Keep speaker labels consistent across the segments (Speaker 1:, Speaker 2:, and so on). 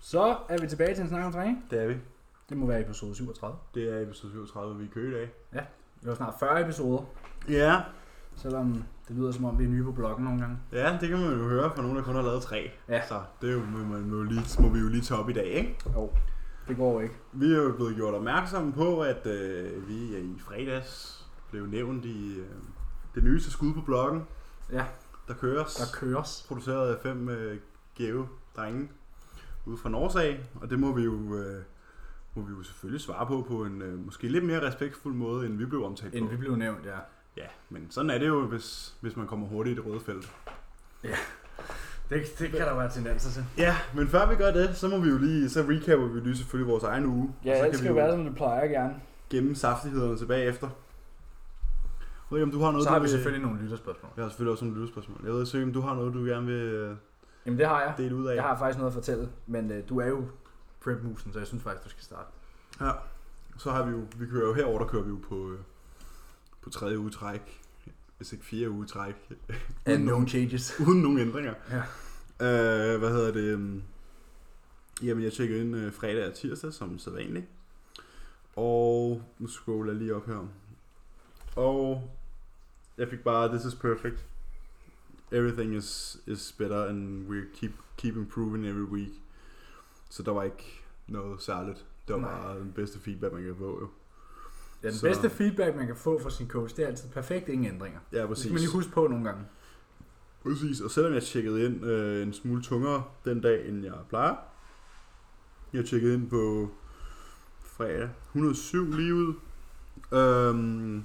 Speaker 1: Så er vi tilbage til en snak om træning.
Speaker 2: Det er vi.
Speaker 1: Det må være episode 37.
Speaker 2: Det er episode 37, vi er i kø i dag.
Speaker 1: Det var snart 40 episoder,
Speaker 2: Ja,
Speaker 1: selvom det lyder som om, vi er nye på bloggen nogle gange.
Speaker 2: ja, det kan man jo høre fra nogen, der kun har lavet tre.
Speaker 1: Ja.
Speaker 2: Så det er jo, må, man jo lige, må vi jo lige tage op i dag, ikke?
Speaker 1: Jo, det går jo ikke.
Speaker 2: Vi er jo blevet gjort opmærksomme på, at øh, vi er i fredags blev nævnt i øh, det nyeste skud på bloggen.
Speaker 1: Ja.
Speaker 2: Der køres.
Speaker 1: Der køres.
Speaker 2: produceret af fem øh, gave drenge ude fra Nordsag, og det må vi jo, øh, må vi jo selvfølgelig svare på på en øh, måske lidt mere respektfuld måde, end vi blev omtalt
Speaker 1: Inden
Speaker 2: på.
Speaker 1: vi blev nævnt, ja.
Speaker 2: Ja, men sådan er det jo, hvis, hvis man kommer hurtigt i det røde felt.
Speaker 1: Det, det kan der være tendenser til.
Speaker 2: Ja, men før vi gør det, så må vi jo lige, så recapper vi lige selvfølgelig vores egen uge. og så
Speaker 1: Ja, det
Speaker 2: vi
Speaker 1: skal jo være, som det plejer gerne.
Speaker 2: gemme saftighederne tilbage efter. Jeg ved ikke, om du har noget,
Speaker 1: Så har
Speaker 2: du
Speaker 1: vi
Speaker 2: vil-
Speaker 1: selvfølgelig nogle lytterspørgsmål.
Speaker 2: Jeg har selvfølgelig også nogle lytterspørgsmål. Jeg ved ikke, om du har noget, du gerne vil øh,
Speaker 1: Jamen det har jeg.
Speaker 2: dele ud af.
Speaker 1: Jeg har faktisk noget at fortælle, men øh, du er jo prep-musen, så jeg synes faktisk, du skal starte.
Speaker 2: Ja, så har vi jo, vi kører jo herover, der kører vi jo på, øh, på tredje uge træk, hvis ikke fire uge træk,
Speaker 1: And no changes.
Speaker 2: uden nogen ændringer.
Speaker 1: Ja.
Speaker 2: Øh, hvad hedder det? øhm, Jamen, jeg tjekkede ind øh, fredag og tirsdag, som sædvanligt. Og nu scroller jeg lige op her. Og jeg fik bare, this is perfect. Everything is, is better, and we keep, keep improving every week. Så der var ikke noget særligt. Det var
Speaker 1: Nej.
Speaker 2: bare den bedste feedback, man kan få, jo.
Speaker 1: Ja, den
Speaker 2: Så-
Speaker 1: bedste feedback, man kan få fra sin coach, det er altid perfekt, ingen ændringer.
Speaker 2: Ja,
Speaker 1: Det
Speaker 2: præcis.
Speaker 1: skal man lige huske på nogle gange.
Speaker 2: Præcis, og selvom jeg tjekkede ind øh, en smule tungere den dag, end jeg plejer. Jeg tjekkede ind på fredag 107 lige ud. Øhm,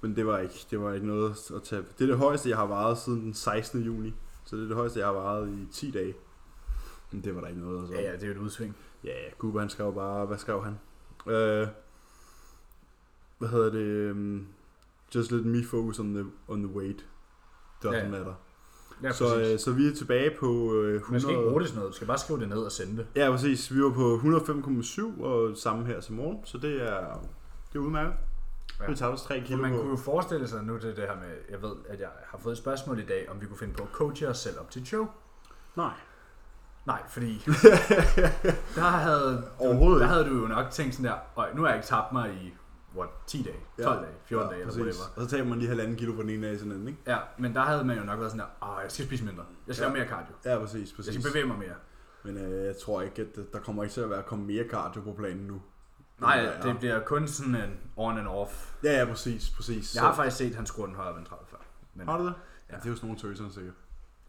Speaker 2: men det var ikke, det var ikke noget at tage. Det er det højeste, jeg har varet siden den 16. juni. Så det er det højeste, jeg har varet i 10 dage. Men det var der ikke noget. Altså.
Speaker 1: Ja, ja, det er jo et udsving.
Speaker 2: Ja, ja, Cooper han skrev bare, hvad skrev han? Øh, hvad hedder det? øhm, Just let me focus on the, on the weight. Doesn't
Speaker 1: Ja, ja.
Speaker 2: matter.
Speaker 1: Ja,
Speaker 2: så, øh, så vi er tilbage på øh, 100...
Speaker 1: Man skal ikke bruge det til noget. Du skal bare skrive det ned og sende det.
Speaker 2: Ja, præcis. Vi var på 105,7 og samme her til morgen, så det er, det er udmærket.
Speaker 1: Ja.
Speaker 2: Ja. Vi tager os 3
Speaker 1: For
Speaker 2: kilo
Speaker 1: man
Speaker 2: på.
Speaker 1: kunne jo forestille sig nu til det her med, jeg ved, at jeg har fået et spørgsmål i dag, om vi kunne finde på at coache os selv op til et show.
Speaker 2: Nej.
Speaker 1: Nej, fordi der havde,
Speaker 2: Overhovedet
Speaker 1: der
Speaker 2: ikke.
Speaker 1: havde du jo nok tænkt sådan der, "Øj, nu har jeg ikke tabt mig i, what, 10 dage, 12 dage, 14 dage, eller
Speaker 2: præcis.
Speaker 1: whatever.
Speaker 2: Og så tager man lige halvanden kilo på den ene dag sådan anden, ikke?
Speaker 1: Ja, men der havde man jo nok været sådan der, åh, jeg skal spise mindre, jeg skal
Speaker 2: Ja.
Speaker 1: ja. mere cardio,
Speaker 2: Ja, præcis.
Speaker 1: jeg
Speaker 2: præcis.
Speaker 1: skal bevæge mig mere.
Speaker 2: Men øh, jeg tror ikke, at der kommer ikke til at være komme mere cardio på planen nu.
Speaker 1: Nej,
Speaker 2: End der er.
Speaker 1: det bliver kun sådan en on and off.
Speaker 2: Ja, ja, præcis, præcis.
Speaker 1: Jeg har faktisk set, at han skruer den højere ventral før. Men
Speaker 2: har du det?
Speaker 1: Ja.
Speaker 2: Ja. Det er jo sådan nogle tøser, sikkert.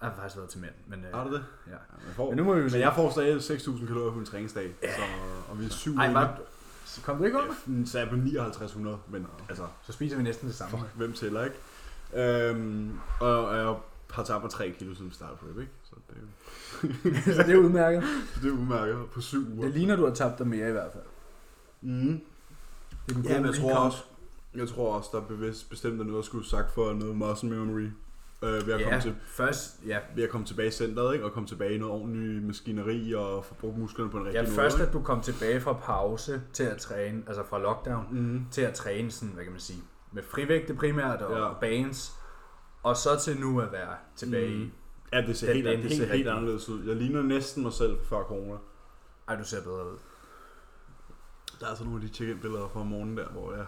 Speaker 1: jeg har faktisk været til mænd. Men, øh,
Speaker 2: Har du det?
Speaker 1: Ja.
Speaker 2: Ja, man får,
Speaker 1: Men
Speaker 2: men,
Speaker 1: nu må vi jo se.
Speaker 2: jeg får stadig 6.000 kalorier på en træningsdag, ja. så, og vi er syv
Speaker 1: Ej,
Speaker 2: uger
Speaker 1: var, så kom du ikke under?
Speaker 2: inde. så er jeg på 5900, men altså,
Speaker 1: Så spiser vi næsten det samme.
Speaker 2: fuck, hvem tæller, ikke? Øhm, og, og jeg har tabt mig 3 kilo siden start prep, ikke? Så det, er jo-
Speaker 1: så det er udmærket.
Speaker 2: så det er udmærket på 7 uger.
Speaker 1: Det ligner, du har tabt dig mere i hvert fald.
Speaker 2: Mm.
Speaker 1: Det er den
Speaker 2: Ja,
Speaker 1: gode
Speaker 2: men jeg tror
Speaker 1: recount.
Speaker 2: også, jeg tror også, der er bevidst bestemt er noget, der skulle sagt for noget muscle memory. Øh, ved at komme
Speaker 1: Ja,
Speaker 2: til
Speaker 1: først, ja.
Speaker 2: ved at komme tilbage i centret, ikke? og komme tilbage i noget ordentligt maskineri og få brugt musklerne på en rigtig
Speaker 1: ja,
Speaker 2: måde.
Speaker 1: først at du kom tilbage fra pause til at træne, altså fra lockdown,
Speaker 2: Mm.
Speaker 1: til at træne sådan, hvad kan man sige, med frivægte primært og
Speaker 2: Ja.
Speaker 1: ja. banes, og så til nu at være tilbage i,
Speaker 2: Mm. Ja, det ser,
Speaker 1: Den-
Speaker 2: helt,
Speaker 1: den
Speaker 2: det
Speaker 1: helt
Speaker 2: ser helt
Speaker 1: rigtige.
Speaker 2: anderledes ud. Jeg ligner næsten mig selv før corona.
Speaker 1: ej, du ser bedre ud.
Speaker 2: Der er altså nogle af de check-in-billeder fra morgenen der, hvor jeg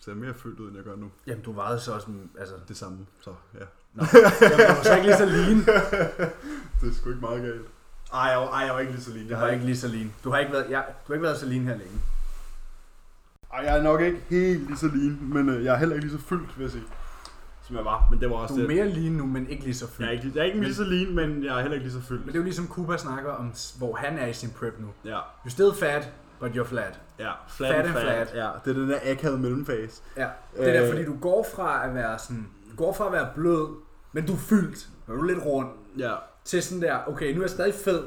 Speaker 2: ser mere fyldt ud, end jeg gør nu.
Speaker 1: Jamen, du vejede så også, mm, altså,
Speaker 2: Det samme, så ja.
Speaker 1: nå, jeg var så ikke lige så lean.
Speaker 2: det er sgu ikke meget galt. Ej, jeg var, ej, jeg var ikke lige så lige.
Speaker 1: Du har ikke lige så lean. Du har ikke været, ja, du har ikke været så lean her længe.
Speaker 2: Ej, jeg er nok ikke helt lige så lean, men øh, jeg er heller ikke lige så fyldt, vil jeg sige. Som jeg var, men det var også
Speaker 1: Du er
Speaker 2: det.
Speaker 1: mere lean nu, men ikke lige så
Speaker 2: Jeg er
Speaker 1: fyldt.
Speaker 2: ikke, jeg er ikke lige så lean, men jeg er heller ikke lige så fyldt.
Speaker 1: Men det er jo ligesom Cooper snakker om, s- hvor han er i sin prep nu.
Speaker 2: Ja,
Speaker 1: You're still fat, but you're flat.
Speaker 2: ja.
Speaker 1: Flat and flat.
Speaker 2: Ja, det er den der akavede mellemfase.
Speaker 1: Ja, det er
Speaker 2: Øh.
Speaker 1: der, fordi du går fra at være sådan, du går fra at være blød, men du er fyldt, men du er lidt rund,
Speaker 2: Ja.
Speaker 1: til sådan der, okay, nu er jeg stadig fed,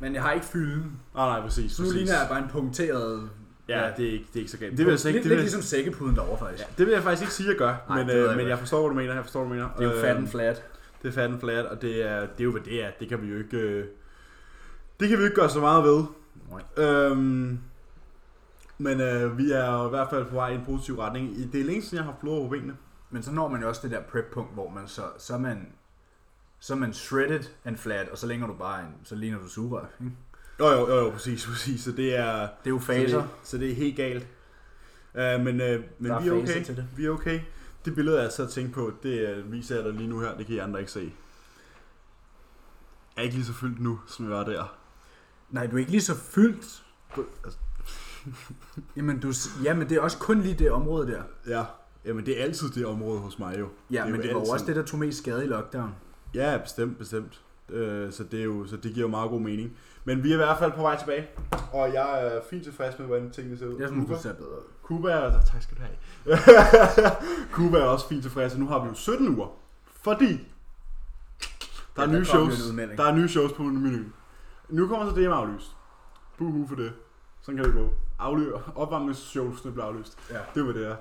Speaker 1: men jeg har ikke fylden.
Speaker 2: Ah, nej, præcis.
Speaker 1: Så nu
Speaker 2: præcis.
Speaker 1: ligner jeg bare en punkteret...
Speaker 2: Ja, det er ikke, det er ikke så galt. Det vil jeg så ikke,
Speaker 1: Lidt,
Speaker 2: det
Speaker 1: lidt
Speaker 2: vil jeg
Speaker 1: ligesom sækkepuden derovre, faktisk.
Speaker 2: Ja, det vil jeg faktisk ikke sige, at jeg gør,
Speaker 1: Nej,
Speaker 2: Nej,
Speaker 1: det
Speaker 2: men,
Speaker 1: ved jeg
Speaker 2: øh, men
Speaker 1: godt.
Speaker 2: jeg forstår, hvad du mener, jeg forstår, hvad du mener.
Speaker 1: Det er jo fat and
Speaker 2: Øhm,
Speaker 1: flat.
Speaker 2: Det er fat and flat, og det er, det er jo, hvad det er. Det kan vi jo ikke, øh, det kan vi jo ikke gøre så meget ved. Øhm, men øh, vi er jo i hvert fald på vej i en positiv retning. I- Det er længe siden, jeg har haft blod over benene.
Speaker 1: Men så når man jo også det der prep-punkt, hvor man så, så er man så er man shredded and flat, og så længere du bare en, så ligner du sugerør. ikke?
Speaker 2: Jo, jo, jo, jo, præcis, præcis. Så det er,
Speaker 1: Det er jo
Speaker 2: så
Speaker 1: faser.
Speaker 2: det, så det er helt galt. Uh, men uh, men
Speaker 1: Der er
Speaker 2: vi er
Speaker 1: faser
Speaker 2: okay.
Speaker 1: til det.
Speaker 2: Vi er okay. Det billede, jeg sad og tænkte på, det øh, viser jeg dig lige nu her. Det kan I andre ikke se. Jeg er ikke lige så fyldt nu, som jeg var der.
Speaker 1: Nej, du er ikke lige så fyldt.
Speaker 2: Altså,
Speaker 1: Jamen, du, s- jamen, det er også kun lige det område der.
Speaker 2: Ja, jamen det er altid det område hos mig jo.
Speaker 1: Ja,
Speaker 2: er
Speaker 1: det men
Speaker 2: jo
Speaker 1: det var jo
Speaker 2: altid-
Speaker 1: også det, der tog mest skade i lockdown.
Speaker 2: Ja, bestemt, bestemt. Øh, så, det er jo, så det giver jo meget god mening. Men vi er i hvert fald på vej tilbage, og jeg er fint tilfreds med, hvordan tingene ser ud.
Speaker 1: Det er sådan,
Speaker 2: Cuba-
Speaker 1: du ser bedre ud.
Speaker 2: Cuba er... altså, Tak skal du have. Cuba er også fint tilfreds, og nu har vi jo 17 uger, fordi der
Speaker 1: Ja, der
Speaker 2: er, ja, nye,
Speaker 1: kom jo en
Speaker 2: shows,
Speaker 1: udmelding.
Speaker 2: der er nye shows på menuen. Nu kommer så det med aflyst. Buhu for det. Sådan kan det gå. Afly- opvarmningsshowsene bliver aflyst.
Speaker 1: Ja.
Speaker 2: Det var det,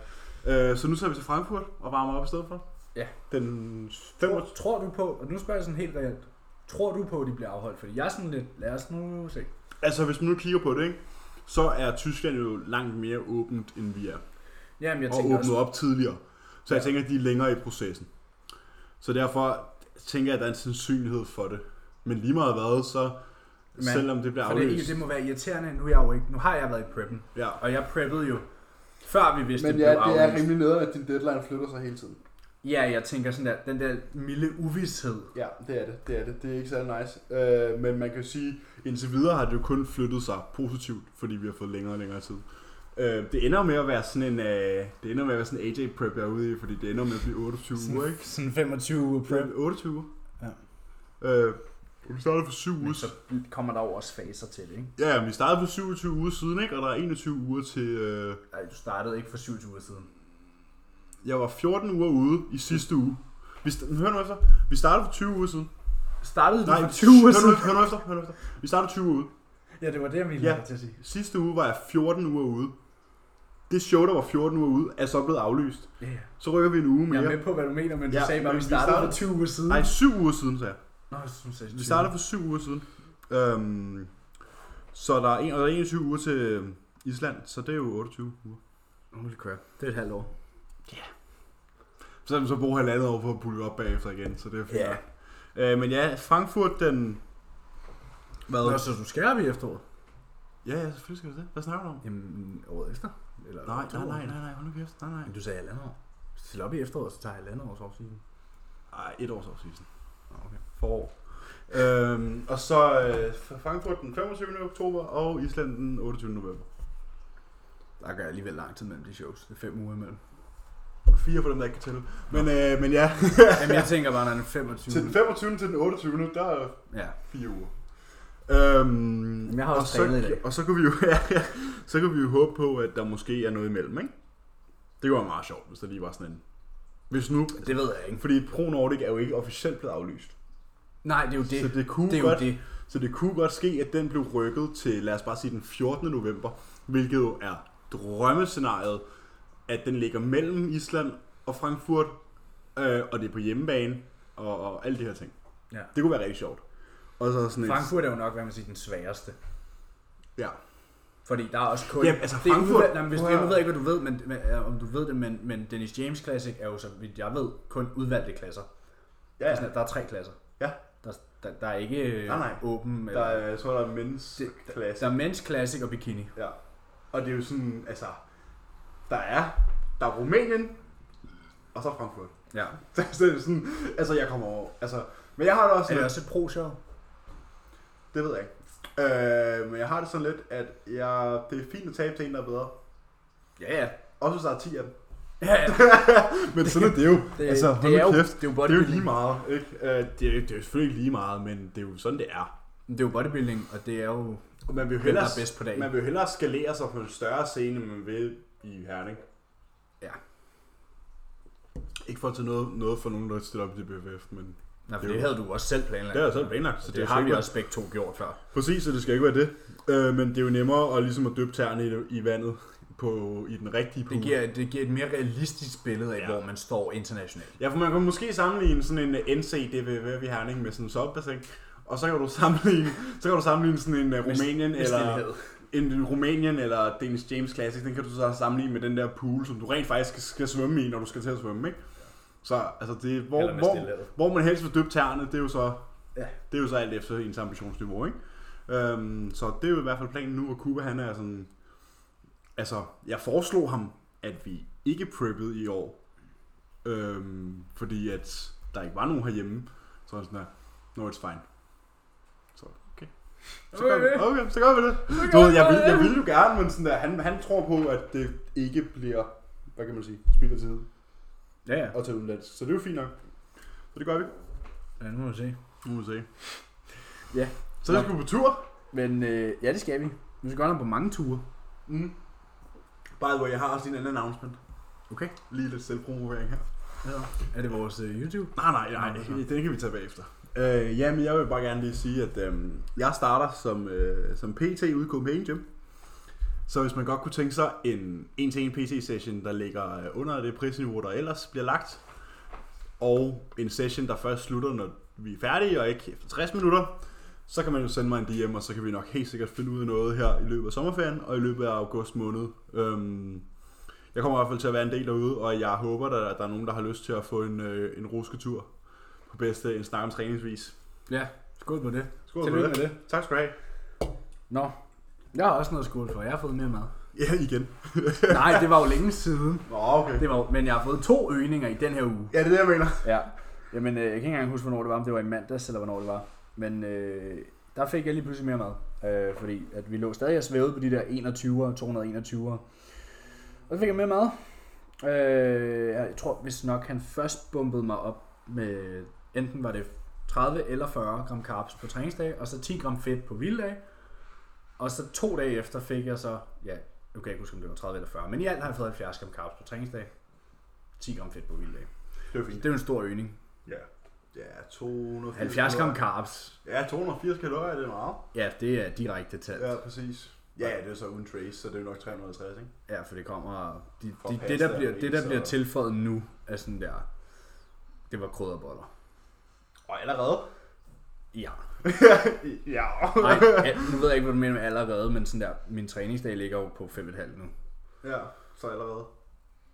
Speaker 2: der. Øh, så nu tager vi til Frankfurt og varmer op i stedet for.
Speaker 1: Ja.
Speaker 2: Den
Speaker 1: Tror,
Speaker 2: 25.
Speaker 1: tror du på, og nu spørger jeg sådan helt reelt, tror du på, at de bliver afholdt? Fordi jeg er sådan lidt, lad os nu se.
Speaker 2: Altså, hvis man nu kigger på det, ikke? så er Tyskland jo langt mere åbent, end vi er.
Speaker 1: Jamen, jeg
Speaker 2: og
Speaker 1: tænker
Speaker 2: åbnet
Speaker 1: også,
Speaker 2: også... op tidligere. Så jeg
Speaker 1: Ja.
Speaker 2: tænker, at de er længere i processen. Så derfor tænker jeg, at der er en sandsynlighed for det. Men lige meget hvad, så
Speaker 1: Men-
Speaker 2: Men, selvom det bliver
Speaker 1: for det, er ikke-
Speaker 2: aflyst...
Speaker 1: det må være irriterende, nu, er jeg jo ikke, nu har jeg været i preppen.
Speaker 2: Ja.
Speaker 1: Og jeg preppede jo, før vi vidste, det blev aflyst.
Speaker 2: rimelig nederen, at din deadline flytter sig hele tiden.
Speaker 1: Ja, jeg tænker sådan der, den der milde uvidshed.
Speaker 2: Ja, det er det. Det er det. Det er ikke særlig nice. Øh, men man kan sige, indtil videre har det jo kun flyttet sig positivt, fordi vi har fået længere og længere tid. Øh, det ender med at være sådan en øh, det ender med at være sådan en AJ prep jeg er ude i, fordi det ender med at blive 28 uger, ikke?
Speaker 1: sådan 25 uger
Speaker 2: Det
Speaker 1: prep.
Speaker 2: er 28 uger.
Speaker 1: Ja.
Speaker 2: Øh, vi startede for 7 uger.
Speaker 1: Men så kommer der jo også faser til det, ikke?
Speaker 2: Ja, ja, vi startede for 27 uger siden, ikke? Og der er 21 uger til øh,
Speaker 1: Ej, du startede ikke for 27 uger siden.
Speaker 2: jeg var 14 uger ude i sidste uge. Vi st- hør nu efter. Vi startede for 20 uger siden.
Speaker 1: Startede du
Speaker 2: Nej,
Speaker 1: for 20 uger
Speaker 2: hør nu
Speaker 1: siden?
Speaker 2: efter, hør nu efter, hør nu efter. Vi startede 20 uger ude.
Speaker 1: Ja, det var det, jeg ville
Speaker 2: Ja.
Speaker 1: have til at sige.
Speaker 2: Sidste uge var jeg 14 uger ude. Det show, der var 14 uger ude, er så blevet aflyst.
Speaker 1: Ja, ja.
Speaker 2: Så rykker vi en uge
Speaker 1: Jeg
Speaker 2: mere.
Speaker 1: er med på, hvad du mener, men du
Speaker 2: Ja,
Speaker 1: sagde bare, at
Speaker 2: men
Speaker 1: vi
Speaker 2: vi
Speaker 1: startede for
Speaker 2: startede-
Speaker 1: 20 uger siden.
Speaker 2: Nej, syv uger siden, sagde jeg.
Speaker 1: Nå, jeg synes, jeg
Speaker 2: Vi startede for syv uger siden. Øhm, så der er, en, og der er 21 uger til øhm, Island, så det er jo 28 uger.
Speaker 1: Holy crap, det er et halvt år.
Speaker 2: Så kan vi så bruge halvandet år på at pulle op bagefter igen, så det er fint.
Speaker 1: Ja.
Speaker 2: Yeah. Øh, men ja, Frankfurt den... Hvad?
Speaker 1: Nå, så du skærer vi efteråret?
Speaker 2: Ja, ja, selvfølgelig skal vi det. Hvad snakker du om?
Speaker 1: Jamen, året efter? Eller
Speaker 2: Nej,
Speaker 1: to
Speaker 2: nej,
Speaker 1: år?
Speaker 2: nej, nej, nej, hold nu kæft, nej, nej.
Speaker 1: Men du sagde halvandet år. Hvis du stiller op i efteråret, så tager jeg halvandet års offseason.
Speaker 2: Ej, et års offseason.
Speaker 1: Nå, okay.
Speaker 2: forår. Øhm, og så øh, Frankfurt den 25. oktober og Island den 28. november.
Speaker 1: Der går alligevel lang tid mellem de shows. Det er fem uger imellem.
Speaker 2: Fire for dem, der ikke kan tælle. Men, øh, men ja,
Speaker 1: Jamen, jeg tænker bare, når den er 25.
Speaker 2: til den 25. til den 28. der er
Speaker 1: Ja.
Speaker 2: fire uger. Øhm,
Speaker 1: jeg har også
Speaker 2: og
Speaker 1: trænet i
Speaker 2: så,
Speaker 1: dag.
Speaker 2: Og så kan, vi jo, så kan vi jo håbe på, at der måske er noget imellem, ikke? Det kunne være meget sjovt, hvis der lige var sådan en... Hvis nu...
Speaker 1: Det ved jeg ikke.
Speaker 2: Fordi Pro Nordic er jo ikke officielt blevet aflyst.
Speaker 1: Nej, det er jo det.
Speaker 2: så det kunne
Speaker 1: det er
Speaker 2: godt,
Speaker 1: jo det.
Speaker 2: Så det kunne godt ske, at den blev rykket til, lad os bare sige, den 14. november, hvilket jo er drømmescenariet, at den ligger mellem Island og Frankfurt, øh, og det er på hjemmebane, og, og alle de her ting.
Speaker 1: Ja.
Speaker 2: Det kunne være rigtig sjovt. Og så sådan et-
Speaker 1: Frankfurt er jo nok, hvad man siger, den sværeste.
Speaker 2: Ja.
Speaker 1: Fordi der er også kun...
Speaker 2: Jamen, altså,
Speaker 1: det er
Speaker 2: Frankfurt-
Speaker 1: udvalg, nej, men hvis,
Speaker 2: Prøv
Speaker 1: jeg
Speaker 2: at-
Speaker 1: ved ikke, hvad du ved, men, men, øh, om du ved det, men, men Dennis James Classic er jo, så vidt jeg ved, kun udvalgte klasser.
Speaker 2: Ja,
Speaker 1: Altså, der er tre klasser.
Speaker 2: Ja.
Speaker 1: Der, der, der er ikke øh,
Speaker 2: Nej, nej.
Speaker 1: åben...
Speaker 2: Der er, jeg tror, der er men's
Speaker 1: Det-
Speaker 2: klasse.
Speaker 1: der er men's classic og bikini.
Speaker 2: Ja. Og det er jo sådan, altså, der er, der er Rumænien, og så Frankfurt.
Speaker 1: Ja.
Speaker 2: Så det er sådan, altså, jeg kommer over, altså, men jeg har det også
Speaker 1: Er
Speaker 2: lidt-
Speaker 1: det også et pro-show?
Speaker 2: Det ved jeg ikke. Øh, men jeg har det sådan lidt, at jeg, det er fint at tabe til en, der er bedre.
Speaker 1: Ja, ja.
Speaker 2: Også hvis der er 10 af dem.
Speaker 1: Ja, ja.
Speaker 2: Men sådan er det jo.
Speaker 1: Det,
Speaker 2: altså,
Speaker 1: det,
Speaker 2: hold
Speaker 1: er
Speaker 2: nu
Speaker 1: jo,
Speaker 2: kæft.
Speaker 1: det er jo
Speaker 2: Det er jo
Speaker 1: bodybuilding.
Speaker 2: lige meget, ikke? Øh, det, er, jo- det er jo selvfølgelig ikke lige meget, men det er jo sådan, det er.
Speaker 1: Det er jo bodybuilding, og det er jo,
Speaker 2: Og man vil jo
Speaker 1: hvem der
Speaker 2: hellere,
Speaker 1: er bedst på dagen.
Speaker 2: man vil jo hellere skalere sig på en større scene, end man vil i Herning.
Speaker 1: Ja.
Speaker 2: Ikke for at tage noget, noget for nogen, der stiller op i DBFF, men
Speaker 1: Nej, for
Speaker 2: Det er
Speaker 1: det
Speaker 2: jo-
Speaker 1: havde du også selv planlagt.
Speaker 2: det er jo selv planlagt.
Speaker 1: Så
Speaker 2: Så
Speaker 1: det,
Speaker 2: er
Speaker 1: det
Speaker 2: jo
Speaker 1: har vi
Speaker 2: sikkert-
Speaker 1: også begge to gjort før.
Speaker 2: Præcis, så det skal ikke være det. Øh, men det er jo nemmere at ligesom at døbe tæerne i, i vandet på, i den rigtige pool.
Speaker 1: Det giver, det giver et mere realistisk billede af, ja.
Speaker 2: Ja.
Speaker 1: hvor man står internationalt.
Speaker 2: Ja, for man kan måske sammenligne sådan en øh, NC DVV i Herning med sådan en soppbassin, og så kan du sammenligne, så kan du sammenligne sådan en uh, Rumænien
Speaker 1: Med
Speaker 2: eller
Speaker 1: stilhed.
Speaker 2: en, en Rumænien eller Danish James Classic, den kan du så sammenligne med den der pool, som du rent faktisk skal, skal svømme i, når du skal til at svømme, ikke? Så altså det er, hvor,
Speaker 1: Eller med
Speaker 2: hvor,
Speaker 1: stilhed.
Speaker 2: hvor man helst vil døbe tæerne, det er jo så
Speaker 1: Ja.
Speaker 2: det er jo så alt efter ens ambitionsniveau, ikke? Øhm, så det er jo i hvert fald planen nu, og Cooper han er sådan... Altså, jeg foreslog ham, at vi ikke preppede i år, øhm, fordi at der ikke var nogen herhjemme. Så er han sådan der, no, it's fine. Så, okay. Så gør, vi, okay, så gør vi det. Du ved, jeg, vil, jeg ville jo gerne, men sådan der, han, han tror på, at det ikke bliver, hvad kan man sige, spild af tid
Speaker 3: Ja, ja.
Speaker 2: og til udenlands. Så det er jo fint nok. Så det gør vi.
Speaker 3: Ja, nu må vi se.
Speaker 2: Nu må vi se.
Speaker 1: Ja.
Speaker 2: Så lad os gå på tur.
Speaker 1: Men øh, ja, det skal vi. Vi skal godt nok på mange ture.
Speaker 2: Mm. By the way, jeg har også lige en anden announcement.
Speaker 3: Okay.
Speaker 2: Lige lidt selvpromovering her.
Speaker 3: Ja. Er det vores øh, YouTube?
Speaker 2: Nej, nej, nej.
Speaker 3: Nå,
Speaker 2: Den kan vi tage bagefter. Øh, ja, men jeg vil bare gerne lige sige, at øh, jeg starter som, øh, som PT ude i Copenhagen Gym. Så hvis man godt kunne tænke sig en en-til-en PT-session, der ligger øh, under det prisniveau, der ellers bliver lagt, og en session, der først slutter, når vi er færdige, og ikke efter 60 minutter, så kan man jo sende mig en DM, og så kan vi nok helt sikkert finde ud af noget her i løbet af sommerferien og i løbet af august måned. Øhm, jeg kommer i hvert fald til at være en del derude, og jeg håber, at der, der er nogen, der har lyst til at få en, øh, en rusketur på bedste en snak om træningsvis.
Speaker 3: Ja, skål på det.
Speaker 2: Skål
Speaker 3: Tillykke
Speaker 2: med
Speaker 3: med
Speaker 2: det.
Speaker 3: det.
Speaker 2: Tak skal du have.
Speaker 1: Nå, jeg har også noget skål for. Jeg har fået mere mad.
Speaker 2: Ja, igen.
Speaker 1: Nej, det var jo længe siden.
Speaker 2: Nå, okay.
Speaker 1: Det var, jo- men jeg har fået to øgninger i den her uge.
Speaker 2: Ja, det er det, jeg mener.
Speaker 1: Ja. Jamen, øh, jeg kan ikke engang huske, hvornår det var. Om det var i mandags, eller hvornår det var. Men øh, der fik jeg lige pludselig mere mad. Øh, fordi at vi lå stadig og svævede på de der 21'er, 221'er. Og så fik jeg mere mad. Øh, jeg tror hvis nok, han først bumpede mig op med, enten var det 30 eller 40 gram carbs på træningsdag, og så 10 gram fedt på hviledag. Og så to dage efter fik jeg så, ja, nu kan jeg ikke huske, om det var 30 eller 40, men i alt har jeg fået 70 gram carbs på træningsdag, 10 gram fedt på hviledag.
Speaker 2: Det var
Speaker 1: Så
Speaker 2: fint.
Speaker 1: det er jo en stor øgning.
Speaker 2: Ja. Ja, 280
Speaker 1: 70 gram
Speaker 2: kalorier.
Speaker 1: carbs.
Speaker 2: Ja, 280 kalorier, det er meget.
Speaker 1: Ja, det er direkte tal. Ja.
Speaker 2: Ja, præcis. Ja, ja, det er så uden trace, så det er jo nok 350, ikke?
Speaker 1: ja, for det kommer... De,
Speaker 2: For
Speaker 1: de, det,
Speaker 2: pasta
Speaker 1: der bliver,
Speaker 2: og
Speaker 1: det, der
Speaker 2: ris
Speaker 1: bliver
Speaker 2: og-
Speaker 1: tilføjet nu, er sådan der... Det var krydderboller.
Speaker 2: Og allerede?
Speaker 1: Ja.
Speaker 2: ja.
Speaker 1: Ej, ja, nu ved jeg ikke, hvad du mener med allerede, men sådan der, min træningsdag ligger jo på 5,5 nu.
Speaker 2: Ja, så allerede. Du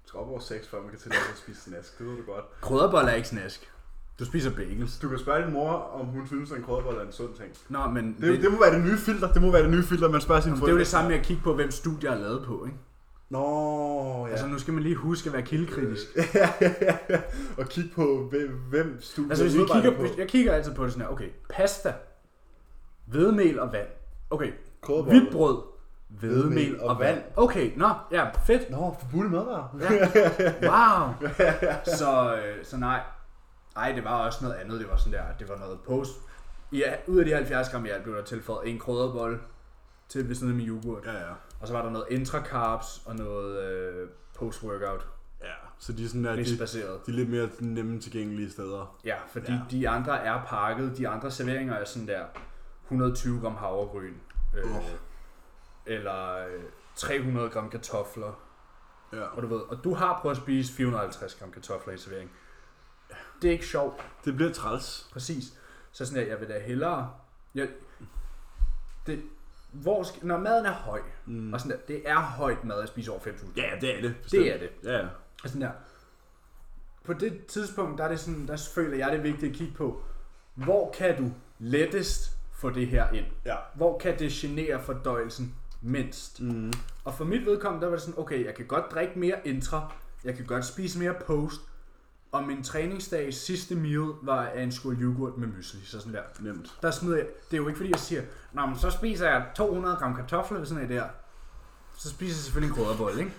Speaker 2: skal op over 6, før man kan tillade sig at spise snask. Det ved du godt.
Speaker 1: Krydderboller er ikke snask. Du spiser bagels.
Speaker 2: Du kan spørge din mor, om hun synes, at en krødebolle er en sund ting.
Speaker 1: Nå, men det,
Speaker 2: Det, det,
Speaker 1: det,
Speaker 2: må være det nye filter. Det må være det nye filter, man spørger sine
Speaker 1: det er jo det samme med at kigge på, hvem studier er lavet på, ikke?
Speaker 2: Nå, ja.
Speaker 1: Altså, nu skal man lige huske at være kildekritisk.
Speaker 2: og kigge på, hvem, hvem studiet
Speaker 1: Altså hvis vi
Speaker 2: udarbejder
Speaker 1: kigger, hvis, jeg kigger altid på det sådan her, okay, pasta, hvedemel og vand. Okay,
Speaker 2: Kådebrød.
Speaker 1: hvidt brød, hvedemel og vand. Okay, nå, ja, fedt.
Speaker 2: Nå, forbudte madvarer.
Speaker 1: Ja. Wow. Så, øh, så nej. Ej, det var også noget andet. Det var sådan der, det var noget post. Ja, ud af de 70 gram i alt blev der tilføjet en krydderbolle til ved siden af min yoghurt.
Speaker 2: Ja, ja.
Speaker 1: Og så var der noget intra-carbs og noget øh, post-workout.
Speaker 2: Ja, så de er sådan der, de,
Speaker 1: Rigsbaseret.
Speaker 2: de er lidt mere nemme tilgængelige steder.
Speaker 1: Ja, fordi
Speaker 2: Ja.
Speaker 1: ja. de andre er pakket. De andre serveringer er sådan der 120 gram havregryn. Øh,
Speaker 2: Åh.
Speaker 1: Eller øh, 300 gram kartofler.
Speaker 2: Ja.
Speaker 1: Og du, ved, og du har prøvet at spise 450 gram kartofler i en servering. Det er ikke sjovt,
Speaker 2: Det bliver træls.
Speaker 1: præcis. Så sådan der, jeg vil da hellere... Jeg, det, hvor skal, når maden er høj, mm. og sådan der, det er højt mad at spise over 5.000.
Speaker 2: Ja, det er det.
Speaker 1: Det er det.
Speaker 2: Ja, ja.
Speaker 1: Altså sådan der. På det tidspunkt, der, er det sådan, der føler jeg, det er vigtigt at kigge på, hvor kan du lettest få det her ind?
Speaker 2: Ja.
Speaker 1: Hvor kan det genere fordøjelsen mindst? Mm. Og for mit vedkommende, der var det sådan, okay, jeg kan godt drikke mere intra, jeg kan godt spise mere post, og min træningsdags sidste meal var af en skål yoghurt med mysli, så sådan der.
Speaker 2: Nemt.
Speaker 1: Der smider jeg, det er jo ikke fordi, jeg siger, Nå, men så spiser jeg 200 gram kartofler ved sådan her der. Så spiser jeg selvfølgelig en krydderbolle, ikke?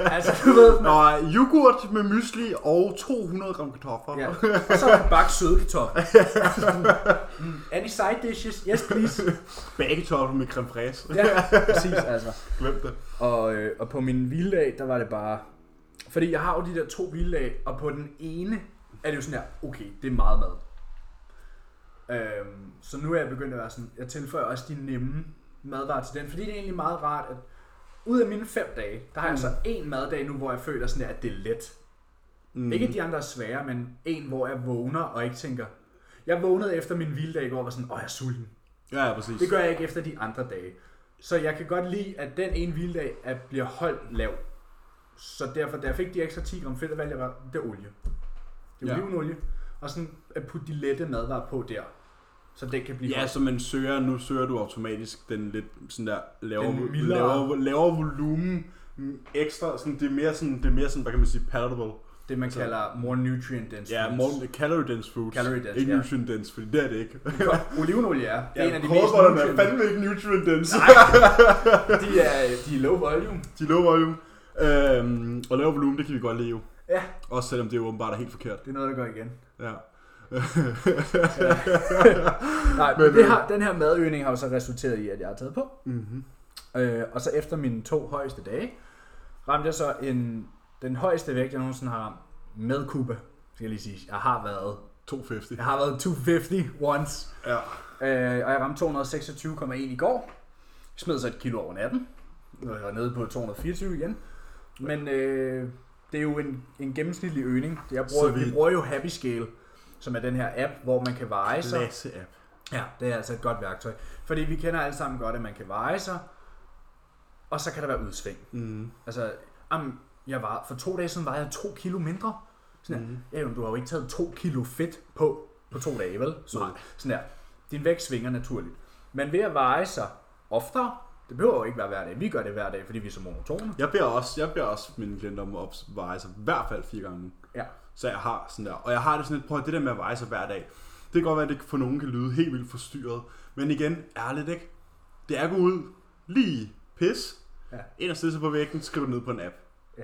Speaker 1: altså, du ved,
Speaker 2: Nå, yoghurt med mysli og 200 gram kartofler.
Speaker 1: Ja. Og så var det bare søde kartofler. Mm, Any side dishes? Yes, please.
Speaker 2: Bagekartofler med creme fraise.
Speaker 1: Ja, præcis altså.
Speaker 2: Glem det.
Speaker 1: Og, øh, og på min hviledag, der var det bare... Fordi jeg har jo de der to hviledage, og på den ene er det jo sådan her, okay, det er meget mad. Øhm, så nu er jeg begyndt at være sådan, jeg tilføjer også de nemme madvarer til den, fordi det er egentlig meget rart, at ud af mine fem dage, der har jeg altså en maddag nu, hvor jeg føler sådan her, at det er let. Mm. Ikke at de andre er svære, men en, hvor jeg vågner og ikke tænker, jeg vågnede efter min hviledag i går og var sådan, åh, jeg er sulten.
Speaker 2: Ja, ja, præcis.
Speaker 1: Det gør jeg ikke efter de andre dage. Så jeg kan godt lide, at den ene hviledag er, bliver holdt lav. Så derfor, da jeg fik de ekstra 10 gram fedt, der valgte jeg bare, det er olie. Det er
Speaker 2: Ja.
Speaker 1: olivenolie. Og sådan at putte de lette madvarer på der. Så den kan blive
Speaker 2: Ja, så man søger, nu søger du automatisk den lidt sådan der lavere,
Speaker 1: Den mildere.
Speaker 2: lavere, lavere volumen, mm, ekstra, sådan, det er mere sådan, det er mere sådan, hvad kan man sige, palatable.
Speaker 1: det, man
Speaker 2: så-
Speaker 1: kalder more nutrient dense
Speaker 2: Ja,
Speaker 1: foods.
Speaker 2: more calorie dense foods.
Speaker 1: Calorie dense,
Speaker 2: Ikke
Speaker 1: ja.
Speaker 2: nutrient dense, fordi det er det ikke.
Speaker 1: Godt, Olivenolie er, det er en af de mest
Speaker 2: Kålbollerne er
Speaker 1: nutrient-
Speaker 2: fandme ikke nutrient dense.
Speaker 1: de er, de er low volume.
Speaker 2: De lover jo. Øhm, og lave volumen, det kan vi godt leve.
Speaker 1: Ja.
Speaker 2: Også selvom det jo åbenbart er helt forkert.
Speaker 1: Det er noget, der går igen.
Speaker 2: Ja.
Speaker 4: Nej,
Speaker 2: Men,
Speaker 4: men det
Speaker 2: øh,
Speaker 4: har, den her madøgning har jo så resulteret i, at jeg har taget på.
Speaker 2: mm-hmm.
Speaker 4: Øh, og så efter mine to højeste dage,
Speaker 1: Ramte jeg så en, den højeste vægt, jeg nogensinde har ramt med Cuba, skal jeg lige sige. Jeg har været,
Speaker 2: 250.
Speaker 1: jeg har været 250 once.
Speaker 2: Ja.
Speaker 4: øh, og jeg ramte 226,1 i går. Smed så et kilo over natten, når jeg var nede på 224 igen. Men øh, det er jo en, en gennemsnitlig øgning. Jeg bruger,
Speaker 2: Så vi-
Speaker 4: vi... bruger jo Happy Scale, som er den her app, hvor man kan veje sig.
Speaker 2: Klasse app.
Speaker 1: Ja, det er altså et godt værktøj. Fordi vi kender alle sammen godt, at man kan veje sig, og så kan der være udsving.
Speaker 2: Mm-hmm.
Speaker 1: Altså, jamen, jeg var, for to dage siden vejede jeg to kilo mindre. Sådan mm.
Speaker 2: Mhm.
Speaker 1: ja, jamen, du har jo ikke taget to kilo fedt på på to dage, vel? Så,
Speaker 2: Nej.
Speaker 1: Sådan der. Din vægt svinger naturligt. Men ved at veje sig oftere, det behøver jo ikke være hver dag. Vi gør det hver dag, fordi vi er så monotone.
Speaker 2: Jeg beder også, jeg beder også mine klienter om at opveje sig i hvert fald fire gange om ugen.
Speaker 1: Ja.
Speaker 2: Så jeg har sådan der. Og jeg har det sådan lidt, prøv at det der med at veje sig hver dag. Det kan godt være, at det for nogen kan lyde helt vildt forstyrret. Men igen, ærligt ikke? Det er at gå ud, lige pis,
Speaker 1: Ja.
Speaker 2: ind og stille sig på væggen, skriv det ned på en app.
Speaker 1: Ja.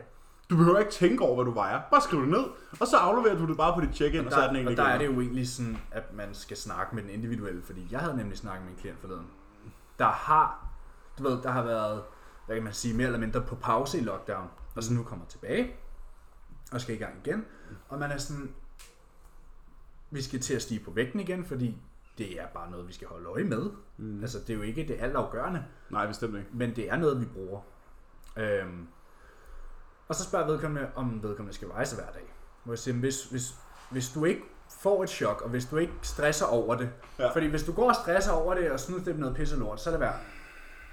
Speaker 2: Du behøver ikke tænke over, hvad du vejer. Bare skriv det ned, og så afleverer du det bare på dit check-in, og,
Speaker 1: Og
Speaker 2: så er den
Speaker 1: der,
Speaker 2: egentlig
Speaker 1: og der
Speaker 2: glemt.
Speaker 1: er det jo egentlig sådan, at man skal snakke med den individuelle, fordi jeg havde nemlig snakket med en klient forleden, der har, du ved, der har været, hvad kan man sige, mere eller mindre på pause i lockdown, og så nu kommer tilbage, og skal i gang igen, og man er sådan, vi skal til at stige på vægten igen, fordi det er bare noget, vi skal holde øje med. Mm. Altså, det er jo ikke det altafgørende,
Speaker 2: Nej, bestemt ikke.
Speaker 1: men det er noget, vi bruger. Øhm, og så spørger vedkommende, om vedkommende skal rejse hver dag. Hvor jeg siger, hvis, hvis, hvis du ikke får et chok, og hvis du ikke stresser over det,
Speaker 2: Ja.
Speaker 1: ja. fordi hvis du går og stresser over det, og synes, det er noget pisse lort, så er det værd.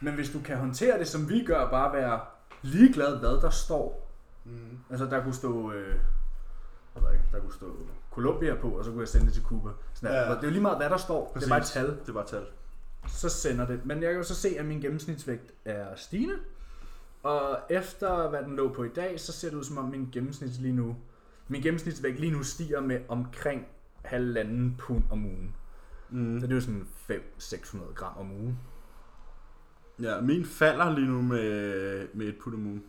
Speaker 1: Men hvis du kan håndtere det, som vi gør, bare være ligeglad, hvad der står. Mm. Altså, der kunne stå... Øh, jeg ved ikke, der kunne stå Colombia på, og så kunne jeg sende det til Cuba. Sådan
Speaker 2: Ja,
Speaker 1: ja,
Speaker 2: ja.
Speaker 1: ja. Det er jo lige meget, hvad der står. Præcis. Det er bare et
Speaker 2: Præcis.
Speaker 1: tal
Speaker 2: Det var tal.
Speaker 1: så sender det. Men jeg kan jo så se, at min gennemsnitsvægt er stigende. Og efter hvad den lå på i dag, så ser det ud som om min gennemsnit lige nu, min gennemsnitsvægt lige nu stiger med omkring halvanden pund om ugen.
Speaker 2: Mm.
Speaker 1: Så det er jo sådan 500-600 gram om ugen.
Speaker 2: Ja, min falder lige nu med, med et put om ugen.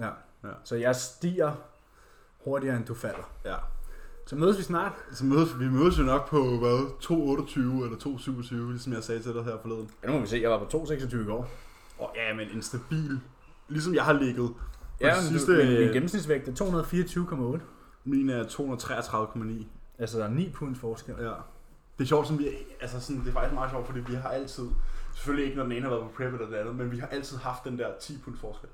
Speaker 1: Ja.
Speaker 2: Ja.
Speaker 1: Så jeg stiger hurtigere, end du falder.
Speaker 2: Ja.
Speaker 1: Så mødes vi snart.
Speaker 2: Så mødes, vi mødes jo nok på, hvad, 2.28 eller 2.27, ligesom jeg sagde til dig her forleden.
Speaker 1: Ja, nu må vi se. Jeg var på 2,26 i går.
Speaker 2: Og ja, men en stabil, ligesom jeg har ligget.
Speaker 1: Ja,
Speaker 2: det
Speaker 1: men
Speaker 2: sidste,
Speaker 1: du, min,
Speaker 2: øh,
Speaker 1: min gennemsnitsvægt er 224,8.
Speaker 2: Min øh, er 233,9.
Speaker 1: Altså, der er 9 punds forskel.
Speaker 2: Ja. Det er sjovt, som vi, altså sådan, det er faktisk meget sjovt, fordi vi har altid, selvfølgelig ikke når den ene har været på prep eller det andet, men vi har altid haft den der 10 pund forskel.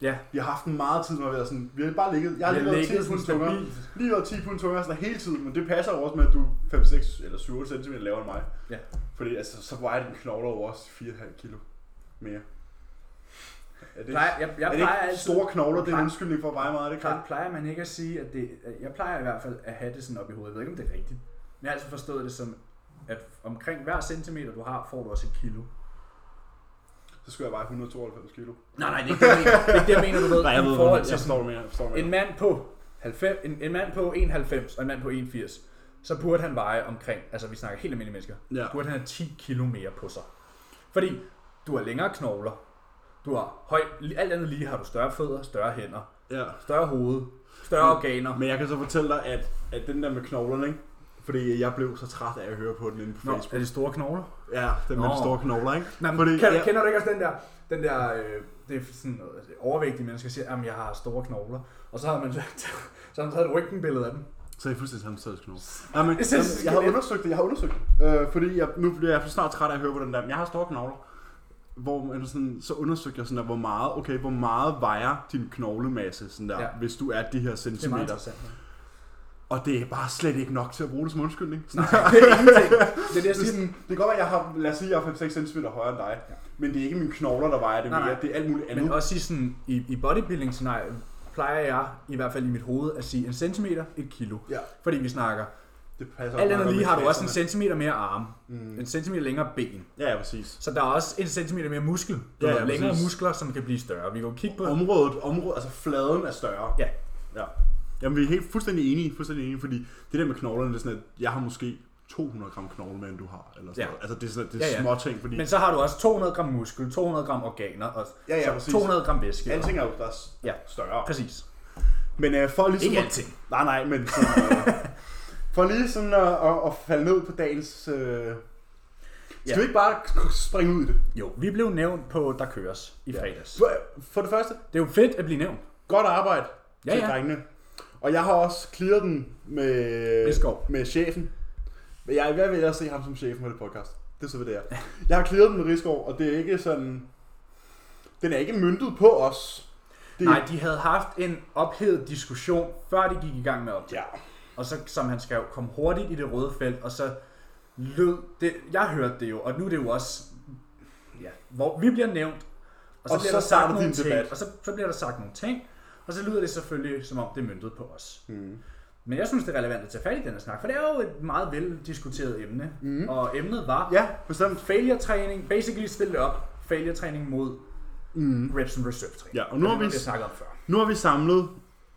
Speaker 1: Ja.
Speaker 2: Vi har haft den meget tid, når vi har været sådan, vi har bare ligget, jeg har
Speaker 1: Jeg
Speaker 2: lige været 10
Speaker 1: ligger sådan
Speaker 2: pund tungere,
Speaker 1: stabilt.
Speaker 2: lige været 10 pund tungere sådan hele tiden, men det passer jo også med, at du er 5, 6 eller 7 cm lavere end mig.
Speaker 1: Ja.
Speaker 2: Fordi altså, så vejer den knogler over også 4,5 kilo mere. Er det,
Speaker 4: plejer, jeg, jeg
Speaker 2: er det
Speaker 4: plejer
Speaker 2: ikke
Speaker 4: altid,
Speaker 2: store knogler, det er en
Speaker 4: Nej.
Speaker 2: undskyldning for at veje meget, er det klart?
Speaker 4: Klart plejer man ikke at sige, at det, jeg plejer i hvert fald at have det sådan op i hovedet. Jeg ved ikke, om det er rigtigt. Men jeg har altid forstået det som, at omkring hver centimeter, du har, får du også et kilo.
Speaker 2: Så skulle jeg veje 192 kilo.
Speaker 4: Nej, nej, det er ikke det, jeg mener. Det er ikke det, jeg mener, du ved. i forhold til
Speaker 2: jeg forstår det mere, jeg forstår det mere.
Speaker 4: en mand på 90, en, en mand på 91 og en mand på 81, så burde han veje omkring, altså vi snakker helt almindelige mennesker,
Speaker 2: Ja.
Speaker 4: burde han have 10 kilo mere på sig. Fordi du har længere knogler, du har høj, alt andet lige har du større fødder, større hænder,
Speaker 2: Ja.
Speaker 4: større hoved, større organer.
Speaker 2: Men jeg kan så fortælle dig, at, at den der med knoglerne, ikke? Fordi jeg blev så træt af at høre på den inde på
Speaker 1: Nå,
Speaker 2: Facebook.
Speaker 1: er det store knogler?
Speaker 2: Ja, den med de
Speaker 1: Nå.
Speaker 2: store knogler, ikke?
Speaker 4: Nej, men
Speaker 2: Fordi
Speaker 4: Fordi, kan,
Speaker 2: jeg-
Speaker 4: jeg... kender du ikke også den der, den der øh, det er sådan noget, altså, overvægtige mennesker siger, at jeg har store knogler, og så har man, så har man taget et røntgenbillede af dem.
Speaker 2: Så er I fuldstændig samme størrelse knogle. Nej, men
Speaker 4: Jeg
Speaker 2: jeg,
Speaker 4: synes,
Speaker 2: jeg,
Speaker 4: det skal
Speaker 2: har
Speaker 4: lidt.
Speaker 2: undersøgt det, jeg har undersøgt det. Øh, fordi jeg, nu bliver jeg for snart træt af at høre på den der, men jeg har store knogler. Hvor man sådan, så undersøgte jeg sådan der, hvor meget, okay, hvor meget vejer din knoglemasse, sådan der, ja.
Speaker 4: Ja.
Speaker 2: hvis du er de her
Speaker 4: Det er meget
Speaker 2: centimeter.
Speaker 4: interessant.
Speaker 2: Og det er bare slet ikke nok til at bruge det som undskyldning. Sådan,
Speaker 4: Det er ingenting. Det er det, jeg
Speaker 2: Det, er
Speaker 4: siger.
Speaker 2: sådan, det kan godt være, jeg har, lad os sige, jeg er 5-6 cm højere end dig, ja.
Speaker 4: Ja.
Speaker 2: men det er ikke mine knogler, der vejer det
Speaker 4: Nej,
Speaker 2: mere,
Speaker 4: nej.
Speaker 2: det er alt muligt andet.
Speaker 1: Men også i, sådan, i, i bodybuilding scenarie plejer jeg, i hvert fald i mit hoved, at sige en centimeter, et kilo.
Speaker 2: Ja.
Speaker 1: Fordi vi snakker
Speaker 2: Det passer
Speaker 1: Alt
Speaker 2: også meget
Speaker 1: andet
Speaker 2: godt
Speaker 1: lige
Speaker 2: med
Speaker 1: har du også en
Speaker 2: klasserne.
Speaker 1: centimeter mere arm,
Speaker 2: Mm.
Speaker 1: en centimeter længere ben.
Speaker 2: Ja, ja, præcis.
Speaker 1: Så der er også en centimeter mere muskel. Du
Speaker 2: Ja,
Speaker 1: ja,
Speaker 2: ja,
Speaker 1: har længere
Speaker 2: præcis.
Speaker 1: muskler, som kan blive større. Vi kan jo kigge på...
Speaker 2: Området, området, altså fladen er større.
Speaker 1: Ja.
Speaker 2: ja. Jamen, vi er helt fuldstændig enige, fuldstændig enige, fordi det der med knoglerne, det er sådan, at jeg har måske 200 gram knogle mere, end du har. Eller sådan
Speaker 1: Ja.
Speaker 2: noget. Altså, det er, sådan, det er
Speaker 1: Ja,
Speaker 2: ja,
Speaker 1: ja.
Speaker 2: ja. små ting, fordi...
Speaker 1: Men så har du også 200 gram muskel, 200 gram organer og
Speaker 2: Ja, ja,
Speaker 1: så
Speaker 2: præcis.
Speaker 1: 200 gram væske.
Speaker 2: Alting er jo der s-
Speaker 1: Ja.
Speaker 2: større.
Speaker 1: Præcis.
Speaker 2: Men øh, for ligesom...
Speaker 1: Ikke
Speaker 2: at-
Speaker 1: alting.
Speaker 2: Nej, nej, men sådan, øh, For lige sådan at, at, at falde ned på dagens... Øh... Skal
Speaker 1: Ja.
Speaker 2: vi ikke bare k- springe ud i det?
Speaker 1: Jo, vi blev nævnt på Der Køres i fredags.
Speaker 2: For, for det første,
Speaker 1: Det er jo fedt at blive nævnt.
Speaker 2: godt arbejde
Speaker 1: Ja,
Speaker 2: til
Speaker 1: ja.
Speaker 2: drengene. Og jeg har også clearet den med,
Speaker 1: Riskov.
Speaker 2: med chefen. Men jeg, jeg vil ellers se ham som chefen på det podcast. Det er så, hvad det er. Jeg har clearet den med Riskov, og det er ikke sådan... Den er ikke myntet på os. Det,
Speaker 1: Nej, de havde haft en ophedet diskussion, før de gik i gang med optag.
Speaker 2: Ja.
Speaker 1: Og så, som han skrev, kom hurtigt i det røde felt, og så lød det... Jeg hørte det jo, og nu er det jo også... Ja, hvor vi bliver nævnt, og så,
Speaker 2: Og
Speaker 1: bliver
Speaker 2: så
Speaker 1: der
Speaker 2: starter
Speaker 1: sagt
Speaker 2: vi
Speaker 1: nogle
Speaker 2: en
Speaker 1: ting,
Speaker 2: debat.
Speaker 1: og så, så bliver der sagt nogle ting, og så lyder det selvfølgelig, som om det er myndet på os.
Speaker 2: Mm.
Speaker 1: Men jeg synes, det er relevant at tage fat i den her snak, for det er jo et meget veldiskuteret emne. Mm. Og emnet var
Speaker 2: Ja, bestemt.
Speaker 1: failure træning, basically stille det op, failure træning mod mm. reps and reserve træning.
Speaker 2: Ja, og nu
Speaker 1: det
Speaker 2: har
Speaker 1: er noget,
Speaker 2: vi-
Speaker 1: vi snakket om før.
Speaker 2: Nu har vi samlet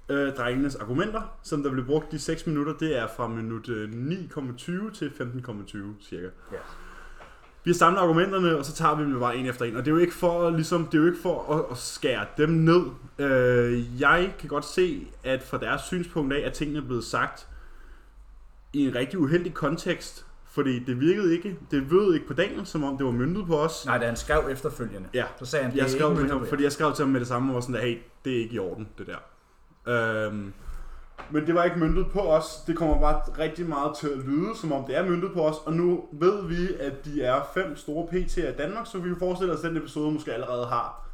Speaker 2: øh, drengenes argumenter, som der blev brugt de 6 minutter. Det er fra minut øh, 9,20 til 15,20 cirka.
Speaker 1: Ja.
Speaker 2: Vi har samlet argumenterne, og så tager vi dem jo bare en efter en. Og det er jo ikke for, at- ligesom, det er jo ikke for at, at skære dem ned. Øh, jeg kan godt se, at fra deres synspunkt af, at tingene er blevet sagt i en rigtig uheldig kontekst. Fordi det virkede ikke, det lød ikke på dagen, som om det var myndet på os.
Speaker 1: Nej, da han skrev efterfølgende,
Speaker 2: Ja.
Speaker 1: så sagde han, det
Speaker 2: Jeg
Speaker 1: er
Speaker 2: skrev
Speaker 1: ikke
Speaker 2: til
Speaker 1: møntet
Speaker 2: ham,
Speaker 1: på jer.
Speaker 2: fordi jeg skrev til ham med det samme, og var sådan der, hey, det er ikke i orden, det der. Øhm, men det var ikke myntet på os. Det kommer bare rigtig meget til at lyde, som om det er myntet på os. Og nu ved vi, at de er fem store PT'er i Danmark, så vi kan forestille os, at den episode måske allerede har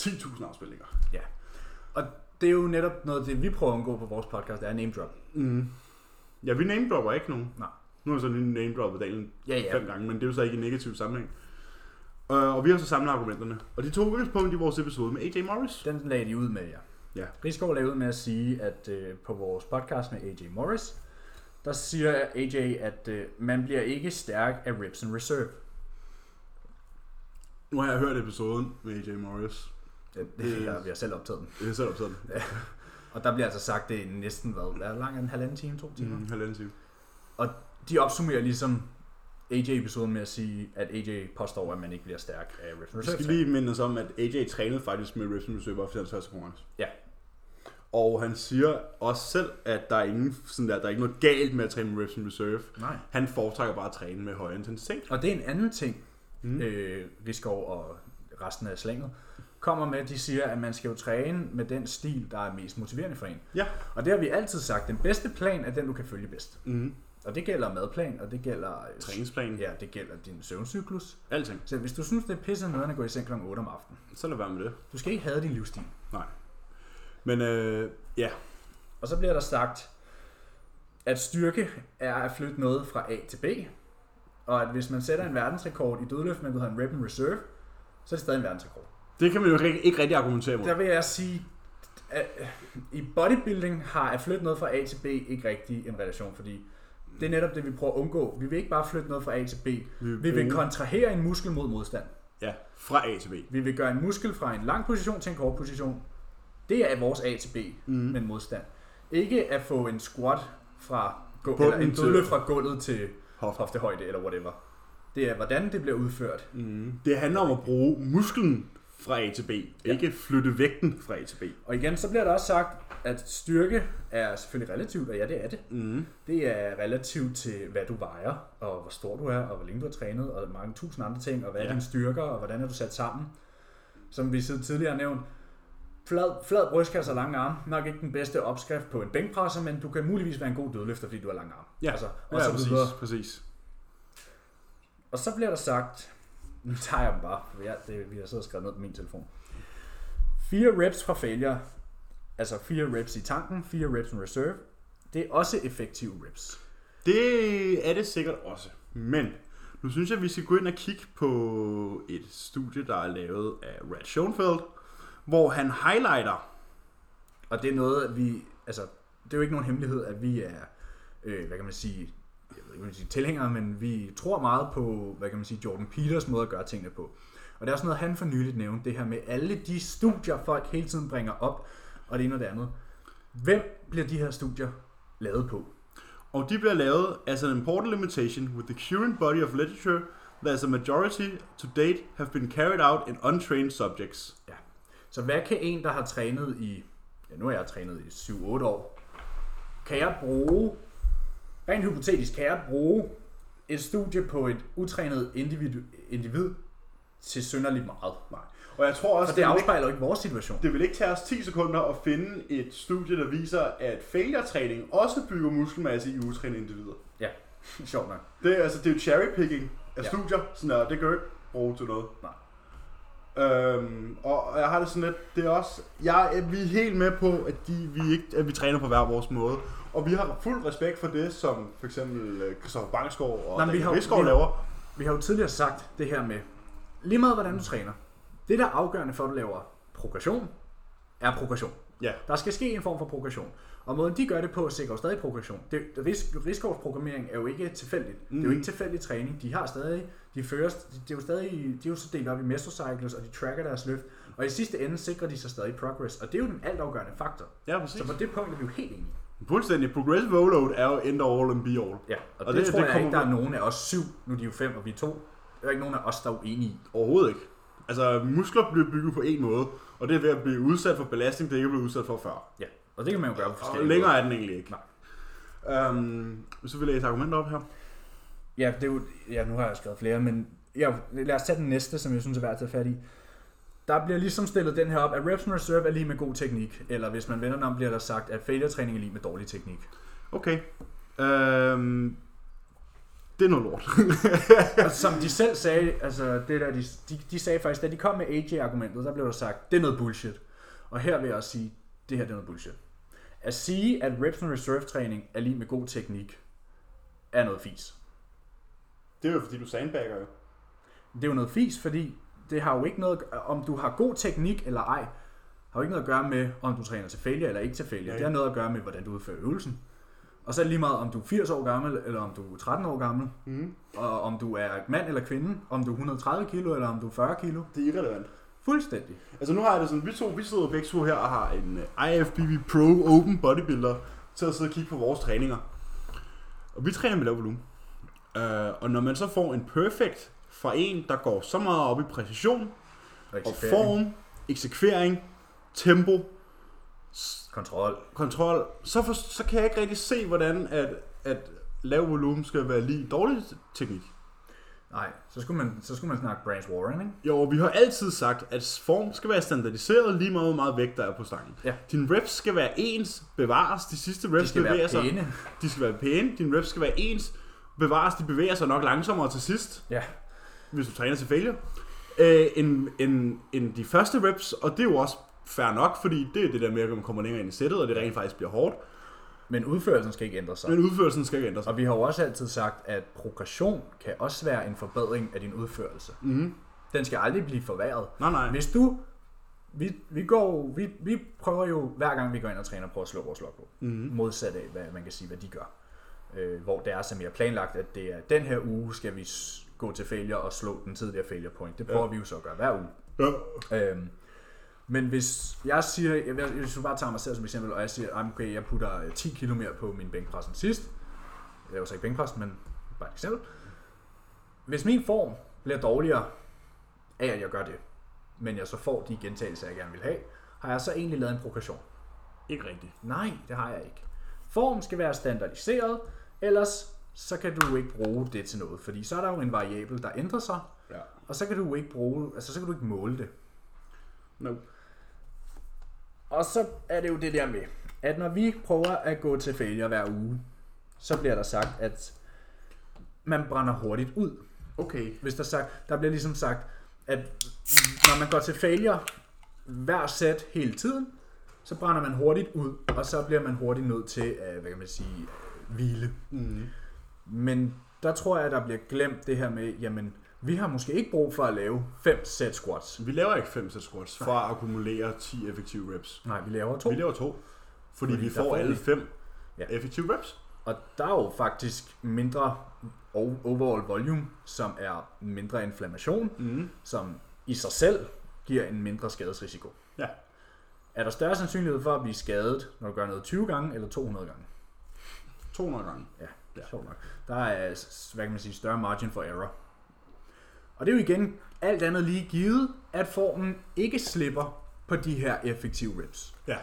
Speaker 2: 10.000 afspilninger.
Speaker 1: Ja. Og det er jo netop noget af det, vi prøver at undgå på vores podcast, det er name drop.
Speaker 2: Mm. Ja, vi namedropper ikke nogen.
Speaker 1: Nej.
Speaker 2: Nu har jeg så lige namedroppet dalen
Speaker 1: Ja,
Speaker 2: ja.
Speaker 1: ja.
Speaker 2: fem gange, men det er jo så ikke i negativ sammenhæng. Øh, og vi har så samlet argumenterne. Og de tog udgangspunkt i vores episode med AJ Morris.
Speaker 1: Den lagde de ud med jer.
Speaker 2: Ja.
Speaker 1: Rigsgaard lagde ud med at sige, at øh, på vores podcast med AJ Morris, der siger AJ, at øh, man bliver ikke stærk af reps and reserve.
Speaker 2: Nu har jeg hørt episoden med AJ Morris.
Speaker 1: Ja, det er, vi har selv optaget den.
Speaker 2: Jeg har selv optaget den.
Speaker 1: Og der bliver altså sagt, det er næsten, hvad, hvad er det lang en halvanden time, to timer? Mm.
Speaker 2: Mm, halvanden time.
Speaker 1: De opsummerer ligesom AJ-episoden med at sige, at AJ påstår, at man ikke bliver stærk af reps and
Speaker 2: Vi skal
Speaker 1: reserve.
Speaker 2: lige minde os om, at AJ trænede faktisk med Reps and Reserve op til hans første konkurrence.
Speaker 1: Ja.
Speaker 2: Og han siger også selv, at der er, ingen, sådan der, der er ikke noget galt med at træne med Reps and Reserve.
Speaker 1: Nej.
Speaker 2: Han foretrækker bare at træne med høj intensitet.
Speaker 1: Og det er en anden ting,
Speaker 2: Mm.
Speaker 1: mm. øh, Riskov og resten af slænget kommer med, de siger, at man skal jo træne med den stil, der er mest motiverende for en.
Speaker 2: Ja.
Speaker 1: Og det har vi altid sagt, den bedste plan er den, du kan følge bedst.
Speaker 2: Mm.
Speaker 1: Og det gælder madplan, og det gælder... øh,
Speaker 2: Træningsplan. Ja.
Speaker 1: Ja, det gælder din søvncyklus.
Speaker 2: Alting.
Speaker 1: Så hvis du synes, det er pisse noget at gå i seng kl. 8 om aftenen,
Speaker 2: Så lad være med det.
Speaker 1: du skal ikke have din livsstil.
Speaker 2: Men øh, ja,
Speaker 1: Og så bliver der sagt, at styrke er at flytte noget fra A til B, og at hvis man sætter en verdensrekord i dødløft, men du har en rep and reserve, så er det stadig en verdensrekord.
Speaker 2: det kan man jo ikke, ikke rigtig argumentere mod.
Speaker 1: Der vil jeg sige, at øh, i bodybuilding har at flytte noget fra A til B ikke rigtig en relation, fordi det er netop det, vi prøver at undgå. Vi vil ikke bare flytte noget fra A til B. Vi vil
Speaker 2: bruge-
Speaker 1: kontrahere en muskel mod modstand.
Speaker 2: Ja, fra A til B.
Speaker 1: Vi vil gøre en muskel fra en lang position til en kort position. Det er vores A til B, mm.
Speaker 2: Mhm. Mm-hmm.
Speaker 1: men modstand. Ikke at få en squat fra gå,
Speaker 2: Bunden
Speaker 1: eller en
Speaker 2: til-
Speaker 1: dødløft fra gulvet til
Speaker 2: Hofte.
Speaker 1: hoftehøjde eller whatever. Det er, hvordan det bliver udført.
Speaker 2: Mm. Det handler om at bruge musklen fra A til B. Ja. Ikke flytte vægten fra A til B.
Speaker 1: Og igen, så bliver der også sagt, at styrke er selvfølgelig relativt, og ja, det er det.
Speaker 2: Mm.
Speaker 1: Det er relativt til, hvad du vejer, og hvor stor du er, og hvor længe du har trænet, og mange tusind andre ting, og hvad ja.
Speaker 2: Ja.
Speaker 1: er dine styrker, og hvordan er du sat sammen. Som vi siden tidligere har nævnt, flad, flad brystkasse og lange arme, nok ikke den bedste opskrift på en bænkpresser, men du kan muligvis være en god dødløfter, fordi du har lange arme.
Speaker 2: Ja,
Speaker 1: altså, og,
Speaker 2: Ja,
Speaker 1: så
Speaker 2: præcis,
Speaker 1: videre.
Speaker 2: præcis.
Speaker 1: og så bliver der sagt, nu tager jeg dem bare, for jeg, det, vi har siddet og skrevet ned på min telefon. Fire reps fra failure, altså fire reps i tanken, fire reps in reserve, det er også effektive reps.
Speaker 2: Det er det sikkert også. Men nu synes jeg, at vi skal gå ind og kigge på et studie, der er lavet af Brad Schoenfeld, hvor han highlighter.
Speaker 1: Og det er noget, vi... Altså, det er jo ikke nogen hemmelighed, at vi er, øh, hvad kan man sige, jeg ved ikke, om jeg vil sige tilhængere, men vi tror meget på, hvad kan man sige, Jordan Peters måde at gøre tingene på. Og det er også noget, han for nyligt nævnte, det her med alle de studier, folk hele tiden bringer op, og det ene og det andet. Hvem bliver de her studier lavet på?
Speaker 2: Og de bliver lavet as an important limitation with the current body of literature that as a majority to date have been carried out in untrained subjects.
Speaker 1: Ja. Så hvad kan en, der har trænet i, ja nu har jeg trænet i 7-8 år, kan jeg bruge, rent hypotetisk, kan jeg bruge et studie på et utrænet individ, individ til synderligt meget? Nej.
Speaker 2: Og jeg tror også,
Speaker 1: For det
Speaker 2: vil ikke,
Speaker 1: afspejler jo ikke vores situation.
Speaker 2: det vil ikke tage os 10 sekunder at finde et studie, der viser, at failure-træning også bygger muskelmasse i utrænede individer.
Speaker 1: Ja, sjovt nok.
Speaker 2: Det, er- altså, det er jo cherrypicking af
Speaker 1: Ja.
Speaker 2: studier, sådan der, det kan jo ikke bruge til noget.
Speaker 1: Nej.
Speaker 2: Øhm, og og jeg har det sådan lidt, det er også, jeg, øh, vi er helt med på, at, de, vi ikke, at vi træner på hver vores måde. Og vi har fuld respekt for det, som for eksempel øh, Christoffer Bangsgaard og
Speaker 1: Nej, men vi har-
Speaker 2: Daniel Rigsgaard
Speaker 1: vi har-
Speaker 2: laver.
Speaker 1: Vi har jo tidligere sagt det her med, lige meget hvordan du træner, det der er afgørende for, at du laver progression, er progression.
Speaker 2: Ja.
Speaker 1: Der skal ske en form for progression. Og måden de gør det på, sikrer jo stadig progression. Det, ris- Rigsgaards programmering er jo ikke tilfældigt. Mm. Det er jo ikke tilfældig træning. De har stadig, de fører, det er jo stadig, de er jo så delt op i mesocycles, og de tracker deres løft. Og i sidste ende sikrer de sig stadig progress, og det er jo den altafgørende faktor.
Speaker 2: Ja, præcis.
Speaker 1: Så på det punkt er vi jo helt enige.
Speaker 2: Fuldstændig. Progressive overload er jo end all and be all.
Speaker 1: Ja, og, og
Speaker 2: Og
Speaker 1: det, det
Speaker 2: det-
Speaker 1: tror
Speaker 2: det
Speaker 1: jeg
Speaker 2: kommer
Speaker 1: ikke, der er
Speaker 2: vi-
Speaker 1: nogen af os syv, nu er de jo fem, og vi er to. Der er ikke nogen af os, der er uenige i.
Speaker 2: Overhovedet ikke. Altså, muskler bliver bygget på en måde, og det er ved at blive udsat for belastning, det ikke er blevet udsat for før.
Speaker 1: Ja, og det kan man jo gøre på
Speaker 2: Og
Speaker 1: forskellige
Speaker 2: længere er den egentlig ikke.
Speaker 1: Nej.
Speaker 2: Øhm, så vil jeg læse argumenter op her.
Speaker 1: Ja, det er jo, ja, nu har jeg skrevet flere, men ja, lad os tage den næste, som jeg synes er værd at tage fat i. Der bliver ligesom stillet den her op, at reps and reserve er lige med god teknik, eller hvis man vender den om, bliver der sagt, at failure træning er lige med dårlig teknik.
Speaker 2: Okay. Øhm, det er noget lort.
Speaker 1: Og som de selv sagde, altså det der, de, de, de sagde faktisk, da de kom med AJ-argumentet, der blev der sagt, det er noget bullshit. Og her vil jeg også sige, det her det er noget bullshit. At sige, at reps and reserve træning er lige med god teknik, er noget fis.
Speaker 2: det er jo fordi, du sandbagger jo.
Speaker 1: Det er jo noget fis, fordi det har jo ikke noget, om du har god teknik eller ej, har jo ikke noget at gøre med, om du træner til failure eller ikke til failure.
Speaker 2: Nej.
Speaker 1: Det har noget at gøre med, hvordan du udfører øvelsen. Og så er det lige meget, om du er 80 år gammel, eller om du er 13 år gammel,
Speaker 2: Mm.
Speaker 1: og om du er mand eller kvinde, om du er 130 kilo, eller om du er 40 kilo.
Speaker 2: Det er irrelevant.
Speaker 1: Fuldstændig.
Speaker 2: Altså nu har jeg det sådan, vi to, vi sidder begge to her og har en øh, IFBB Pro Open Bodybuilder til at sidde og kigge på vores træninger. Og vi træner med lav volumen. Øh, og når man så får en perfect fra en, der går så meget op i præcision og form, eksekvering, tempo, s-
Speaker 1: Kontrol.
Speaker 2: kontrol, så, for, så kan jeg ikke rigtig se, hvordan at, at lav volumen skal være lige dårlig teknik.
Speaker 1: Nej, så skulle man, så skulle man snakke Brands Warren, ikke?
Speaker 2: Jo, og vi har altid sagt, at form skal være standardiseret lige meget, hvor meget vægt der er på stangen.
Speaker 1: Ja.
Speaker 2: Dine reps skal være ens, bevares, de sidste reps
Speaker 1: De skal
Speaker 2: bevæger
Speaker 1: være
Speaker 2: sig.
Speaker 1: pæne.
Speaker 2: De skal være pæne, dine reps skal være ens, bevares, de bevæger sig nok langsommere til sidst,
Speaker 1: Ja,
Speaker 2: hvis du træner til failure, øh, end, end, end, de første reps, og det er jo også fair nok, fordi det er det der med, at man kommer længere ind i sættet, og det rent faktisk bliver hårdt,
Speaker 1: men udførelsen skal ikke ændre sig.
Speaker 2: men udførelsen skal ikke ændre sig.
Speaker 1: Og vi har jo også altid sagt, at progression kan også være en forbedring af din udførelse.
Speaker 2: Mm.
Speaker 1: Den skal aldrig blive forværret.
Speaker 2: Nej, nej.
Speaker 1: Hvis du... Vi, vi, går, jo- vi, vi prøver jo, hver gang vi går ind og træner, at prøve at slå vores logo.
Speaker 2: Mhm.
Speaker 1: Modsat af, hvad man kan sige, hvad de gør. Øh, hvor det er så mere planlagt, at det er den her uge, skal vi s- gå til failure og slå den tidligere failure point. Det prøver ja. vi jo så at gøre hver uge.
Speaker 2: Ja.
Speaker 1: Øhm, men hvis jeg siger, jeg, jeg, hvis du bare tager mig selv som eksempel, og jeg siger, "Ah, okay, jeg putter øh, 10 kilo mere på min bænkpres end sidst. Jeg var så ikke bænkpres, men bare et eksempel. Hvis min form bliver dårligere af, at jeg gør det, men jeg så får de gentagelser, jeg gerne vil have, har jeg så egentlig lavet en progression?
Speaker 2: Ikke rigtigt.
Speaker 1: Nej, det har jeg ikke. Form skal være standardiseret, ellers så kan du ikke bruge det til noget, fordi så er der jo en variabel, der ændrer sig,
Speaker 2: Ja.
Speaker 1: og så kan du ikke bruge, altså så kan du ikke måle det.
Speaker 2: Nope.
Speaker 1: Og så er det jo det der med, at når vi prøver at gå til failure hver uge, så bliver der sagt, at man brænder hurtigt ud.
Speaker 2: Okay.
Speaker 1: Hvis der, sagt, der bliver ligesom sagt, at når man går til failure hver sæt hele tiden, så brænder man hurtigt ud, og så bliver man hurtigt nødt til at, hvad kan man sige, øh, hvile.
Speaker 2: Mm.
Speaker 1: Men der tror jeg, at der bliver glemt det her med, jamen, vi har måske ikke brug for at lave fem sæt squats.
Speaker 2: Vi laver ikke 5 sæt squats for at akkumulere 10 effektive reps.
Speaker 1: Nej, vi laver to.
Speaker 2: Vi laver to, fordi,
Speaker 1: Fordi
Speaker 2: vi
Speaker 1: der
Speaker 2: får
Speaker 1: får
Speaker 2: alle
Speaker 1: vi-
Speaker 2: fem
Speaker 1: Ja.
Speaker 2: effektive reps.
Speaker 1: Og der er jo faktisk mindre o- overall volume, som er mindre inflammation,
Speaker 2: Mm.
Speaker 1: som i sig selv giver en mindre skadesrisiko.
Speaker 2: Ja.
Speaker 1: Er der større sandsynlighed for at blive skadet, når du gør noget 20 gange eller 200 gange?
Speaker 2: 200 gange.
Speaker 1: Ja. Sjovt nok. Der er, s- hvad kan man sige, større margin for error. Og det er jo igen alt andet lige givet, at formen ikke slipper på de her effektive reps.
Speaker 2: Ja.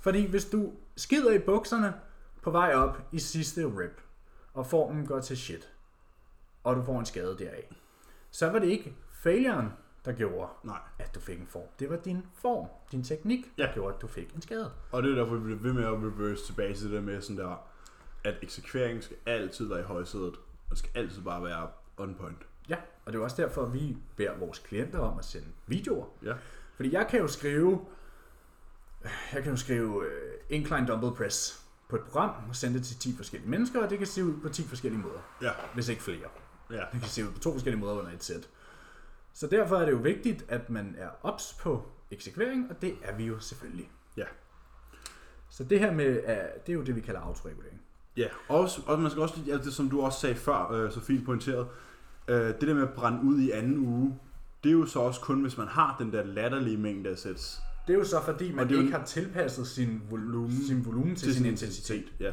Speaker 1: Fordi hvis du skider i bukserne på vej op i sidste rep, og formen går til shit, og du får en skade deraf, så var det ikke failuren, der gjorde,
Speaker 2: Nej.
Speaker 1: at du fik en form. Det var din form, din teknik, der
Speaker 2: Ja.
Speaker 1: gjorde, at du fik en skade.
Speaker 2: Og det er derfor, vi bliver ved med at reverse tilbage til det der med sådan der, at eksekveringen skal altid være i højsædet, og det skal altid bare være on point.
Speaker 1: Ja, og det er jo også derfor, at vi beder vores klienter om at sende videoer.
Speaker 2: Ja.
Speaker 1: Fordi jeg kan jo skrive, jeg kan jo skrive øh, incline dumbbell press på et program og sende det til 10 forskellige mennesker, og det kan se ud på 10 forskellige måder,
Speaker 2: Ja.
Speaker 1: hvis ikke flere.
Speaker 2: Ja.
Speaker 1: Det kan se ud på to forskellige måder under et sæt. Så derfor er det jo vigtigt, at man er ops på eksekvering, og det er vi jo selvfølgelig.
Speaker 2: Ja.
Speaker 1: Så det her med, øh, det er jo det, vi kalder autoregulering.
Speaker 2: Ja, og, og man skal også lige, ja, det som du også sagde før, øh, så fint pointeret, øh, det der med at brænde ud i anden uge, det er jo så også kun, hvis man har den der latterlige mængde af sæts
Speaker 1: Det er jo så, fordi man
Speaker 2: det er jo-
Speaker 1: ikke har tilpasset sin volumen, sin volumen til, sin intensitet.
Speaker 2: Ja.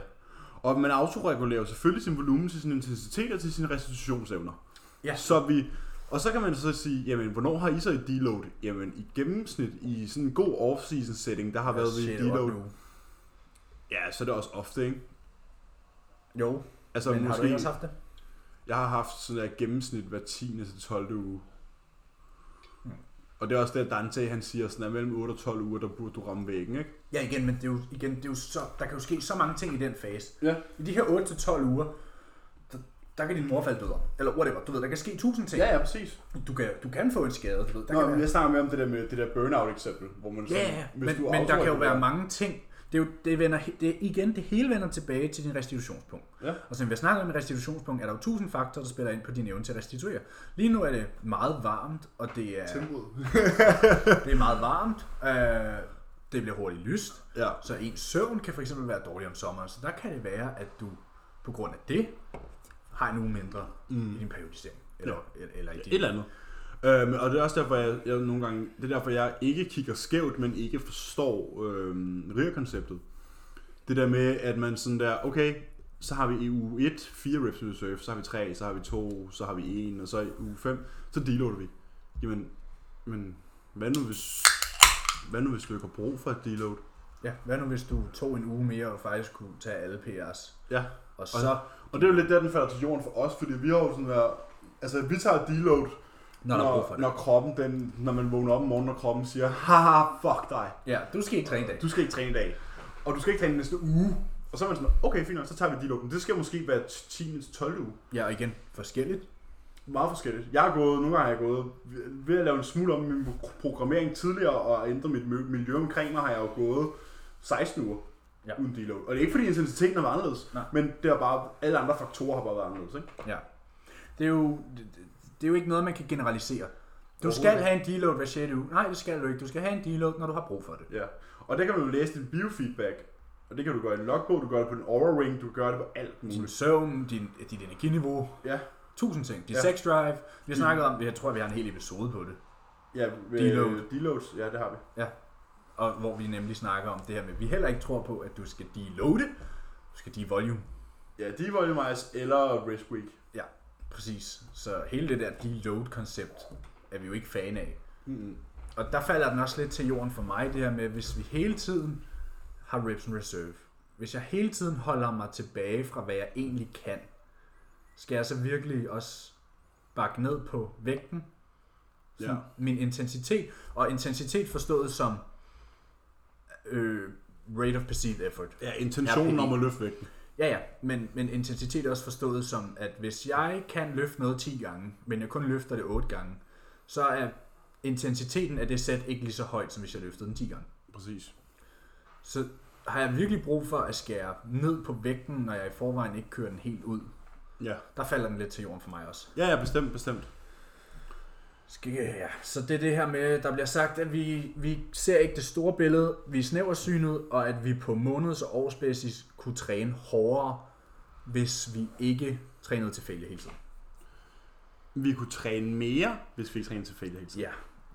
Speaker 2: Og man autoregulerer jo selvfølgelig sin volumen til sin intensitet og til sine restitutionsevner.
Speaker 1: Ja.
Speaker 2: Så vi, og så kan man så sige, jamen, hvornår har I så et deload? Jamen, i gennemsnit i sådan en god off-season setting, der har været ved et
Speaker 1: Shit,
Speaker 2: deload.
Speaker 1: otte uger.
Speaker 2: Ja, så er det også ofte, ikke?
Speaker 1: Jo,
Speaker 2: Altså,
Speaker 1: så men
Speaker 2: måske,
Speaker 1: har du ikke også haft det?
Speaker 2: Jeg har haft sådan der gennemsnit hver 10. til 12. uge.
Speaker 1: Hmm.
Speaker 2: Og det er også det, at Dante han siger, sådan, at mellem 8 og 12 uger, der burde du ramme væggen, ikke?
Speaker 1: Ja, igen, men det er jo, igen, det er jo så, der kan jo ske så mange ting i den fase.
Speaker 2: Ja.
Speaker 1: I de her 8-12 uger, der, der kan din mor falde død om. Eller whatever, du ved, der kan ske tusind ting.
Speaker 2: ja, præcis.
Speaker 1: Du, kan, du kan få en skade, du ved. Der kan
Speaker 2: Nå, men
Speaker 1: være,
Speaker 2: jeg snakker mere om det der med det der burnout-eksempel, hvor man sådan,
Speaker 1: ja, ja, men,
Speaker 2: du
Speaker 1: men der kan jo være
Speaker 2: autoregulerer-
Speaker 1: mange ting. Det, er jo, det, vender, he- det er igen, det hele vender tilbage til din restitutionspunkt.
Speaker 2: Ja.
Speaker 1: Og som vi har snakket om i restitutionspunkt, er der jo tusind faktorer, der spiller ind på din evne til at restituere. Lige nu er det meget varmt, og det er,
Speaker 2: Tempoet.
Speaker 1: det er meget varmt. Øh, det bliver hurtigt lyst.
Speaker 2: Ja,
Speaker 1: Så ens søvn kan fx være dårlig om sommeren, så der kan det være, at du på grund af det har en uge mindre mm. i din periodisering. Eller, ja. eller i
Speaker 2: et
Speaker 1: din...
Speaker 2: eller andet. Øhm, og det er også derfor, jeg, jeg nogle gange, det er derfor, jeg ikke kigger skævt, men ikke forstår øhm, RIR-konceptet. Det der med, at man sådan der, okay, så har vi i uge 1 fire reps in reserve, så har vi 3, så har vi 2, så har vi 1, og så i uge 5, så deloader vi. Jamen, men hvad nu hvis, hvad nu hvis du ikke har brug for et deload?
Speaker 1: Ja, hvad nu hvis du tog en uge mere og faktisk kunne tage alle PR's?
Speaker 2: Ja,
Speaker 1: Og så,
Speaker 2: og det er jo lidt der, den falder til jorden for os, fordi vi har jo sådan været, altså vi tager et deload,
Speaker 1: når der er brug for det.
Speaker 2: når kroppen, den, når man vågner op om morgenen, og kroppen siger, haha, fuck dig,
Speaker 1: Ja, du skal ikke træne i dag.
Speaker 2: du skal ikke træne i dag, og du skal ikke træne næste uge. Og så er man sådan, okay, fint nok, så tager vi de lukken. Det skal måske være 10 til 12 uge.
Speaker 1: Ja, og igen, forskelligt.
Speaker 2: Meget forskelligt. Jeg har gået, nogle gange har jeg gået, ved at lave en smule om min programmering tidligere, og ændre mit mø- miljø omkring mig, har jeg jo gået 16 uger.
Speaker 1: Ja.
Speaker 2: Ja. Uden deload. Og det er ikke fordi intensiteten har været anderledes,
Speaker 1: Nej.
Speaker 2: men det er bare, alle andre faktorer har bare været anderledes. Ikke?
Speaker 1: Ja. Det er jo, det, det er jo ikke noget, man kan generalisere. Du
Speaker 2: Overhovedet
Speaker 1: skal
Speaker 2: ikke.
Speaker 1: have en deload hver 6. uge. Nej, det skal du ikke. Du skal have en deload, når du har brug for det.
Speaker 2: Ja, og der kan man jo læse din biofeedback. Og det kan du gøre i en logbog, du gør det på en aura ring, du gør det på alt
Speaker 1: Din
Speaker 2: muligt.
Speaker 1: søvn, din, dit energiniveau,
Speaker 2: Ja,
Speaker 1: tusind ting. Dit
Speaker 2: Ja.
Speaker 1: ja. Mm. sex drive. Vi har snakket om, jeg tror, vi har en hel episode på det.
Speaker 2: ja
Speaker 1: Deload.
Speaker 2: deload. deloads, ja det har vi.
Speaker 1: og hvor vi nemlig snakker om det her med, at vi heller ikke tror på, at du skal deloade, du skal devolume.
Speaker 2: Ja, devolumize eller risk week.
Speaker 1: Præcis. Så hele det der deload-koncept er vi jo ikke fan af.
Speaker 2: Mm-hmm.
Speaker 1: Og der falder den også lidt til jorden for mig, det her med, hvis vi hele tiden har reps and reserve, hvis jeg hele tiden holder mig tilbage fra, hvad jeg egentlig kan, skal jeg så virkelig også bakke ned på vægten,
Speaker 2: Ja.
Speaker 1: ja. min intensitet, og intensitet forstået som øh, rate of perceived effort.
Speaker 2: Ja, intentionen
Speaker 1: RPE.
Speaker 2: om at løfte vægten.
Speaker 1: Ja, ja, men, men intensitet er også forstået som, at hvis jeg kan løfte noget 10 gange, men jeg kun løfter det 8 gange, så er intensiteten af det sæt ikke lige så højt, som hvis jeg løftede den 10 gange.
Speaker 2: Præcis.
Speaker 1: Så har jeg virkelig brug for at skære ned på vægten, når jeg i forvejen ikke kører den helt ud.
Speaker 2: Ja.
Speaker 1: Der falder den lidt til jorden for mig også.
Speaker 2: ja, ja, bestemt, bestemt.
Speaker 1: Skal, ja. Så det er det her med, der bliver sagt, at vi, vi ser ikke det store billede, vi er snæversynet, og at vi på måneds- og årsbasis kunne træne hårdere, hvis vi ikke trænede tilfældigt hele tiden.
Speaker 2: Vi kunne træne mere, hvis vi ikke trænede tilfældigt hele tiden.
Speaker 1: Ja.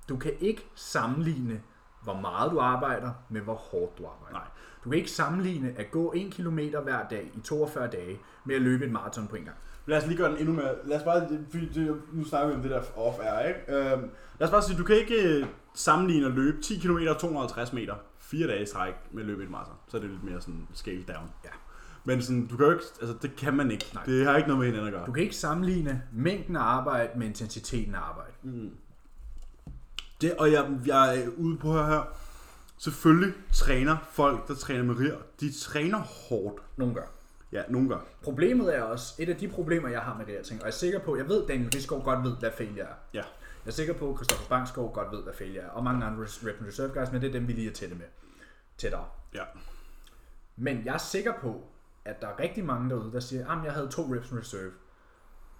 Speaker 1: Du kan ikke sammenligne, hvor meget du arbejder, med hvor hårdt du arbejder.
Speaker 2: Nej.
Speaker 1: Du kan ikke sammenligne at gå 1 km hver dag i 42 dage med at løbe et maraton på en gang.
Speaker 2: Lad os lige gøre den endnu mere. Lad os bare, det- fordi det, nu snakker vi om det der off air, ikke? Øhm, lad os bare sige, du kan ikke øh, sammenligne at løbe 10 km og 250 meter fire dage i træk med at løbe et maraton. Så er det lidt mere sådan scale down.
Speaker 1: Ja.
Speaker 2: Men sådan, du kan jo ikke, altså det kan man ikke.
Speaker 1: Nej.
Speaker 2: Det har ikke noget med hinanden at gøre.
Speaker 1: Du kan ikke sammenligne mængden af arbejde med intensiteten af arbejde.
Speaker 2: Det, og jeg, jeg er ude på her, her. Selvfølgelig træner folk, der træner med rier, de træner hårdt.
Speaker 1: Nogle gør.
Speaker 2: Ja, nogle gør.
Speaker 1: Problemet er også, et af de problemer, jeg har med det her ting, og jeg er sikker på, jeg ved, Daniel Rigsgaard godt ved, hvad failure er.
Speaker 2: Ja.
Speaker 1: Jeg er sikker på, at Christoffer Bangsgaard godt ved, hvad failure er, og mange andre Rep and Reserve guys, men det er dem, vi lige er tætte med. Tættere.
Speaker 2: Ja.
Speaker 1: Men jeg er sikker på, at der er rigtig mange derude, der siger, at jeg havde to reps in reserve,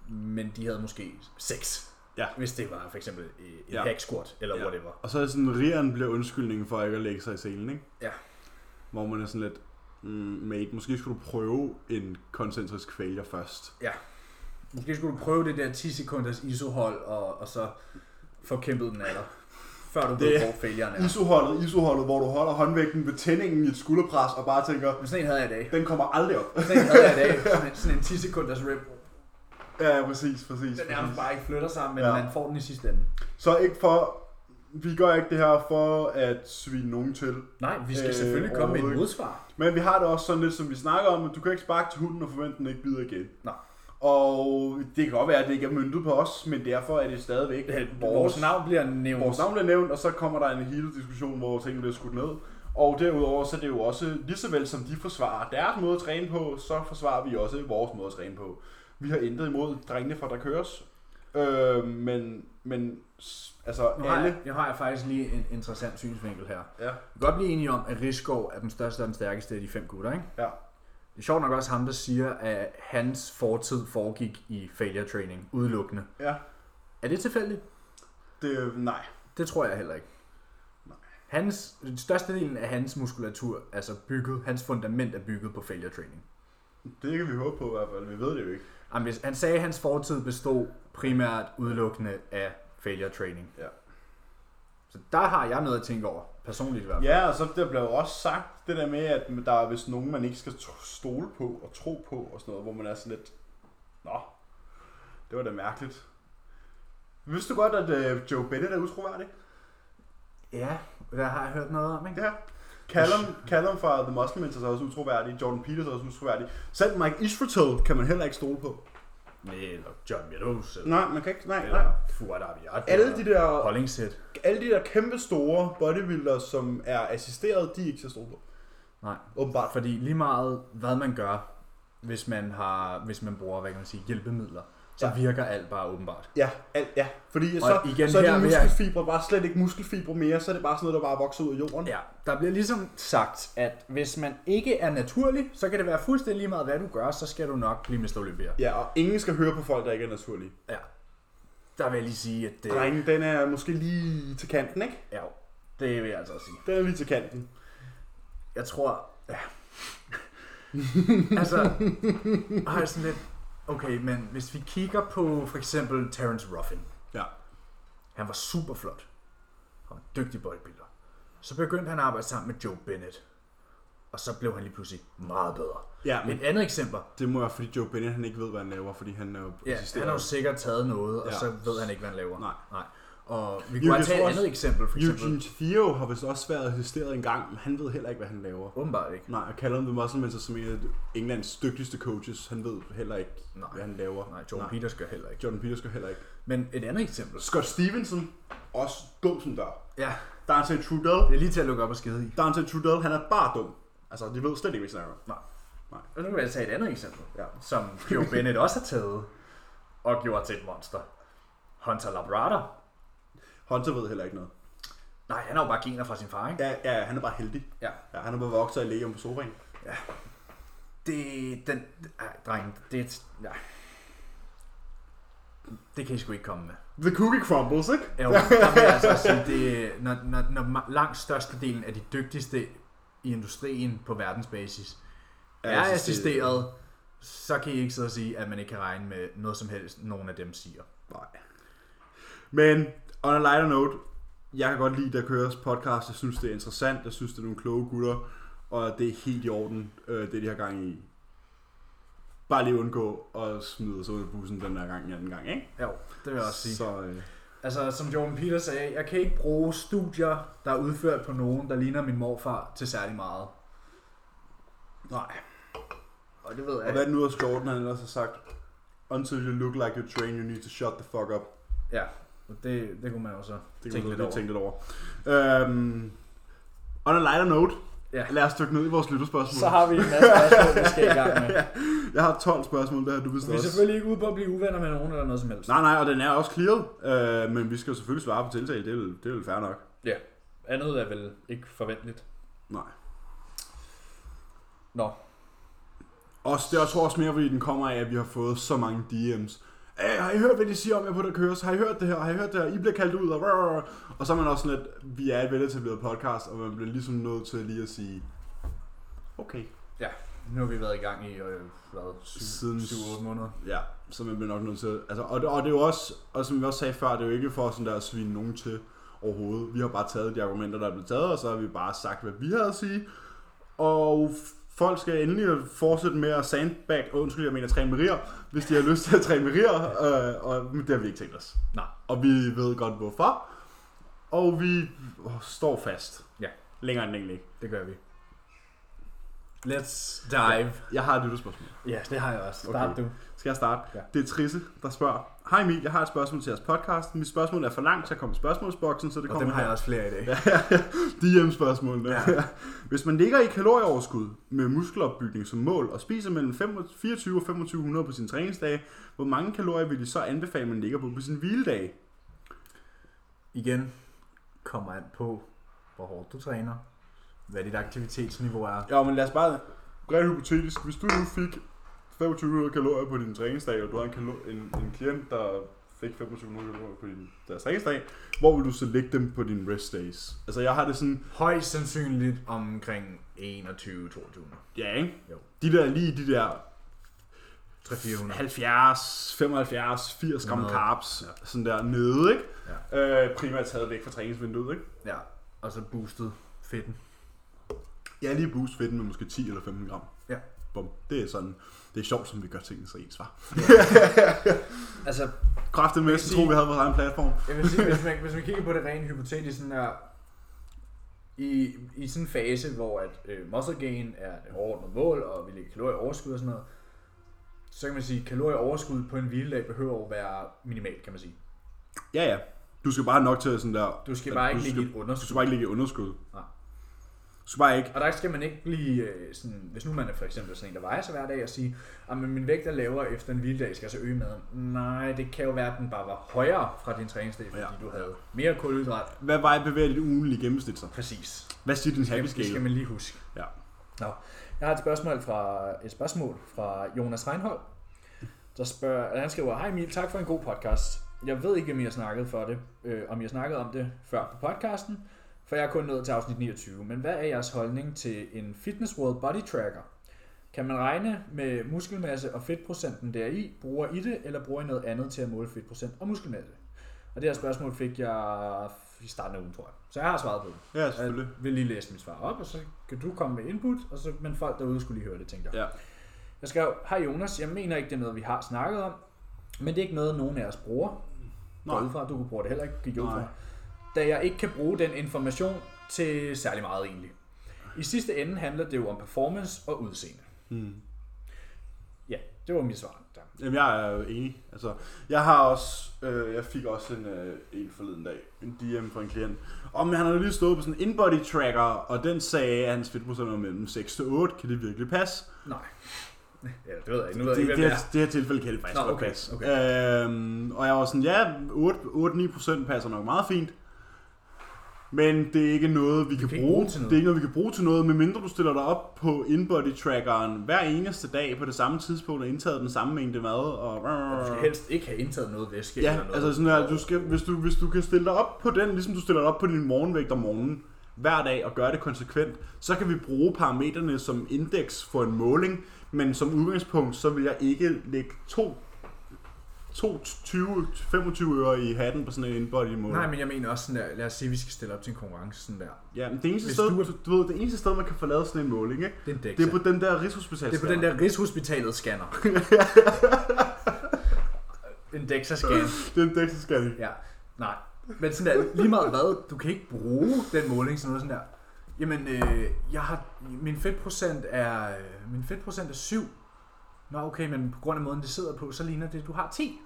Speaker 1: men de havde måske seks.
Speaker 2: Ja.
Speaker 1: Hvis det var for eksempel øh, en
Speaker 2: Ja.
Speaker 1: ja. hack squat, eller
Speaker 2: Ja.
Speaker 1: ja. whatever.
Speaker 2: Og så er det sådan, rieren bliver undskyldningen for ikke at lægge sig i selen, ikke?
Speaker 1: Ja.
Speaker 2: Hvor man er sådan lidt, mm, mate, måske skulle du prøve en koncentrisk failure først.
Speaker 1: Måske skulle du prøve det der 10 sekunders isohold, og, og så få kæmpet den af dig, før du
Speaker 2: Det-
Speaker 1: ved, hvor faileren er.
Speaker 2: Isoholdet, isoholdet, hvor du holder håndvægten ved tændingen i et skulderpres og bare tænker,
Speaker 1: Men sådan en havde jeg i dag.
Speaker 2: den kommer aldrig op.
Speaker 1: Sådan en havde jeg i dag. Sådan en- Sådan en 10 sekunders rep.
Speaker 2: ja, ja, præcis, præcis.
Speaker 1: Den nærmest bare ikke flytter sammen, men
Speaker 2: Ja.
Speaker 1: ja. man får den i sidste ende.
Speaker 2: Så ikke for, vi gør ikke det her for at svine nogen til.
Speaker 1: Nej, vi skal
Speaker 2: Øh,
Speaker 1: øh, selvfølgelig komme med et
Speaker 2: overhovedet
Speaker 1: modsvar.
Speaker 2: Men vi har det også sådan lidt, som vi snakker om, at du kan ikke sparke til hunden og forvente, den ikke bider igen.
Speaker 1: Nej.
Speaker 2: Og det kan godt være, at det ikke er myndet på os, men derfor er det stadigvæk
Speaker 1: Vores, vores navn bliver nævnt.
Speaker 2: vores navn bliver nævnt, og så kommer der en hele diskussion, hvor tingene bliver skudt ned. Og derudover så er det jo også, lige så vel som de forsvarer deres måde at træne på, så forsvarer vi også vores måde at træne på. Vi har intet imod drengene fra der køres, øh, men, men s- altså
Speaker 1: Nu har,
Speaker 2: alle...
Speaker 1: jeg, nu har jeg faktisk lige en interessant synsvinkel her.
Speaker 2: Ja.
Speaker 1: Vi kan godt blive enige om, at Rigsgaard er den største og den stærkeste af de fem gutter, ikke?
Speaker 2: Ja.
Speaker 1: Det er sjovt nok også ham, der siger, at hans fortid foregik i failure training udelukkende.
Speaker 2: Ja,
Speaker 1: Er det tilfældigt?
Speaker 2: det, nej.
Speaker 1: Det tror jeg heller ikke.
Speaker 2: Nej.
Speaker 1: Hans, den største delen af hans muskulatur, altså bygget, hans fundament er bygget på failure training.
Speaker 2: Det kan vi håbe på i hvert fald, vi ved det jo ikke.
Speaker 1: Jamen, hvis- Han sagde, at hans fortid bestod primært udelukkende af failure training.
Speaker 2: Ja.
Speaker 1: Så der har jeg noget at tænke over, personligt i hvert fald.
Speaker 2: Ja, og så der blev jo også sagt det der med, at der er vist nogen, man ikke skal tro- stole på og tro på og sådan noget, hvor man er sådan lidt, nå, det var da mærkeligt. Vidste du godt, at øh, Joe Bennett er utroværdig?
Speaker 1: Ja, der har jeg hørt noget om, ikke?
Speaker 2: Ja. Callum, Callum fra The Muslim Mints er så også utroværdig, Jordan Peters er også utroværdig. Selv Mike Israel kan man heller ikke stole på.
Speaker 1: Eller John Meadows, eller,
Speaker 2: Nej, man kan ikke, nej, nej.
Speaker 1: eller Fuad Abiyad.
Speaker 2: Alle de der
Speaker 1: Hollingsæt.
Speaker 2: alle de der kæmpe store bodybuildere, som er assisteret, de er ikke til at stole på.
Speaker 1: Nej.
Speaker 2: Åbenbart.
Speaker 1: Fordi lige meget, hvad man gør, hvis man, har, hvis man bruger, hvad kan man sige, hjælpemidler, så
Speaker 2: Ja.
Speaker 1: ja. virker alt bare åbenbart.
Speaker 2: Ja, alt, ja. Fordi
Speaker 1: Og
Speaker 2: så,
Speaker 1: igen,
Speaker 2: så er
Speaker 1: her
Speaker 2: de
Speaker 1: vil jeg-
Speaker 2: muskelfibre bare slet ikke muskelfibre mere, så er det bare sådan noget, der bare vokser ud af jorden.
Speaker 1: Ja, der bliver ligesom sagt, at hvis man ikke er naturlig, så kan det være fuldstændig lige meget, hvad du gør, så skal du nok blive Mr. Olympia.
Speaker 2: ja og ingen skal høre på folk, der ikke er naturlige.
Speaker 1: Ja. Der vil jeg lige sige, at det,
Speaker 2: Drengen, den er måske lige til kanten, ikke?
Speaker 1: ja, det vil jeg altså også sige.
Speaker 2: Den er lige til kanten.
Speaker 1: Jeg tror... Ja. altså, har jeg sådan lidt... Okay, men hvis vi kigger på for eksempel Terence Ruffin.
Speaker 2: Ja.
Speaker 1: Han var super flot. Han var en dygtig bodybuilder. Så begyndte han at arbejde sammen med Joe Bennett. Og så blev han lige pludselig meget bedre.
Speaker 2: Ja, men
Speaker 1: Et andet eksempel.
Speaker 2: det må være, fordi Joe Bennett, han ikke ved, hvad han laver, fordi han er jo
Speaker 1: Ja, han har jo sikkert taget noget, og
Speaker 2: Ja.
Speaker 1: så ved han ikke, hvad han laver.
Speaker 2: Nej.
Speaker 1: Nej. Og vi
Speaker 2: Eugene
Speaker 1: kunne også tage et
Speaker 2: Schwartz-
Speaker 1: andet eksempel, for eksempel.
Speaker 2: Eugene Theo har vist også været assisteret en gang, men han ved heller ikke, hvad han laver.
Speaker 1: Åbenbart ikke.
Speaker 2: Nej, og Callum The Muscle Mentor, som en af Englands dygtigste coaches, han ved heller ikke,
Speaker 1: Nej.
Speaker 2: hvad han laver.
Speaker 1: Nej, Joe Peters gør heller ikke.
Speaker 2: Jordan Peters gør heller ikke.
Speaker 1: Men et andet eksempel.
Speaker 2: Scott Stevenson, også dum som dør.
Speaker 1: Ja,
Speaker 2: Dante Trudell,
Speaker 1: det er lige til at lukke op og skide i.
Speaker 2: Dante Trudell, han er bare dum. Altså, de ved slet ikke, hvad de snakker om.
Speaker 1: Og nu vil jeg tage et andet eksempel,
Speaker 2: Ja.
Speaker 1: som Joe Bennett også har taget og gjort til et monster. Hunter Labrador.
Speaker 2: Hunter ved heller ikke noget.
Speaker 1: Nej, han har jo bare gener fra sin far, ikke?
Speaker 2: Ja, ja han er bare heldig.
Speaker 1: Ja.
Speaker 2: Ja, han er bare vokset i Legion på sofaen.
Speaker 1: Det den... Ej, dreng, det er... et- Ja. det kan I sgu ikke komme med.
Speaker 2: The cookie crumbles, ikke?
Speaker 1: Jo, der vil jeg altså også sige, det, når, når, når ma- langt størstedelen af de dygtigste i industrien på verdensbasis er
Speaker 2: assisteret.
Speaker 1: assisteret, så kan I ikke sidde og sige, at man ikke kan regne med noget som helst, nogen af dem siger.
Speaker 2: Nej. Men on a lighter note, jeg kan godt lide, der køres podcast. Jeg synes, det er interessant. Jeg synes, det er nogle kloge gutter. Og det er helt i orden, øh, det de har gang i. Bare lige undgå at smide sig ud af bussen den der gang, ja, den gang, ikke?
Speaker 1: Jo, det vil jeg også sige.
Speaker 2: Så øh,
Speaker 1: Altså, som Jordan Peter sagde, jeg kan ikke bruge studier, der er udført på nogen, der ligner min morfar, til særlig meget. Nej. Og det ved
Speaker 2: og
Speaker 1: jeg
Speaker 2: hvad
Speaker 1: ikke.
Speaker 2: er det nu, at Skorten han ellers har sagt? Until you look like you train, you need to shut the fuck up.
Speaker 1: Ja, og det, det kunne man jo så
Speaker 2: Det kan
Speaker 1: tænke lidt
Speaker 2: man lige
Speaker 1: over.
Speaker 2: tænke lidt over. Øhm, on a lighter note,
Speaker 1: Ja.
Speaker 2: lad os dykke ned i vores lytterspørgsmål.
Speaker 4: Så har vi en masse spørgsmål, vi skal i gang med.
Speaker 2: Jeg har 12 spørgsmål, der har du vist
Speaker 1: Vi er
Speaker 2: også.
Speaker 1: selvfølgelig ikke ude på at blive uvenner med nogen eller noget som helst.
Speaker 2: Nej, nej, og den er også clearet, øh, men vi skal jo selvfølgelig svare på tiltale, det er vel, det er vel fair nok.
Speaker 1: Andet er vel ikke forventeligt.
Speaker 2: Nej.
Speaker 4: Nå.
Speaker 2: Også, det, jeg tror også mere, fordi den kommer af, at vi har fået så mange DM's. Æh, har I hørt, hvad de siger om jer på der køres? Har I hørt det her? Har I hørt det her? I bliver kaldt ud, og, rrr, rrr. og så er man også sådan lidt, vi er et veletableret podcast, og man bliver ligesom nødt til lige at sige, okay.
Speaker 1: Nu har vi været i gang i, øh, hvad,
Speaker 2: Siden-
Speaker 1: 7-8 måneder.
Speaker 2: Ja, så man bliver nok nødt til, altså, og, det, og det er jo også, og som vi også sagde før, det er jo ikke for sådan der at svine nogen til overhovedet. Vi har bare taget de argumenter, der er blevet taget, og så har vi bare sagt, hvad vi havde at sige. Og folk skal endelig fortsætte med at sandbag, oh, undskyld, jeg mener træne med rier, hvis de har lyst til at træne med rier, øh, og men det har vi ikke tænkt os.
Speaker 1: Nej.
Speaker 2: Og vi ved godt hvorfor, og vi åh, står fast.
Speaker 1: Ja.
Speaker 2: Længere end egentlig ikke.
Speaker 1: Det gør vi. Let's dive.
Speaker 2: Jeg har et lytterspørgsmål.
Speaker 1: Ja, yes, det har jeg også. Start
Speaker 2: Okay.
Speaker 1: okay. du.
Speaker 2: Skal jeg starte?
Speaker 1: Ja.
Speaker 2: Ja. Det er Trisse, der spørger. Hej Emil, jeg har et spørgsmål til jeres podcast. Mit spørgsmål er for langt, så jeg kommer i spørgsmålsboksen, så det
Speaker 1: Og
Speaker 2: kommer
Speaker 1: dem har jeg også flere i dag. Ja.
Speaker 2: DM-spørgsmålene.
Speaker 1: Ja.
Speaker 2: Ja. Hvis man ligger i kalorieoverskud med muskelopbygning som mål og spiser mellem 5 24 og 2500 på sine træningsdage, hvor mange kalorier vil I så anbefale, man ligger på på sin hviledag?
Speaker 1: Igen, kommer an på, hvor hårdt du træner, hvad dit aktivitetsniveau er.
Speaker 2: Ja, men lad os bare... Rent hypotetisk, hvis du nu fik 2500 kalorier på din træningsdag, og du har en, kalo- en, en klient, der fik 2500 kalorier på din deres træningsdag, hvor vil du så lægge dem på dine rest days? Altså, jeg har det sådan,
Speaker 1: Højst sandsynligt omkring 21-22.
Speaker 2: Ja, ikke?
Speaker 1: Jo.
Speaker 2: De der lige de der
Speaker 1: 300-400.
Speaker 2: 70, 75, 80 gram
Speaker 1: 100.
Speaker 2: carbs, ja. sådan der nede, ikke?
Speaker 1: Ja.
Speaker 2: Øh, primært taget væk fra træningsvinduet, ikke?
Speaker 1: ja. Og så boostet fedten.
Speaker 2: Jeg lige boost fedten med måske 10 eller 15 gram.
Speaker 1: Ja.
Speaker 2: Bum. Det er sådan, det er sjovt, som vi gør tingene så ens, var.
Speaker 4: Altså,
Speaker 2: Kræftet med, så
Speaker 1: sige-
Speaker 2: tror vi havde vores egen platform.
Speaker 1: Jeg vil sige, hvis man, hvis man kigger på det rent hypotetisk, sådan her, i, i sådan en fase, hvor at, øh, muscle gain er et overordnet mål, og vi lægger kalorieoverskud og sådan noget, så kan man sige, at kalorieoverskud på en hviledag behøver at være minimalt, kan man sige.
Speaker 2: Ja, ja. Du skal bare have nok til sådan der...
Speaker 1: Du skal
Speaker 2: at
Speaker 1: bare ikke ligge i
Speaker 2: skal,
Speaker 1: et
Speaker 2: Du
Speaker 1: underskud.
Speaker 2: skal bare ikke ligge i underskud.
Speaker 1: Nej.
Speaker 2: Du skal bare ikke...
Speaker 1: Og der skal man ikke blive øh, sådan, hvis nu man er for eksempel sådan en, der vejer sig hver dag, og sige, at min vægt er lavere efter en hviledag, skal jeg så øge maden. Nej, det kan jo være, at den bare var højere fra din træningsdag, fordi
Speaker 2: Ja.
Speaker 1: ja. du havde mere kulhydrat.
Speaker 2: Hvad vej bevæger dit ugenlige gennemsnit så?
Speaker 1: Præcis.
Speaker 2: Hvad siger din happy
Speaker 1: Det skal, det skal
Speaker 2: scale?
Speaker 1: man lige huske.
Speaker 2: Ja.
Speaker 4: Nå, jeg har et spørgsmål fra, et spørgsmål fra Jonas Reinhold, der spørger, eller han skriver, Hej Emil, tak for en god podcast. Jeg ved ikke, om I har snakket, for det, øh, om I har snakket om det før på podcasten, for jeg er kun nået til afsnit 29. Men hvad er jeres holdning til en Fitness World Body Tracker? Kan man regne med muskelmasse og fedtprocenten deri? Bruger I det, eller bruger I noget andet til at måle fedtprocent og muskelmasse? Og det her spørgsmål fik jeg i starten af ugen, tror jeg. Så jeg har svaret på det.
Speaker 2: Ja,
Speaker 4: Jeg
Speaker 2: selvfølgelig.
Speaker 4: Øh, vil lige læse mit svar op, og så kan du komme med input, og så, men folk derude skulle lige høre det, tænkte jeg.
Speaker 2: Ja.
Speaker 4: Jeg skrev, hej Jonas, jeg mener ikke, det er noget, vi har snakket om, men det er ikke noget, nogen af os bruger.
Speaker 2: Nej.
Speaker 4: Nej. Ud fra, at du kunne bruge det heller ikke, gik jeg ud
Speaker 2: Nej.
Speaker 4: fra. Da jeg ikke kan bruge den information til særlig meget egentlig. I sidste ende handler det jo om performance og udseende.
Speaker 2: Hmm.
Speaker 4: Ja, det var mit svar. Der.
Speaker 2: Jamen, jeg er jo enig. Altså, jeg har også, øh, jeg fik også en, øh, en forleden dag, en DM fra en klient. Og men han havde lige stået på sådan en inbody tracker, og den sagde, at hans fedtprocent var mellem 6 til 8. Kan det virkelig passe?
Speaker 4: Nej. Ja, det ved jeg ikke. Nu ved jeg
Speaker 2: Det,
Speaker 4: ikke,
Speaker 2: det, det,
Speaker 4: hvem det
Speaker 2: her,
Speaker 4: er.
Speaker 2: det her tilfælde kan det faktisk
Speaker 4: Nå,
Speaker 2: godt
Speaker 4: okay,
Speaker 2: passe. Øhm, og jeg var sådan, ja, 8-9% passer nok meget fint. Men det er ikke noget, vi, kan,
Speaker 1: kan
Speaker 2: kan
Speaker 1: ikke
Speaker 2: bruge.
Speaker 1: bruge til noget.
Speaker 2: Det er ikke noget, vi kan bruge til noget, medmindre du stiller dig op på inbody trackeren hver eneste dag på det samme tidspunkt og indtaget den samme mængde mad. Og...
Speaker 1: Og du skal helst ikke have indtaget noget væske
Speaker 2: Ja,
Speaker 1: eller noget.
Speaker 2: altså sådan her, du skal, hvis, du, hvis du kan stille dig op på den, ligesom du stiller dig op på din morgenvægt om morgenen, hver dag og gøre det konsekvent, så kan vi bruge parametrene som indeks for en måling, men som udgangspunkt, så vil jeg ikke lægge to, to 20, 25 øre i hatten på sådan en inbody måling.
Speaker 1: Nej, men jeg mener også sådan der, lad os sige, at vi skal stille op til en konkurrence sådan der.
Speaker 2: Ja, men det eneste,
Speaker 1: Hvis
Speaker 2: sted,
Speaker 1: du
Speaker 2: du,
Speaker 1: er-
Speaker 2: du ved, det eneste sted, man kan få lavet sådan en måling, ikke?
Speaker 1: Det er en dæk,
Speaker 2: Det er på den der Rigshospital.
Speaker 1: det er på den der Rigshospitalet scanner. en DEXA scan.
Speaker 2: Den dækseskanning.
Speaker 1: Ja, nej. Men sådan der, lige meget hvad, du kan ikke bruge den måling sådan noget sådan der. Jamen, øh, jeg har, min fedtprocent er, øh, min fedtprocent er 7. Nå okay, men på grund af måden det sidder på, så ligner det, at du har 10.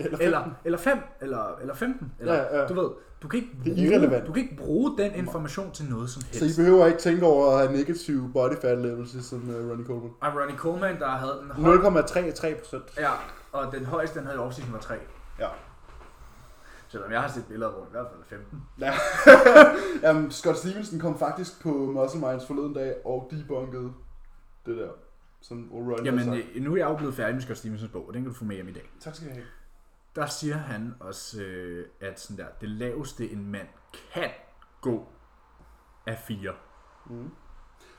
Speaker 1: Eller, eller, eller 5, eller, eller 15. Eller,
Speaker 2: Ja, ja.
Speaker 1: Du ved, du kan, ikke
Speaker 2: Det er
Speaker 1: bruge,
Speaker 2: irrelevant.
Speaker 1: du kan ikke bruge den information til noget som helst.
Speaker 2: behøver ikke tænke over at have negative body fat levels, som uh, Ronnie Coleman.
Speaker 1: Og Ronnie Coleman, der havde den høj,
Speaker 2: 0,33 procent.
Speaker 1: ja, og den højeste, den havde i offseason var 3.
Speaker 2: Ja.
Speaker 1: Selvom jeg har set billeder, hvor den i hvert fald er 15.
Speaker 2: Jamen, Scott Stevenson kom faktisk på Muscle Minds forleden dag og debunkede det der, som Ronnie
Speaker 1: Jamen, øh, nu er jeg jo blevet færdig med Scott Stevensons bog, og den kan du få med hjem i dag.
Speaker 2: Tak skal I have.
Speaker 1: der siger han også, øh, at sådan der, det laveste en mand kan gå er fire.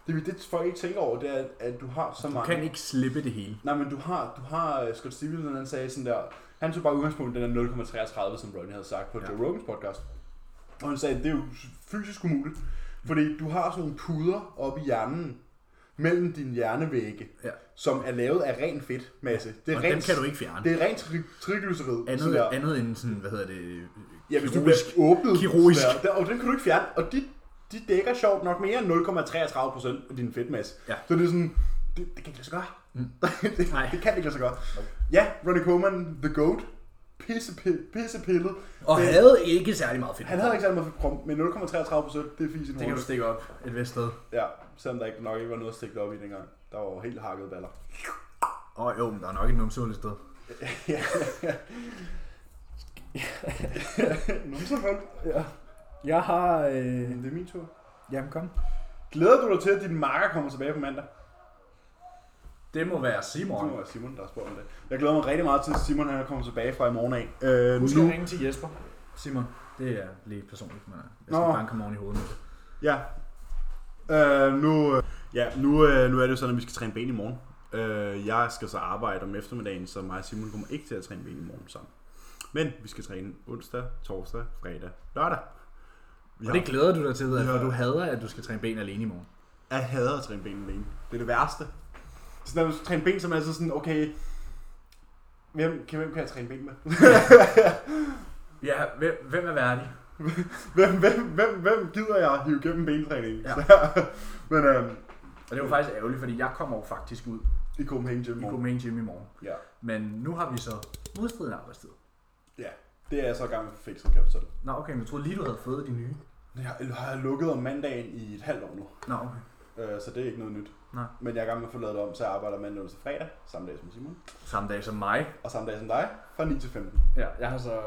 Speaker 2: Det, det folk ikke tænker over, det er, at du har så
Speaker 1: Du
Speaker 2: mange...
Speaker 1: kan ikke slippe det hele.
Speaker 2: Nej, men du har, du har øh, Scott Stevenson, han sagde sådan der, han tog bare udgangspunkt i den der 0,33, som Ronnie havde sagt på
Speaker 1: Ja.
Speaker 2: ja. Joe Rogans podcast. Og han sagde, at det er jo fysisk umuligt, fordi du har sådan nogle puder oppe i hjernen, mellem dine hjernevægge,
Speaker 1: Ja.
Speaker 2: som er lavet af ren fedtmasse. Det er
Speaker 1: Og
Speaker 2: rent,
Speaker 1: dem kan du ikke fjerne.
Speaker 2: Det er rent tri- triglycerid. sådan
Speaker 1: Andet,
Speaker 2: der.
Speaker 1: andet end sådan, hvad hedder det,
Speaker 2: Ja, hvis du
Speaker 1: kirurgisk.
Speaker 2: bliver åbnet.
Speaker 1: Kirurgisk.
Speaker 2: sådan Der, og den kan du ikke fjerne. Og de, de dækker sjovt nok mere end 0,33 procent af din fedtmasse.
Speaker 1: Ja.
Speaker 2: Så det er sådan, det, det kan ikke lade sig gøre. Mm. det, det,
Speaker 1: Nej.
Speaker 2: kan ikke lade sig gøre. Ja, Ronnie Coleman, The Goat, pissepillet. pissepillet.
Speaker 1: Og
Speaker 2: Men
Speaker 1: havde ikke særlig meget fedt.
Speaker 2: Han havde ikke særlig meget krum, men 0,33 procent, det er fint i
Speaker 1: Det kan du stikke op et vist sted.
Speaker 2: Ja, selvom der ikke, nok ikke var noget at stikke det op i dengang. Der var jo helt hakket baller.
Speaker 1: Åh oh, jo, men der er nok et numsehul et sted.
Speaker 2: Nå, så godt.
Speaker 4: Jeg har... Øh...
Speaker 2: Det er min tur.
Speaker 4: Jamen, kom.
Speaker 2: Glæder du dig til, at din marker kommer tilbage på mandag?
Speaker 1: Det må være
Speaker 2: Det
Speaker 1: Simon.
Speaker 2: må være Simon, der har spurgt om det. Jeg glæder mig rigtig meget til, at Simon han kommer tilbage fra i morgen af. Øh,
Speaker 4: Husk at ringe til Jesper.
Speaker 1: Simon, det er lige personligt, men øh, jeg skal
Speaker 2: Nå.
Speaker 1: banke ham oven i hovedet. med det.
Speaker 2: Ja. Øh, nu, øh, ja, nu, øh, nu er det jo sådan, at vi skal træne ben i morgen. Øh, jeg skal så arbejde om eftermiddagen, så mig og Simon kommer ikke til at træne ben i morgen sammen. Men vi skal træne onsdag, torsdag, fredag, lørdag. Vi
Speaker 1: Og det glæder du dig til, ved jeg, for
Speaker 2: Ja.
Speaker 1: du hader, at du skal træne ben alene i morgen.
Speaker 2: Jeg hader at træne ben alene. Det er det værste. Sådan, når du skal træne ben, så er man altid sådan, okay, hvem kan, hvem kan jeg træne ben med?
Speaker 1: Ja, hvem, hvem er værdig?
Speaker 2: hvem, hvem, hvem, hvem gider jeg hive gennem bentræningen?
Speaker 1: Ja.
Speaker 2: Ja. Men øhm,
Speaker 1: Og det var faktisk ærgerligt, fordi jeg kommer jo faktisk ud
Speaker 2: i Copenhagen Gym
Speaker 1: i
Speaker 2: morgen.
Speaker 1: Copenhagen Gym i morgen.
Speaker 2: Ja.
Speaker 1: Men nu har vi så modstridende arbejdstid.
Speaker 2: ja, det er jeg så i gang med at få fikset, kan jeg fortælle.
Speaker 1: Nå, okay, men jeg troede lige, du havde fået de nye.
Speaker 2: Jeg har- har jeg lukket om mandagen i et halvt år nu,
Speaker 1: Nå, okay.
Speaker 2: øh, så det er ikke noget nyt.
Speaker 1: Nej.
Speaker 2: Men jeg er i gang med at få lavet det om, så jeg arbejder mandag onsdag fredag, samme dag som Simon,
Speaker 1: Samme dag som mig.
Speaker 2: og samme dag som dig, fra 9 til 15.
Speaker 4: Ja, jeg har så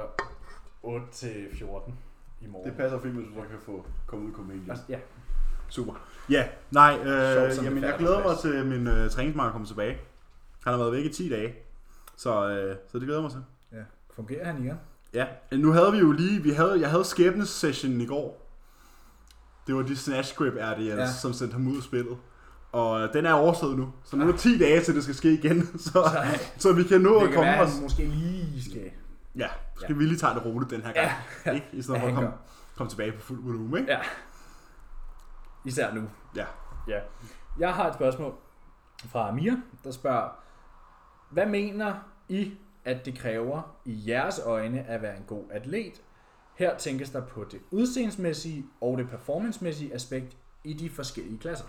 Speaker 4: 8 til 14 i morgen.
Speaker 2: Det passer fint, hvis du så kan få kommet ud i Copenhagen Gym.
Speaker 4: Altså, ja.
Speaker 2: Super. Ja, nej,
Speaker 4: Sjovt,
Speaker 2: øh,
Speaker 4: som
Speaker 2: jamen,
Speaker 4: det
Speaker 2: jeg
Speaker 4: falder
Speaker 2: glæder
Speaker 4: på
Speaker 2: mig
Speaker 4: plads.
Speaker 2: til, at min øh, træningsmarker kommer tilbage. Han har været væk i 10 dage, så, øh, så det glæder jeg mig til.
Speaker 1: Ja. Fungerer han igen?
Speaker 2: Ja, nu havde vi jo lige, vi havde, jeg havde skæbnes session i går. Det var de snatch grip RDLs, ja.
Speaker 1: Ja.
Speaker 2: som sendte ham ud af spillet. Og øh, den er overstået nu, så nu er der 10 dage til det skal ske igen, så, så vi kan nå
Speaker 1: Det
Speaker 2: at
Speaker 1: kan
Speaker 2: komme
Speaker 1: være,
Speaker 2: os.
Speaker 1: han måske lige skal...
Speaker 2: Ja, så skal vi lige tage det roligt den her gang, ja. ikke? I stedet for
Speaker 1: Ja,
Speaker 2: at
Speaker 1: han
Speaker 2: komme, komme tilbage på fuld volumen, ikke?
Speaker 4: Ja. Især nu.
Speaker 2: Ja.
Speaker 4: ja. Jeg har et spørgsmål fra Amir, der spørger, hvad mener I, at det kræver i jeres øjne at være en god atlet? Her tænkes der på det udseendsmæssige og det performancemæssige aspekt i de forskellige klasser.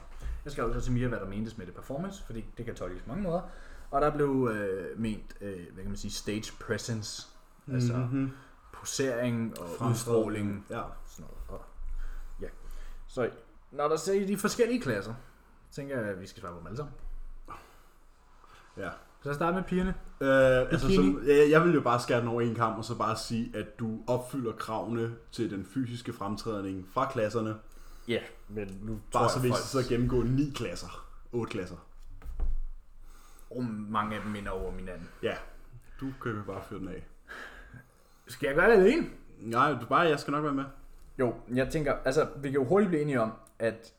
Speaker 1: Jeg skal også til Mia, hvad der mentes med det performance, fordi det kan tolkes på mange måder. Og der blev øh, ment, øh, hvad kan man sige, stage presence. Altså mm-hmm. posering og udstråling.
Speaker 2: Mhm. Ja.
Speaker 1: Sådan noget. Og, ja. Så når der ser i de forskellige klasser, tænker jeg, at vi skal svare på dem alle sammen.
Speaker 2: ja.
Speaker 1: Så jeg starter med pigerne.
Speaker 2: Øh, altså,
Speaker 1: Bikini.
Speaker 2: så, jeg, jeg vil jo bare skære den over en kamp, og så bare sige, at du opfylder kravene til den fysiske fremtrædning fra klasserne.
Speaker 4: Ja, men nu
Speaker 2: Bare
Speaker 1: jeg,
Speaker 2: så vi
Speaker 1: folk-
Speaker 2: skal sidde og gennemgå ni klasser. Otte klasser.
Speaker 1: Oh, mange af dem minder over hinanden.
Speaker 2: Ja, du kan jo bare fyre den af.
Speaker 1: Skal jeg gøre det alene?
Speaker 2: Nej, du bare, jeg skal nok være med.
Speaker 4: Jo, jeg tænker, altså, vi kan jo hurtigt blive enige om,
Speaker 1: At,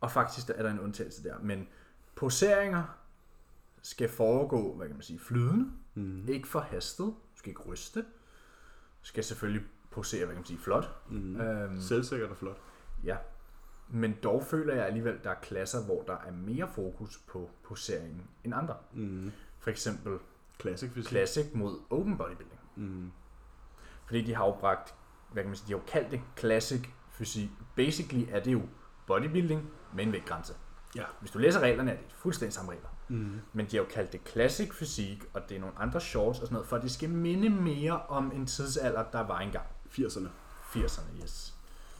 Speaker 1: og faktisk der er der en undtagelse der, men poseringer skal foregå, hvad kan man sige, flydende,
Speaker 2: Mm.
Speaker 1: ikke for hastet, du skal ikke ryste, du skal selvfølgelig posere, hvad kan man sige, flot.
Speaker 2: Mm.
Speaker 1: Øhm,
Speaker 2: Selvsikkert og flot.
Speaker 1: ja. Men dog føler jeg alligevel, der er klasser, hvor der er mere fokus på poseringen end andre.
Speaker 2: Mm.
Speaker 1: For eksempel
Speaker 2: Classic fysik.
Speaker 1: Classic mod Open Bodybuilding.
Speaker 2: Mm.
Speaker 1: Fordi de har jo bragt, hvad kan man sige, de har jo kaldt det Classic fysik. Basically er det jo bodybuilding med en vægtgrænse.
Speaker 2: Ja.
Speaker 1: Hvis du læser reglerne, er det fuldstændig samme regler.
Speaker 2: Mm.
Speaker 1: Men de har jo kaldt det Classic fysik, og det er nogle andre shorts og sådan noget, for det skal minde mere om en tidsalder, der var engang.
Speaker 2: 80'erne.
Speaker 1: 80'erne, yes.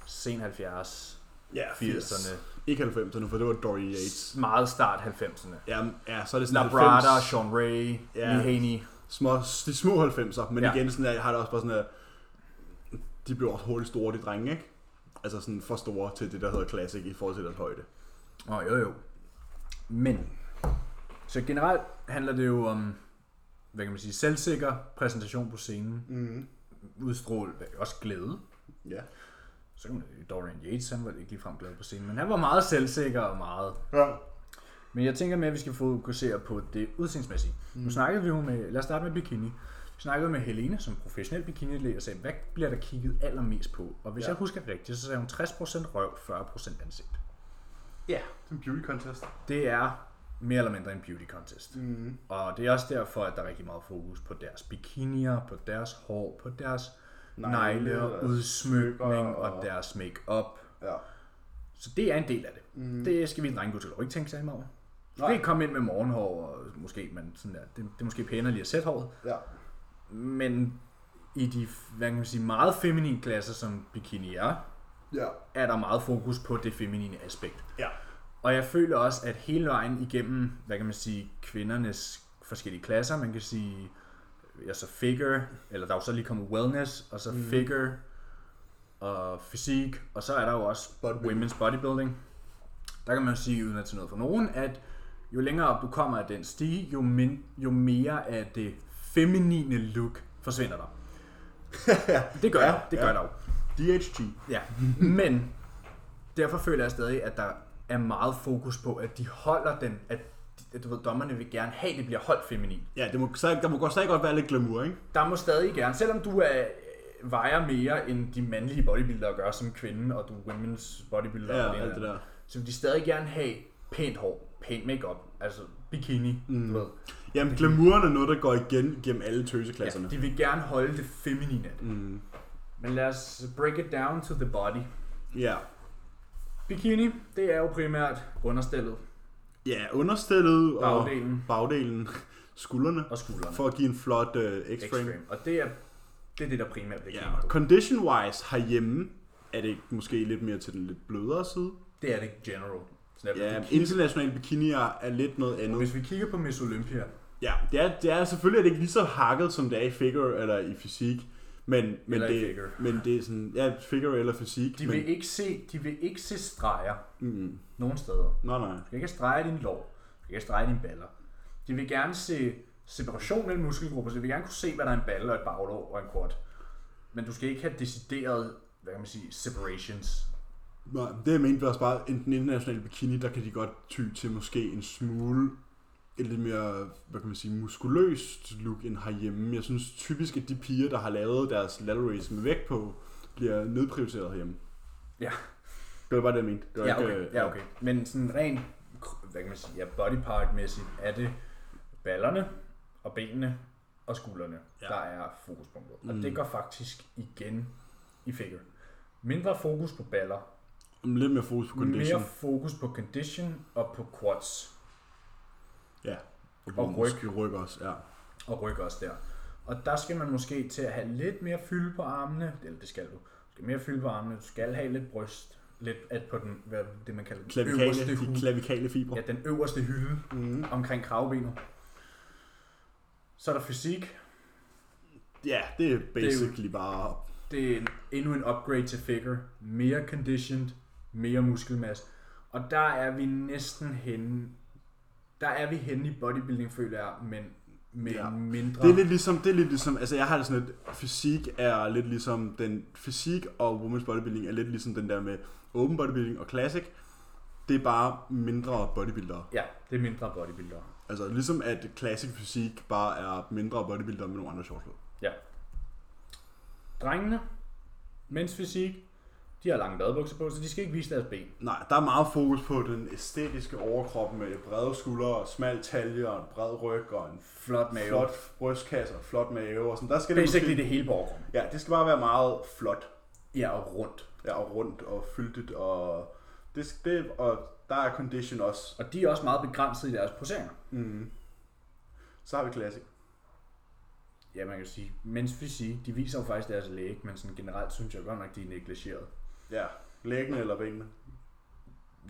Speaker 1: Sen 70,
Speaker 2: Ja,
Speaker 1: 80'erne.
Speaker 2: Ikke 90'erne, for det var Dory Yates.
Speaker 1: Meget start 90'erne.
Speaker 2: Ja, ja, så er det sådan
Speaker 1: Labrada,
Speaker 2: 90,
Speaker 1: Sean Ray,
Speaker 2: Ja.
Speaker 1: Lee Haney.
Speaker 2: små, de små 90'er, men
Speaker 1: Ja.
Speaker 2: ja. igen, sådan der, jeg har det også bare sådan, at de blev også hurtigt store, de drenge, ikke? Altså sådan for store til det, der hedder classic i forhold til deres højde.
Speaker 1: Åh, oh, jo jo. Men, så generelt handler det jo om, hvad kan man sige, selvsikker præsentation på scenen,
Speaker 2: Mm.
Speaker 1: udstrål, også glæde.
Speaker 2: Ja.
Speaker 1: Så kan man- Dorian Yates, han var ikke ligefrem glad på scenen, men han var meget selvsikker og meget...
Speaker 2: ja.
Speaker 1: Men jeg tænker mere, at vi skal fokusere på det udseendsmæssige. Mm. Nu snakkede vi jo med, lad os starte med bikini. Vi snakkede med Helene som professionel bikinilæge og sagde, hvad bliver der kigget allermest på? Og hvis ja.
Speaker 2: Ja.
Speaker 1: jeg husker rigtigt, så sagde hun 60% røv, 40% ansigt.
Speaker 2: Ja. Det er en beauty contest.
Speaker 1: Det er mere eller mindre en beauty contest.
Speaker 2: Mm.
Speaker 1: Og det er også derfor, at der er rigtig meget fokus på deres bikinier, på deres hår, på deres
Speaker 2: Negle,
Speaker 1: negle og
Speaker 2: deres
Speaker 1: udsmykning
Speaker 2: smykker
Speaker 1: og
Speaker 2: og-
Speaker 1: deres makeup.
Speaker 2: Ja.
Speaker 1: Så det er en del af det. Mm. Det skal vi drenge jo ikke tænke særlig meget over. Du
Speaker 2: Nej.
Speaker 1: kan ikke komme ind med morgenhår, og måske, man sådan der, det, det er måske pænere lige at sætte håret,
Speaker 2: Ja.
Speaker 1: men i de hvad kan man sige, meget feminine klasser, som bikini er,
Speaker 2: Ja.
Speaker 1: er der meget fokus på det feminine aspekt.
Speaker 2: Ja.
Speaker 1: Og jeg føler også, at hele vejen igennem, hvad kan man sige, kvindernes forskellige klasser, man kan sige, ja, så figure, eller der er jo så lige kommet wellness, og så mm. figure, og fysik, og så er der jo også
Speaker 2: Bodybuilding.
Speaker 1: women's bodybuilding. Der kan man sige, uden at tage noget for nogen, at jo længere op du kommer af den stige, jo, min, jo mere af det feminine look forsvinder der. det gør ja,
Speaker 2: Ja,
Speaker 1: der, det gør
Speaker 2: ja.
Speaker 1: der jo.
Speaker 2: DHT.
Speaker 1: Ja, men derfor føler jeg stadig, at der er meget fokus på, at de holder den, at at du ved, dommerne vil gerne have, at det bliver holdt feminin.
Speaker 2: Ja, det må, så, der må godt stadig godt være lidt glamour, ikke?
Speaker 1: Der må stadig gerne, selvom du er, øh, vejer mere, end de mandlige bodybuildere gør som kvinde, og du er women's bodybuilder,
Speaker 2: Ja,
Speaker 1: og ene
Speaker 2: alt
Speaker 1: eller andet,
Speaker 2: det der.
Speaker 1: så vil de stadig gerne have pænt hår, pænt makeup, altså bikini, mm. du ved.
Speaker 2: Jamen, glamouren er noget, der går igen gennem alle tøseklasserne.
Speaker 1: Ja, de vil gerne holde det feminine af det. Mm. Men lad os break it down to the body.
Speaker 2: Ja.
Speaker 1: Bikini, det er jo primært understillet
Speaker 2: Ja, understillet og
Speaker 1: Bagdelen.
Speaker 2: bagdelen skuldrene,
Speaker 1: og skuldrene.
Speaker 2: for at give en flot øh, X-frame.
Speaker 1: X-Frame. Og det er, det er det, der primært bliver
Speaker 2: Ja,
Speaker 1: kigget på.
Speaker 2: condition-wise herhjemme er det måske lidt mere til den lidt blødere side.
Speaker 1: Det er det general. Sådan er det.
Speaker 2: Ja, internationale bikinier er lidt noget andet.
Speaker 1: Hvis vi kigger på Miss Olympia,
Speaker 2: Ja, det er, det er selvfølgelig er det ikke lige så hakket, som det er i figure eller i fysik. Men, men,
Speaker 1: Eller i
Speaker 2: det,
Speaker 1: figure.
Speaker 2: men det er sådan, ja, figure eller fysik.
Speaker 1: de
Speaker 2: men,
Speaker 1: vil ikke se, de vil ikke se streger
Speaker 2: mm,
Speaker 1: nogen steder.
Speaker 2: nej, nej.
Speaker 1: Du kan ikke strege din lår. Du kan ikke strege dine baller. De vil gerne se separation mellem muskelgrupper, så de vil gerne kunne se, hvad der er en balle og et baglår og en quad. Men du skal ikke have decideret, hvad kan man sige, separations.
Speaker 2: Nej, det jeg mente var også bare, i den internationale bikini, der kan de godt ty til måske en smule et lidt mere, hvad kan man sige, muskuløst look end herhjemme. Jeg synes typisk, at de piger, der har lavet deres lateralis med vægt på, bliver nedprioriteret herhjemme.
Speaker 1: Ja.
Speaker 2: Det var bare det, jeg mente. Det var
Speaker 1: Ja,
Speaker 2: ikke,
Speaker 1: okay.
Speaker 2: øh,
Speaker 1: Ja, okay. Men sådan rent, hvad kan man sige, ja, bodypart-mæssigt er det ballerne og benene og skuldrene, ja.
Speaker 2: Ja. Mm.
Speaker 1: der er fokuspunktet. Og det går faktisk igen i figure. Mindre fokus på baller,
Speaker 2: øh, Lidt mere fokus på condition.
Speaker 1: mere fokus på condition og på quads
Speaker 2: Ja.
Speaker 1: Og
Speaker 2: på
Speaker 1: ryg.
Speaker 2: muskel- ryg også, ja.
Speaker 1: og ryg også der. Og der skal man måske til at have lidt mere fylde på armene, eller det skal du. Du skal mere fylde på armene, du skal have lidt bryst, lidt at på den, hvad det man kalder den
Speaker 2: Klavikale,
Speaker 1: øverste
Speaker 2: de
Speaker 1: hud.
Speaker 2: klavikale fibre.
Speaker 1: Ja, den øverste hylde mm. omkring kravbenet. Så er der fysik.
Speaker 2: Ja, det er basically bare...
Speaker 1: Det er en- endnu en upgrade til figure. Mere conditioned, mere muskelmasse. Og der er vi næsten henne. Der er vi henne i bodybuilding, føler jeg, men med
Speaker 2: Ja.
Speaker 1: ja. mindre...
Speaker 2: Det er lidt ligesom, det er lidt ligesom, altså jeg har det sådan lidt, fysik er lidt ligesom den, fysik og women's bodybuilding er lidt ligesom den der med open bodybuilding og classic. Det er bare mindre bodybuildere.
Speaker 1: Ja, det er mindre bodybuilder.
Speaker 2: Altså ligesom at classic fysik bare er mindre bodybuildere med nogle andre shorts på.
Speaker 1: Ja. Drengene, mænds fysik, de har lange badebukser på, så de skal ikke vise deres ben.
Speaker 2: Nej, der er meget fokus på den æstetiske overkrop med brede skuldre, smal talje og en bred ryg og en
Speaker 1: Flot mave. Flot.
Speaker 2: flot brystkasse og flot mave og sådan. Der skal
Speaker 1: Basically
Speaker 2: måske-
Speaker 1: det hele på overkroppen.
Speaker 2: Ja, det skal bare være meget flot
Speaker 1: Ja, og rundt.
Speaker 2: ja, og rundt og fyldigt og det, sk- det og der er condition også.
Speaker 1: Og de er også meget begrænset i deres poseringer.
Speaker 2: Mm. Så har vi classic.
Speaker 1: Ja, man kan sige, mens fysik, de viser jo faktisk deres læge, men sådan generelt synes jeg godt nok, de er negligeret.
Speaker 2: Ja, læggene eller benene.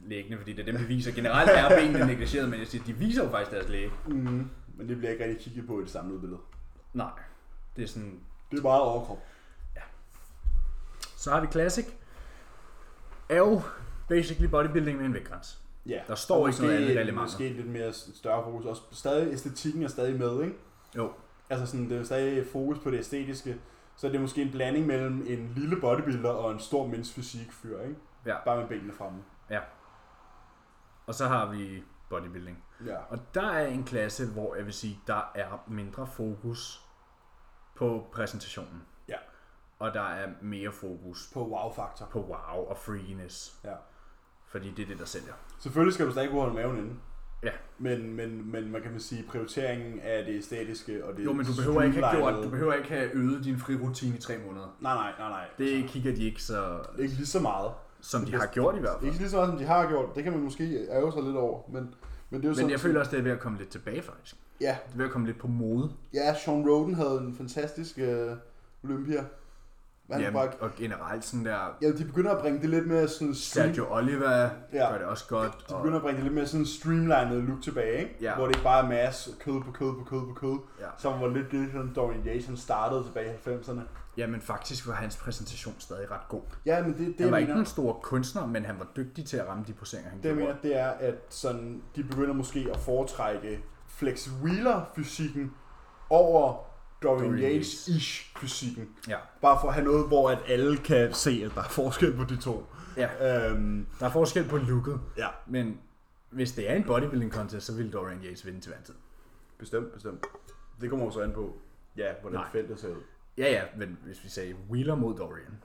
Speaker 1: Læggene, fordi det er dem, de viser. Generelt er benene negligeret, men jeg siger, de viser jo faktisk deres læge.
Speaker 2: Mm. Men det bliver ikke rigtig kigget på i det samlede billede.
Speaker 1: Nej, det er sådan...
Speaker 2: Det er meget overkrop.
Speaker 1: Så har vi Classic. Er jo basically bodybuilding med en vægtgrænse.
Speaker 2: Ja.
Speaker 1: Der står
Speaker 2: Og
Speaker 1: ikke noget
Speaker 2: måske-
Speaker 1: andet reglementer.
Speaker 2: Måske lidt mere s- større fokus. Også stadig, æstetikken er stadig med, ikke?
Speaker 1: Jo.
Speaker 2: Altså sådan, det er stadig fokus på det æstetiske. Så det er måske en blanding mellem en lille bodybuilder og en stor mænds fysik fyr, ikke?
Speaker 1: Ja.
Speaker 2: Bare med benene fremme.
Speaker 1: Og så har vi bodybuilding.
Speaker 2: Ja.
Speaker 1: Og der er en klasse, hvor jeg vil sige, der er mindre fokus på præsentationen.
Speaker 2: Ja.
Speaker 1: Og der er mere fokus
Speaker 2: På wow-faktor.
Speaker 1: på wow og freakiness.
Speaker 2: Ja.
Speaker 1: Fordi det er det, der sælger.
Speaker 2: Selvfølgelig skal du stadig kunne holde maven inde.
Speaker 1: Ja.
Speaker 2: Men, men, men man kan man sige, prioriteringen af det æstetiske og det
Speaker 1: Jo, men du behøver ikke have gjort, du
Speaker 2: streamlinede-
Speaker 1: behøver ikke have ødet din frirutine i tre måneder.
Speaker 2: Nej, nej, nej, nej.
Speaker 1: Det kigger de ikke så,
Speaker 2: Ikke lige så meget.
Speaker 1: som de har gjort i hvert fald.
Speaker 2: Ikke lige så meget, som de har gjort. Det kan man måske ærge sig lidt over. Men, men det er jo
Speaker 1: Men jeg
Speaker 2: sådan-
Speaker 1: føler også, det er ved at komme lidt tilbage faktisk.
Speaker 2: Ja,
Speaker 1: Det er ved at komme lidt på mode.
Speaker 2: ja, Sean Roden havde en fantastisk øh, Olympia. Han
Speaker 1: Jamen,
Speaker 2: bare,
Speaker 1: og generelt sådan der,
Speaker 2: ja, de begynder at bringe det lidt mere sådan stream,
Speaker 1: Sergio Oliva
Speaker 2: Ja.
Speaker 1: gør det også godt.
Speaker 2: de
Speaker 1: Og,
Speaker 2: begynder at bringe det lidt mere sådan streamlined look tilbage, ikke?
Speaker 1: Ja.
Speaker 2: Hvor det ikke bare er masse kød på kød på kød på kød,
Speaker 1: ja.
Speaker 2: som var lidt det, som Dorian Yates han startede tilbage i 90'erne.
Speaker 1: Jamen faktisk var hans præsentation stadig ret god.
Speaker 2: Ja, men det, det
Speaker 1: han var
Speaker 2: jeg
Speaker 1: ikke
Speaker 2: mener,
Speaker 1: en stor kunstner, men han var dygtig til at ramme de poseringer, han
Speaker 2: det, jeg
Speaker 1: gjorde.
Speaker 2: mener, det er, at sådan, de begynder måske at foretrække Flex Wheeler-fysikken over Dorian
Speaker 1: Dorian
Speaker 2: Yates-ish-fysikken.
Speaker 1: Ja.
Speaker 2: Bare for at have noget, hvor at alle kan se, at der er forskel på de to.
Speaker 1: ja,
Speaker 2: Øhm,
Speaker 1: der er forskel på looket,
Speaker 2: ja,
Speaker 1: men hvis det er en bodybuilding contest, så vil Dorian Yates vinde til hver en tid.
Speaker 2: bestemt, bestemt. Det kommer jo så an på, ja, hvordan
Speaker 1: Nej.
Speaker 2: feltet ser ud.
Speaker 1: Ja, ja, men hvis vi sagde Wheeler mod Dorian.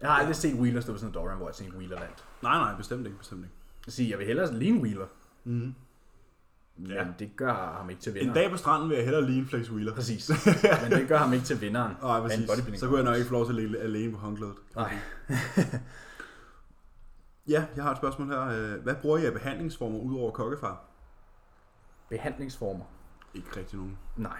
Speaker 1: Jeg har aldrig set Wheeler stå på sådan en Dorian, hvor jeg tænkte Wheeler vandt.
Speaker 2: Nej, nej, bestemt ikke, bestemt ikke.
Speaker 1: Jeg siger, jeg vil hellere ligne Wheeler,
Speaker 2: Mm.
Speaker 1: men
Speaker 2: Ja.
Speaker 1: det gør ham ikke til
Speaker 2: En
Speaker 1: vinderen.
Speaker 2: dag på stranden vil jeg hellere lige en Flex Wheeler.
Speaker 1: Præcis. Men det gør ham ikke til vinderen
Speaker 2: Nej,
Speaker 1: af en
Speaker 2: præcis.
Speaker 1: bodybuilding
Speaker 2: Så kunne jeg nok
Speaker 1: contest.
Speaker 2: ikke få lov til at ligge alene på håndklædet.
Speaker 1: Nej.
Speaker 2: Ja, jeg har et spørgsmål her. Øh, Hvad bruger I af behandlingsformer udover kokkefar?
Speaker 1: Behandlingsformer?
Speaker 2: Ikke rigtig nogen.
Speaker 1: Nej.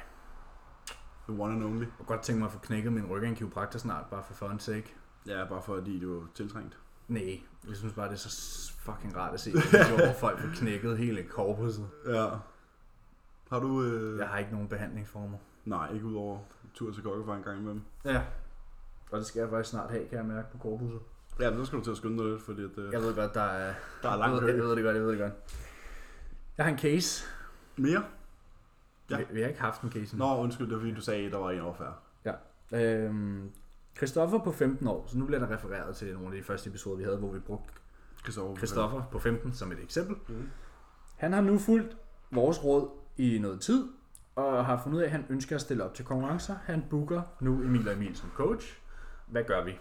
Speaker 2: The one and only.
Speaker 1: Jeg kunne godt tænke mig at få knækket min ryg af en kiropraktor snart, bare for fun sake.
Speaker 2: Ja, bare fordi det var tiltrængt.
Speaker 1: Nej, jeg synes bare, det er så fucking rart at se, videoer, hvor folk får knækket hele korpuset.
Speaker 2: Ja. Har du... Øh...
Speaker 1: Jeg har ikke nogen behandlingsformer.
Speaker 2: Nej, ikke udover tur til kokkefar en gang imellem.
Speaker 1: Ja. Og det skal jeg faktisk snart have, kan jeg mærke på korpuset.
Speaker 2: Ja, men så skal du til at skynde dig lidt, fordi at, øh,
Speaker 1: Jeg ved godt, der er...
Speaker 2: der er
Speaker 1: Jeg
Speaker 2: langt
Speaker 1: ved, jeg
Speaker 2: kø.
Speaker 1: ved det godt, jeg ved det godt. Jeg har en case.
Speaker 2: Mere? Ja.
Speaker 1: Ja. Vi, vi har ikke haft en case endnu.
Speaker 2: Nå, undskyld, det var fordi, du sagde, at der var en overfærd.
Speaker 1: Øhm, Christoffer på 15 år, så nu bliver der refereret til nogle af de første episoder, vi havde, hvor vi brugte
Speaker 2: Christoffer.
Speaker 1: Christoffer på 15 som et eksempel.
Speaker 2: Mm.
Speaker 1: Han har nu fulgt vores råd i noget tid, og har fundet ud af, at han ønsker at stille op til konkurrencer. Han booker nu Emil og Emil som coach. Hvad gør vi?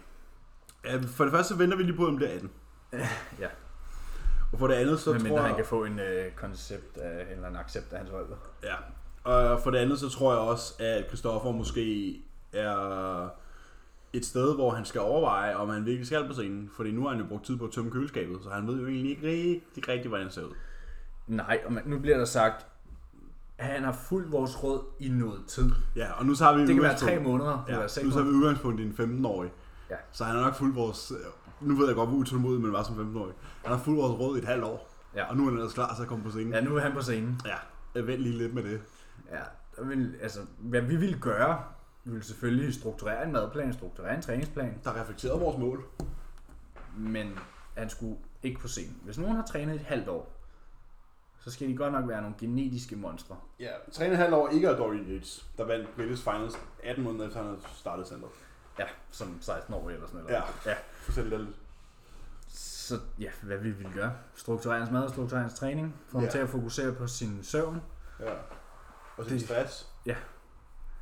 Speaker 2: Ja, for det første så venter vi lige på, om det er 18.
Speaker 1: ja.
Speaker 2: Og for det andet, så
Speaker 1: Så Men
Speaker 2: tror
Speaker 1: tror,
Speaker 2: jeg...
Speaker 1: han kan få en øh, koncept af, en eller en accept af hans forældre.
Speaker 2: Ja. Og for det andet, så tror jeg også, at Christoffer måske er et sted, hvor han skal overveje, om han virkelig skal på scenen. Fordi nu har han jo brugt tid på at tømme køleskabet, så han ved jo egentlig ikke rigtig, rigtig hvordan han ser ud.
Speaker 1: Nej, og man, nu bliver der sagt, at han har fulgt vores råd i noget tid.
Speaker 2: Ja, og nu så har vi
Speaker 1: Det kan være
Speaker 2: udgangspunkt-
Speaker 1: tre måneder, ja,
Speaker 2: Ja,
Speaker 1: eller
Speaker 2: nu
Speaker 1: seks
Speaker 2: så har vi
Speaker 1: måneder.
Speaker 2: udgangspunkt i en 15-årig.
Speaker 1: Ja.
Speaker 2: Så han har nok fulgt vores... Nu ved jeg godt, hvor utålmodig man var som 15-årig. Han har fulgt vores råd i et halvt år.
Speaker 1: Ja.
Speaker 2: Og nu er han ellers klar til at komme på scenen.
Speaker 1: Ja, nu er han på scenen.
Speaker 2: ja. Vent lige lidt med det.
Speaker 1: Ja, der ville, altså, hvad vi ville gøre, vi ville selvfølgelig strukturere en madplan, strukturere en træningsplan,
Speaker 2: Der reflekterede vores mål.
Speaker 1: men han skulle ikke på scenen. Hvis nogen har trænet et halvt år, så skal de godt nok være nogle genetiske monstre.
Speaker 2: Ja, 3,5 år ikke af Dorian Yates, der vandt British Finals 18 måneder efter, han havde startet centret.
Speaker 1: Ja, som 16-årige eller sådan noget.
Speaker 2: Ja.
Speaker 1: ja.
Speaker 2: Fortæl lidt.
Speaker 1: Så ja, hvad vi ville gøre. Strukturere hans mad og strukturere hans træning. Få ham
Speaker 2: Ja.
Speaker 1: til at fokusere på sin søvn.
Speaker 2: Ja. Og så
Speaker 1: Det-
Speaker 2: stress.
Speaker 1: ja.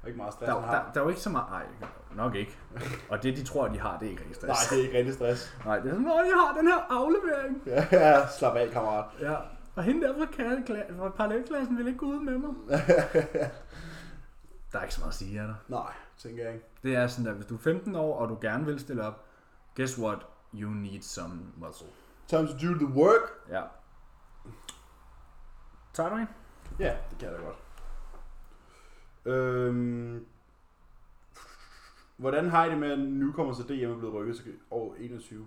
Speaker 2: Og ikke meget stress,
Speaker 1: Der,
Speaker 2: han har.
Speaker 1: der, der er jo ikke så meget... Ej, nok ikke. Og det, de tror, de har, det er ikke rigtig stress.
Speaker 2: Nej, det er ikke rigtig stress.
Speaker 1: Nej, det er sådan, åh, jeg har den her aflevering.
Speaker 2: Ja, slap af, kammerat.
Speaker 1: Ja. Og hende der fra, kærkla- fra parallelklassen vil ikke gå ud med mig. der er ikke så meget at sige, er der?
Speaker 2: Nej, tænker jeg ikke.
Speaker 1: Det er sådan, at hvis du er 15 år, og du gerne vil stille op, guess what? You need some muscle.
Speaker 2: Time to do the work.
Speaker 1: Ja. Tager du en?
Speaker 2: Ja, det kan jeg da godt. Øhm, hvordan har I det med, at nu kommer så DM er blevet rykket til år 21?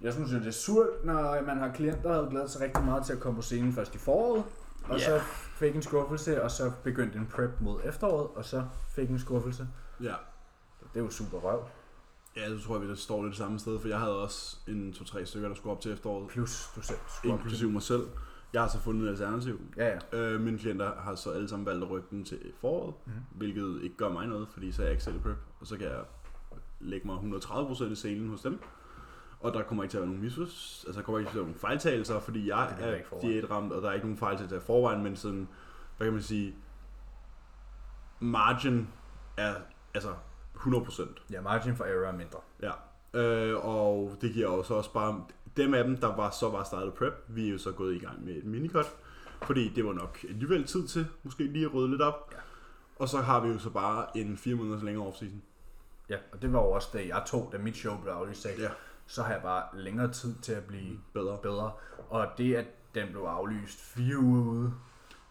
Speaker 1: Jeg synes jo, det er surt, når man har klienter, der havde glædet sig rigtig meget til at komme på scenen først i foråret, og
Speaker 2: Ja.
Speaker 1: så fik en skuffelse, og så begyndte en prep mod efteråret, og så fik en skuffelse.
Speaker 2: Ja,
Speaker 1: Det er jo super røv.
Speaker 2: ja så tror jeg, vi der står lidt samme sted, for jeg havde også en 2-3 stykker, der skulle op til efteråret,
Speaker 1: Plus, du selv skulle op til-
Speaker 2: inklusive mig selv. Jeg har så fundet et alternativ.
Speaker 1: Ja, ja.
Speaker 2: Øh, mine klienter har så alle sammen valgt at rykke den til foråret,
Speaker 1: Mhm.
Speaker 2: mm. hvilket ikke gør mig noget, fordi så er jeg ikke selv i prep, og så kan jeg lægge mig 130% i scenen hos dem. Og der kommer ikke til at være nogen misforståelser, altså der kommer ikke til at være nogen fejltagelser, fordi jeg
Speaker 1: Det bliver der
Speaker 2: er
Speaker 1: ikke forvejen.
Speaker 2: diætramt, og der er ikke nogen fejltagelser i forvejen, men sådan, hvad kan man sige, margin er altså 100%.
Speaker 1: Ja, margin for error er mindre.
Speaker 2: Ja, øh, og det giver også også bare dem af dem, der var så var startet prep, vi er jo så gået i gang med et minicut, fordi det var nok alligevel tid til, måske lige at rydde lidt op.
Speaker 1: Ja.
Speaker 2: Ja. Og så har vi jo så bare en fire måneders længere offseason.
Speaker 1: Ja, og det var jo også det, jeg tog, da mit show blev aflyst. Ja.
Speaker 2: Ja. Mm,
Speaker 1: Så har jeg bare længere tid til at blive
Speaker 2: Bedre.
Speaker 1: bedre. Og det, at den blev aflyst fire uger ude,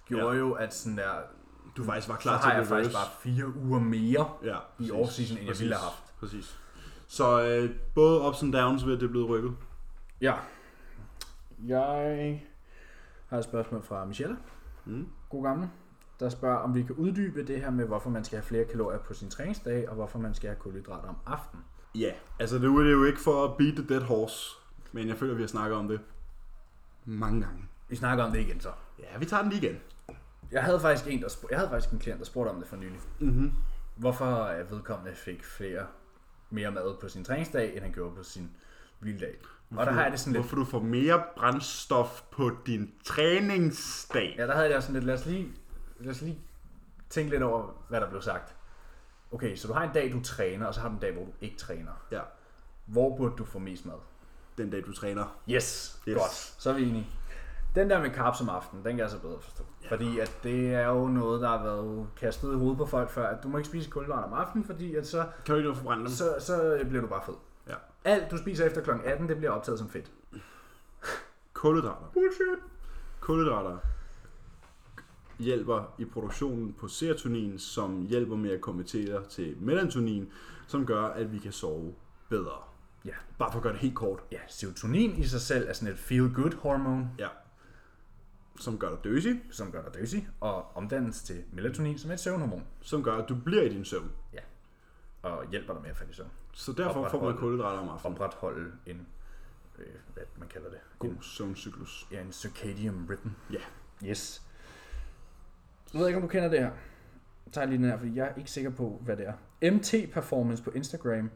Speaker 1: gjorde ja.
Speaker 2: Ja.
Speaker 1: jo, at sådan der,
Speaker 2: Du faktisk var
Speaker 1: Mm. så
Speaker 2: klar til
Speaker 1: har jeg
Speaker 2: at blive
Speaker 1: faktisk bare fire uger mere
Speaker 2: ja,
Speaker 1: i
Speaker 2: præcis,
Speaker 1: offseason, end jeg
Speaker 2: præcis,
Speaker 1: ville have haft.
Speaker 2: Præcis. Så øh, både ups and downs ved, at det er blevet rykket.
Speaker 1: Ja. Jeg har et spørgsmål fra Michelle.
Speaker 2: Mm.
Speaker 1: God gammel. Der spørger, om vi kan uddybe det her med, hvorfor man skal have flere kalorier på sin træningsdag, og hvorfor man skal have kulhydrater om aftenen.
Speaker 2: Ja, altså det er jo ikke for at beat the dead horse, men jeg føler, vi har snakket om det mange gange.
Speaker 1: Vi snakker om det igen så.
Speaker 2: Ja, vi tager den lige igen.
Speaker 1: Jeg havde faktisk en, der spurgte, jeg havde faktisk en klient, der spurgte om det for nylig.
Speaker 2: Mm-hmm.
Speaker 1: Hvorfor er vedkommende fik flere, mere mad på sin træningsdag, end han gjorde på sin hviledag. Og der har jeg det sådan lidt,
Speaker 2: Hvorfor du får mere brændstof på din træningsdag?
Speaker 1: ja, der havde jeg det sådan lidt, lad os lige, lad os lige tænke lidt over, hvad der blev sagt. Okay, så du har en dag, du træner, og så har du en dag, hvor du ikke træner.
Speaker 2: Ja.
Speaker 1: Hvor burde du få mest mad?
Speaker 2: Den dag, du træner.
Speaker 1: Yes, yes.
Speaker 2: Yes.
Speaker 1: godt. Så er vi enige. Den der med carbs om aftenen, den kan jeg så bedre forstå. Ja. Fordi at det er jo noget, der har været kastet i hovedet på folk før, at du må ikke spise kulhydrater om aftenen, fordi at så,
Speaker 2: Kan du ikke nå at forbrænde dem?
Speaker 1: så, så bliver du bare fed.
Speaker 2: Ja.
Speaker 1: Alt, du spiser efter kl. 18, det bliver optaget som fedt.
Speaker 2: Kulhydrater.
Speaker 1: Bullshit.
Speaker 2: Kulhydrater hjælper i produktionen på serotonin, som hjælper med at konvertere til melatonin, som gør, at vi kan sove bedre.
Speaker 1: Ja.
Speaker 2: Bare for at gøre det helt kort.
Speaker 1: Ja, serotonin i sig selv er sådan et feel-good-hormon,
Speaker 2: Ja. Som gør dig døsig,
Speaker 1: som gør dig døsig, og omdannes til melatonin, som er et søvnhormon,
Speaker 2: som gør, at du bliver i din søvn.
Speaker 1: og hjælper dig med at falde i søvn.
Speaker 2: Så derfor får man
Speaker 1: Opretholde.
Speaker 2: kulhydrater om aftenen.
Speaker 1: Opretholde en, øh, hvad man kalder det,
Speaker 2: God
Speaker 1: en,
Speaker 2: søvncyklus.
Speaker 1: ja, en circadian rhythm.
Speaker 2: Ja.
Speaker 1: Yes. Jeg ved ikke, om du kender det her. Jeg tager lige den her, fordi jeg er ikke sikker på, hvad det er. MT Performance på Instagram.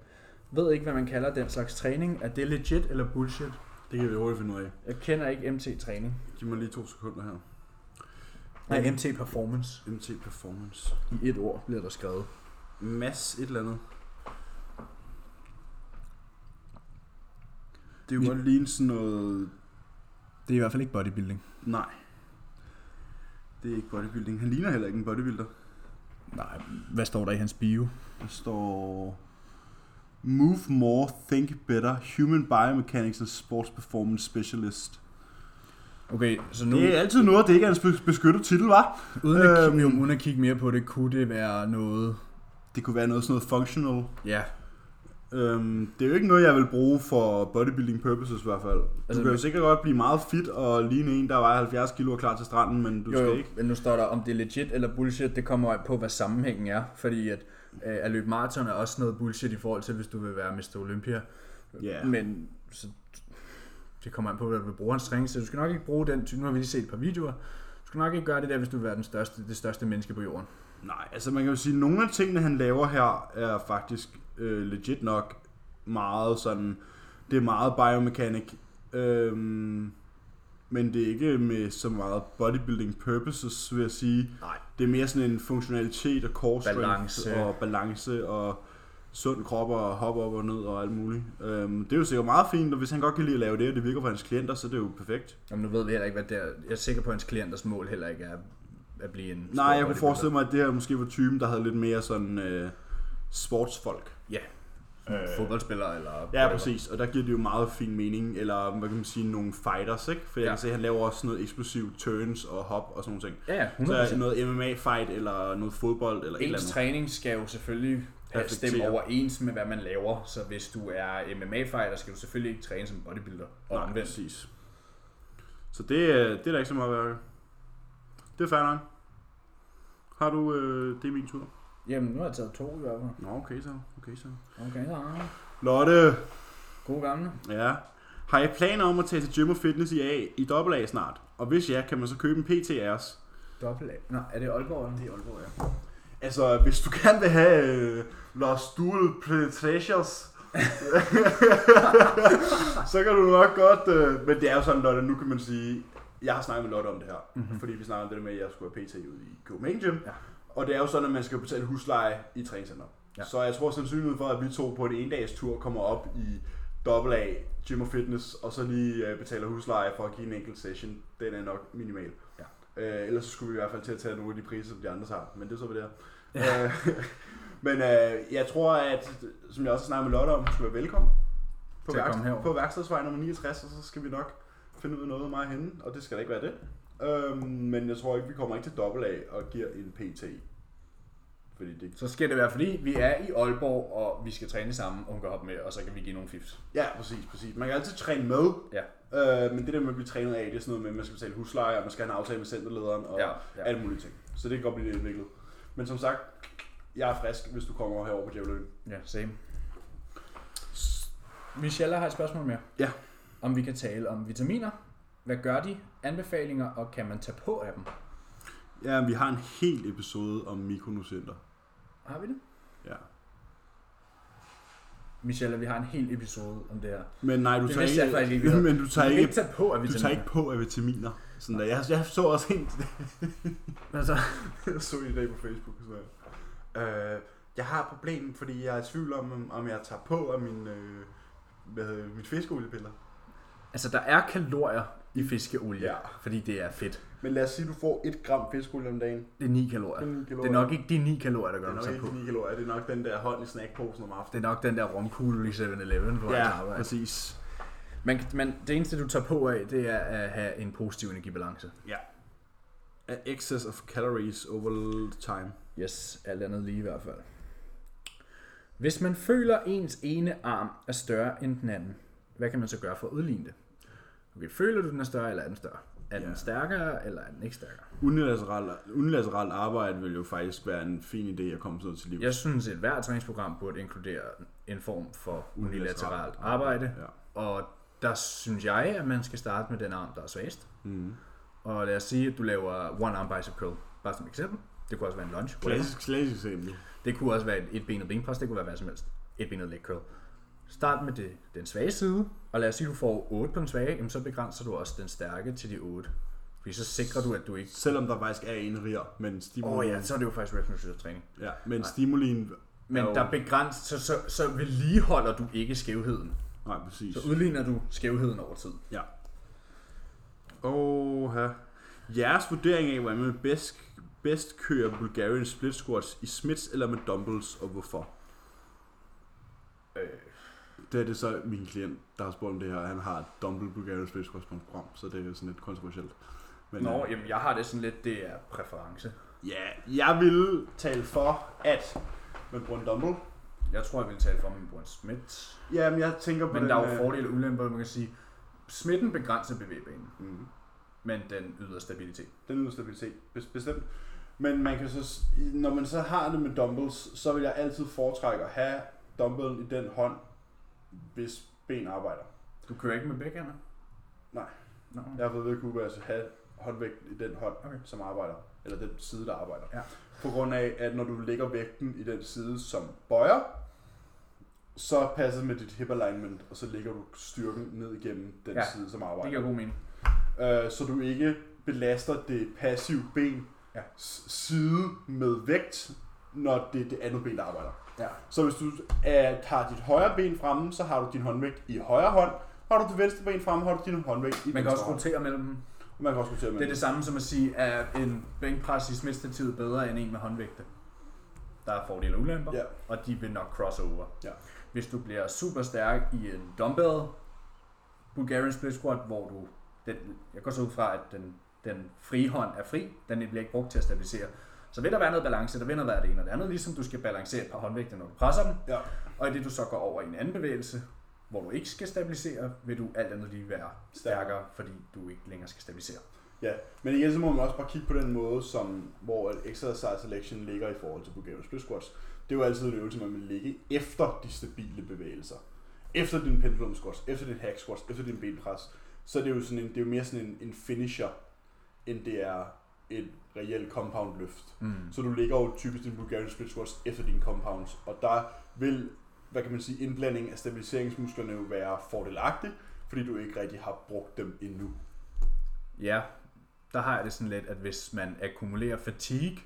Speaker 1: Ved ikke, hvad man kalder den slags træning. Er det legit eller bullshit?
Speaker 2: Det kan vi hurtigt finde ud af.
Speaker 1: Jeg kender ikke MT-træning.
Speaker 2: Giv mig lige to sekunder her.
Speaker 1: Nej, MT Performance.
Speaker 2: MT Performance.
Speaker 1: I et ord bliver der skrevet.
Speaker 2: Mass et eller andet. Det
Speaker 1: jo
Speaker 2: er jo godt ligne sådan noget...
Speaker 1: Det er i hvert fald ikke bodybuilding.
Speaker 2: Nej. Det er ikke bodybuilding. Han ligner heller ikke en bodybuilder.
Speaker 1: Nej, hvad står der i hans bio?
Speaker 2: Der står... Move more, think better, human biomechanics and sports performance specialist.
Speaker 1: Okay, så nu,
Speaker 2: Det er altid noget, det ikke er en spe- beskyttet titel, var.
Speaker 1: uden, at kigge,
Speaker 2: Øhm.
Speaker 1: uden at kigge mere på det, kunne det være noget...
Speaker 2: Det kunne være noget sådan noget functional
Speaker 1: Ja,
Speaker 2: Øhm, det er jo ikke noget, jeg vil bruge for bodybuilding purposes i hvert fald. Du
Speaker 1: Altså,
Speaker 2: altså, kan jo
Speaker 1: men-
Speaker 2: sikkert godt blive meget fit og ligne en, der vejer 70 kilo og klar til stranden, men du
Speaker 1: Jo,
Speaker 2: skal
Speaker 1: jo,
Speaker 2: ikke.
Speaker 1: men nu står der, om det er legit eller bullshit, det kommer an på, hvad sammenhængen er. Fordi at, øh, at løbe maraton er også noget bullshit i forhold til, hvis du vil være Mr. Olympia.
Speaker 2: Ja.
Speaker 1: Men så, det kommer an på, hvad du vil bruge hans træning til. Du skal nok ikke bruge den type. Nu har vi lige set et par videoer. Du skal nok ikke gøre det der, hvis du vil være den største, det største menneske på jorden.
Speaker 2: Nej, altså man kan jo sige, at nogle af tingene, han laver her, er faktisk øh, legit nok meget sådan... Det er meget biomechanic, øhm, men det er ikke med så meget bodybuilding purposes, vil jeg sige.
Speaker 1: Nej.
Speaker 2: Det er mere sådan en funktionalitet og core strength
Speaker 1: Balance.
Speaker 2: og balance og sund krop og hoppe op og ned og alt muligt. Øhm, det er jo sikkert meget fint, og hvis han godt kan lide at lave det, og det virker for hans klienter, så er det jo perfekt.
Speaker 1: Jamen, nu ved vi heller ikke, hvad det er. Jeg er sikker på, at hans klienters mål heller ikke er at blive en...
Speaker 2: Nej, jeg kunne forestille mig, at det her måske var typen, der havde lidt mere sådan øh, sportsfolk.
Speaker 1: Ja. Øh. Fodboldspiller eller...
Speaker 2: Ja, præcis. Og der giver det jo meget fin mening, eller hvad kan man sige, nogle fighters, ikke? For jeg
Speaker 1: Ja.
Speaker 2: kan se, at han laver også sådan noget eksplosivt turns og hop og sådan nogle ting.
Speaker 1: Ja, ja, 100%.
Speaker 2: Så er noget MMA-fight, eller noget fodbold, eller et eller
Speaker 1: Ens
Speaker 2: andet.
Speaker 1: træning skal jo selvfølgelig passe stemme
Speaker 2: Reflektere.
Speaker 1: overens med, hvad man laver. Så hvis du er MMA-fighter, skal du selvfølgelig ikke træne som bodybuilder. Og
Speaker 2: Nej,
Speaker 1: omvendt.
Speaker 2: præcis. Så det, øh, det er der ikke så meget at være. Det er fair nok. Har du... Øh, det er min tur.
Speaker 1: Jamen, nu har jeg taget to i hvert fald.
Speaker 2: Nå, okay så. Okay så.
Speaker 1: Okay, ja.
Speaker 2: Lotte!
Speaker 1: Gode gamle.
Speaker 2: Ja. Har I planer om at tage til gym og fitness i A i dobbelt A snart? Og hvis ja, kan man så købe en PT af os?
Speaker 1: Dobbelt A. Nå, er det Aalborg? Eller?
Speaker 2: Det er Aalborg, ja. Altså, hvis du gerne vil have øh, Los Dual Pleasures, så kan du nok godt... Øh, men det er jo sådan, Lotte, nu kan man sige... Jeg har snakket med Lotte om det her, mm-hmm. fordi vi snakkede om det der med, at jeg skulle have PT ud i Copenhagen Gym.
Speaker 1: Ja.
Speaker 2: Og det er jo sådan, at man skal betale husleje i træningscenter.
Speaker 1: Ja.
Speaker 2: Ja. Så jeg tror sandsynligheden for, at vi to på en endags tur kommer op i dobbelt A gym og fitness, og så lige øh, betaler husleje for at give en enkelt session, den er nok minimal.
Speaker 1: Ja.
Speaker 2: Øh, ellers så skulle vi i hvert fald til at tage nogle af de priser, som de andre tager, men det er så, hvad det er. Ja. Øh, men øh, jeg tror, at som jeg også snakker med Lotte om, hun skulle være velkommen på,
Speaker 1: Til at komme
Speaker 2: værkst-
Speaker 1: herover.
Speaker 2: på værkstedsvej nummer 69, og så skal vi nok finde ud af noget af mig henne, og det skal da ikke være det. Øhm, men jeg tror ikke, vi kommer ikke til dobbelt A og giver en PT. Fordi det
Speaker 1: Så sker det i hvert fald, fordi vi er i Aalborg, og vi skal træne sammen, og hun kan hoppe med, og så kan vi give nogle fifs.
Speaker 2: Ja, præcis, præcis. Man kan altid træne med,
Speaker 1: Ja.
Speaker 2: øh, men det der med at blive trænet af, det er sådan noget med, at man skal betale husleje, og man skal have en aftale med centerlederen og
Speaker 1: Ja,
Speaker 2: ja,
Speaker 1: ja.
Speaker 2: ja. alle mulige ting. Så det kan godt blive lidt indviklet. Men som sagt, jeg er frisk, hvis du kommer herover på Djævløen.
Speaker 1: Ja, same. Michelle har et spørgsmål mere.
Speaker 2: Ja.
Speaker 1: Om vi kan tale om vitaminer. Hvad gør de? Anbefalinger, og kan man tage på af dem?
Speaker 2: Ja, vi har en hel episode om mikronutrienter.
Speaker 1: Har vi det?
Speaker 2: Ja.
Speaker 1: Michelle, vi har en hel episode om det her.
Speaker 2: Men nej, du
Speaker 1: Det
Speaker 2: tager
Speaker 1: vidste jeg faktisk
Speaker 2: ikke,
Speaker 1: ikke, vi havde.
Speaker 2: men du tager
Speaker 1: du kan
Speaker 2: ikke,
Speaker 1: ikke tage på af
Speaker 2: du
Speaker 1: vitaminer.
Speaker 2: tager ikke på af vitaminer. Sådan der. Jeg, jeg så også en,
Speaker 1: Altså,
Speaker 2: jeg så i dag på Facebook. Så øh, jeg har et problem, fordi jeg er i tvivl om, om jeg tager på af min, øh, hvad hedder det, mine fiskeoliepiller.
Speaker 1: altså, der er kalorier i fiskeolie,
Speaker 2: Ja.
Speaker 1: fordi det er fedt.
Speaker 2: Men lad os sige, at du får 1 gram fiskolie om dagen.
Speaker 1: Det er 9 kalorier.
Speaker 2: Det er 9 kalorier.
Speaker 1: Det er nok ikke de 9 kalorier, der
Speaker 2: Det
Speaker 1: gør
Speaker 2: er
Speaker 1: mig
Speaker 2: nok
Speaker 1: tage på.
Speaker 2: ikke 9 kalorier. Det er nok den der hånd i snackposen om aftenen.
Speaker 1: Det er nok den der romkugle i 7-Eleven på ja. arbejde.
Speaker 2: præcis.
Speaker 1: Men, men det eneste, du tager på af, det er at have en positiv energibalance.
Speaker 2: Ja. A excess of calories over time.
Speaker 1: Yes, alt andet lige i hvert fald. Hvis man føler, ens ene arm er større end den anden, hvad kan man så gøre for at udligne det? Okay, føler du, den er større, eller er den større? Er den
Speaker 2: Ja.
Speaker 1: stærkere, eller er den ikke stærkere?
Speaker 2: Unilateralt, unilateralt arbejde vil jo faktisk være en fin idé at komme sådan noget til liv.
Speaker 1: Jeg synes, at hvert træningsprogram burde inkludere en form for unilateralt arbejde,
Speaker 2: Ja.
Speaker 1: og der synes jeg, at man skal starte med den arm, der er svagest.
Speaker 2: Mm.
Speaker 1: Og lad os sige, at du laver one arm bicep curl, bare som eksempel. Det kunne også være en lunge. whatever.
Speaker 2: Klassisk, klassisk eksempel.
Speaker 1: Det kunne også være et benet benpres, det kunne være hvad som helst. Et benet leg curl. Start med det, den svage side, og lad os sige, at du får 8 på den svage, jamen så begrænser du også den stærke til de 8. Fordi så sikrer du, at du ikke...
Speaker 2: Selvom der faktisk er en riger, men
Speaker 1: Åh
Speaker 2: stimulien,
Speaker 1: oh, ja, så er det jo faktisk repetitive træning.
Speaker 2: ja, men stimulien
Speaker 1: Men
Speaker 2: er jo-
Speaker 1: der begræns, så, så, så vedligeholder du ikke skævheden.
Speaker 2: Nej, præcis.
Speaker 1: Så udligner du skævheden over tid.
Speaker 2: Ja. Oha. Jeres vurdering af, hvordan man bedst, bedst kører Bulgarian split squats i smits eller med dumbbells, og hvorfor?
Speaker 1: Øh.
Speaker 2: Det er det så min klient, der har spurgt om det her. Han har et dumbbell Bulgarian split squats på hans program, så det er sådan lidt kontroversielt. Men,
Speaker 1: Nå,
Speaker 2: øh,
Speaker 1: jamen jeg har det sådan lidt, det er præference.
Speaker 2: ja, jeg vil tale for, at man bruger en dumbbell,
Speaker 1: Jeg tror, jeg ville tale for min bror Smith.
Speaker 2: Jamen, jeg tænker på
Speaker 1: Men
Speaker 2: den,
Speaker 1: der er jo
Speaker 2: øh,
Speaker 1: fordele og ulemper, man kan sige. Smitten begrænser bevægbanen,
Speaker 2: Mm.
Speaker 1: men den yder stabilitet.
Speaker 2: Den yder stabilitet, bes- bestemt. Men man kan så, s- i- når man så har det med dumbbells, så vil jeg altid foretrække at have dumbbellen i den hånd, hvis ben arbejder.
Speaker 1: Du kører ikke med begge hænder?
Speaker 2: Nej.
Speaker 1: Nå.
Speaker 2: Jeg har fået ved at kunne altså have håndvægten i den hånd,
Speaker 1: Okay.
Speaker 2: okay. som arbejder. Eller den side, der arbejder.
Speaker 1: Ja.
Speaker 2: På grund af, at når du lægger vægten i den side, som bøjer, så passer det med dit hip alignment, og så lægger du styrken ned igennem den
Speaker 1: Ja,
Speaker 2: ja. side, som arbejder.
Speaker 1: Det giver god mening.
Speaker 2: øh, så du ikke belaster det passive ben
Speaker 1: Ja.
Speaker 2: s- side med vægt, når det er det andet ben, der arbejder.
Speaker 1: Ja.
Speaker 2: Så hvis du er, har dit højre ben fremme, så har du din håndvægt i højre hånd. Har du dit venstre ben fremme, har du din håndvægt
Speaker 1: Man
Speaker 2: i
Speaker 1: kan
Speaker 2: venstre
Speaker 1: også
Speaker 2: hånd.
Speaker 1: rotere mellem dem.
Speaker 2: Man kan også rotere med
Speaker 1: Det er det samme som at sige, at en bænkpres i smidstativet bedre end en med håndvægte. Der er fordele og ulemper,
Speaker 2: Ja.
Speaker 1: og de vil nok cross over.
Speaker 2: Ja.
Speaker 1: Hvis du bliver super stærk i en dumbbell Bulgarian split squat, hvor du, den, jeg går så ud fra, at den, den frie hånd er fri, den bliver ikke brugt til at stabilisere. Så vil der være noget balance, der vil noget være det ene og det andet, ligesom du skal balancere et par håndvægte, når du presser dem.
Speaker 2: Ja.
Speaker 1: Og i det du så går over i en anden bevægelse, hvor du ikke skal stabilisere, vil du alt andet lige være stærkere, fordi du ikke længere skal stabilisere.
Speaker 2: Ja, men igen, så må man også bare kigge på den måde, som, hvor at exercise selection ligger i forhold til Bulgarian split squats. Det er jo altid en øvelse, man vil ligge efter de stabile bevægelser. Efter din pendulum squats, efter din hack squats, efter din benpres. Så er det jo, sådan en, det er jo mere sådan en, en finisher, end det er et reelt compound løft.
Speaker 1: Mm.
Speaker 2: Så du ligger jo typisk din Bulgarian split squats efter dine compounds, og der vil, hvad kan man sige, indblanding af stabiliseringsmusklerne jo være fordelagtig, fordi du ikke rigtig har brugt dem endnu.
Speaker 1: Ja, der har jeg det sådan lidt, at hvis man akkumulerer fatigue,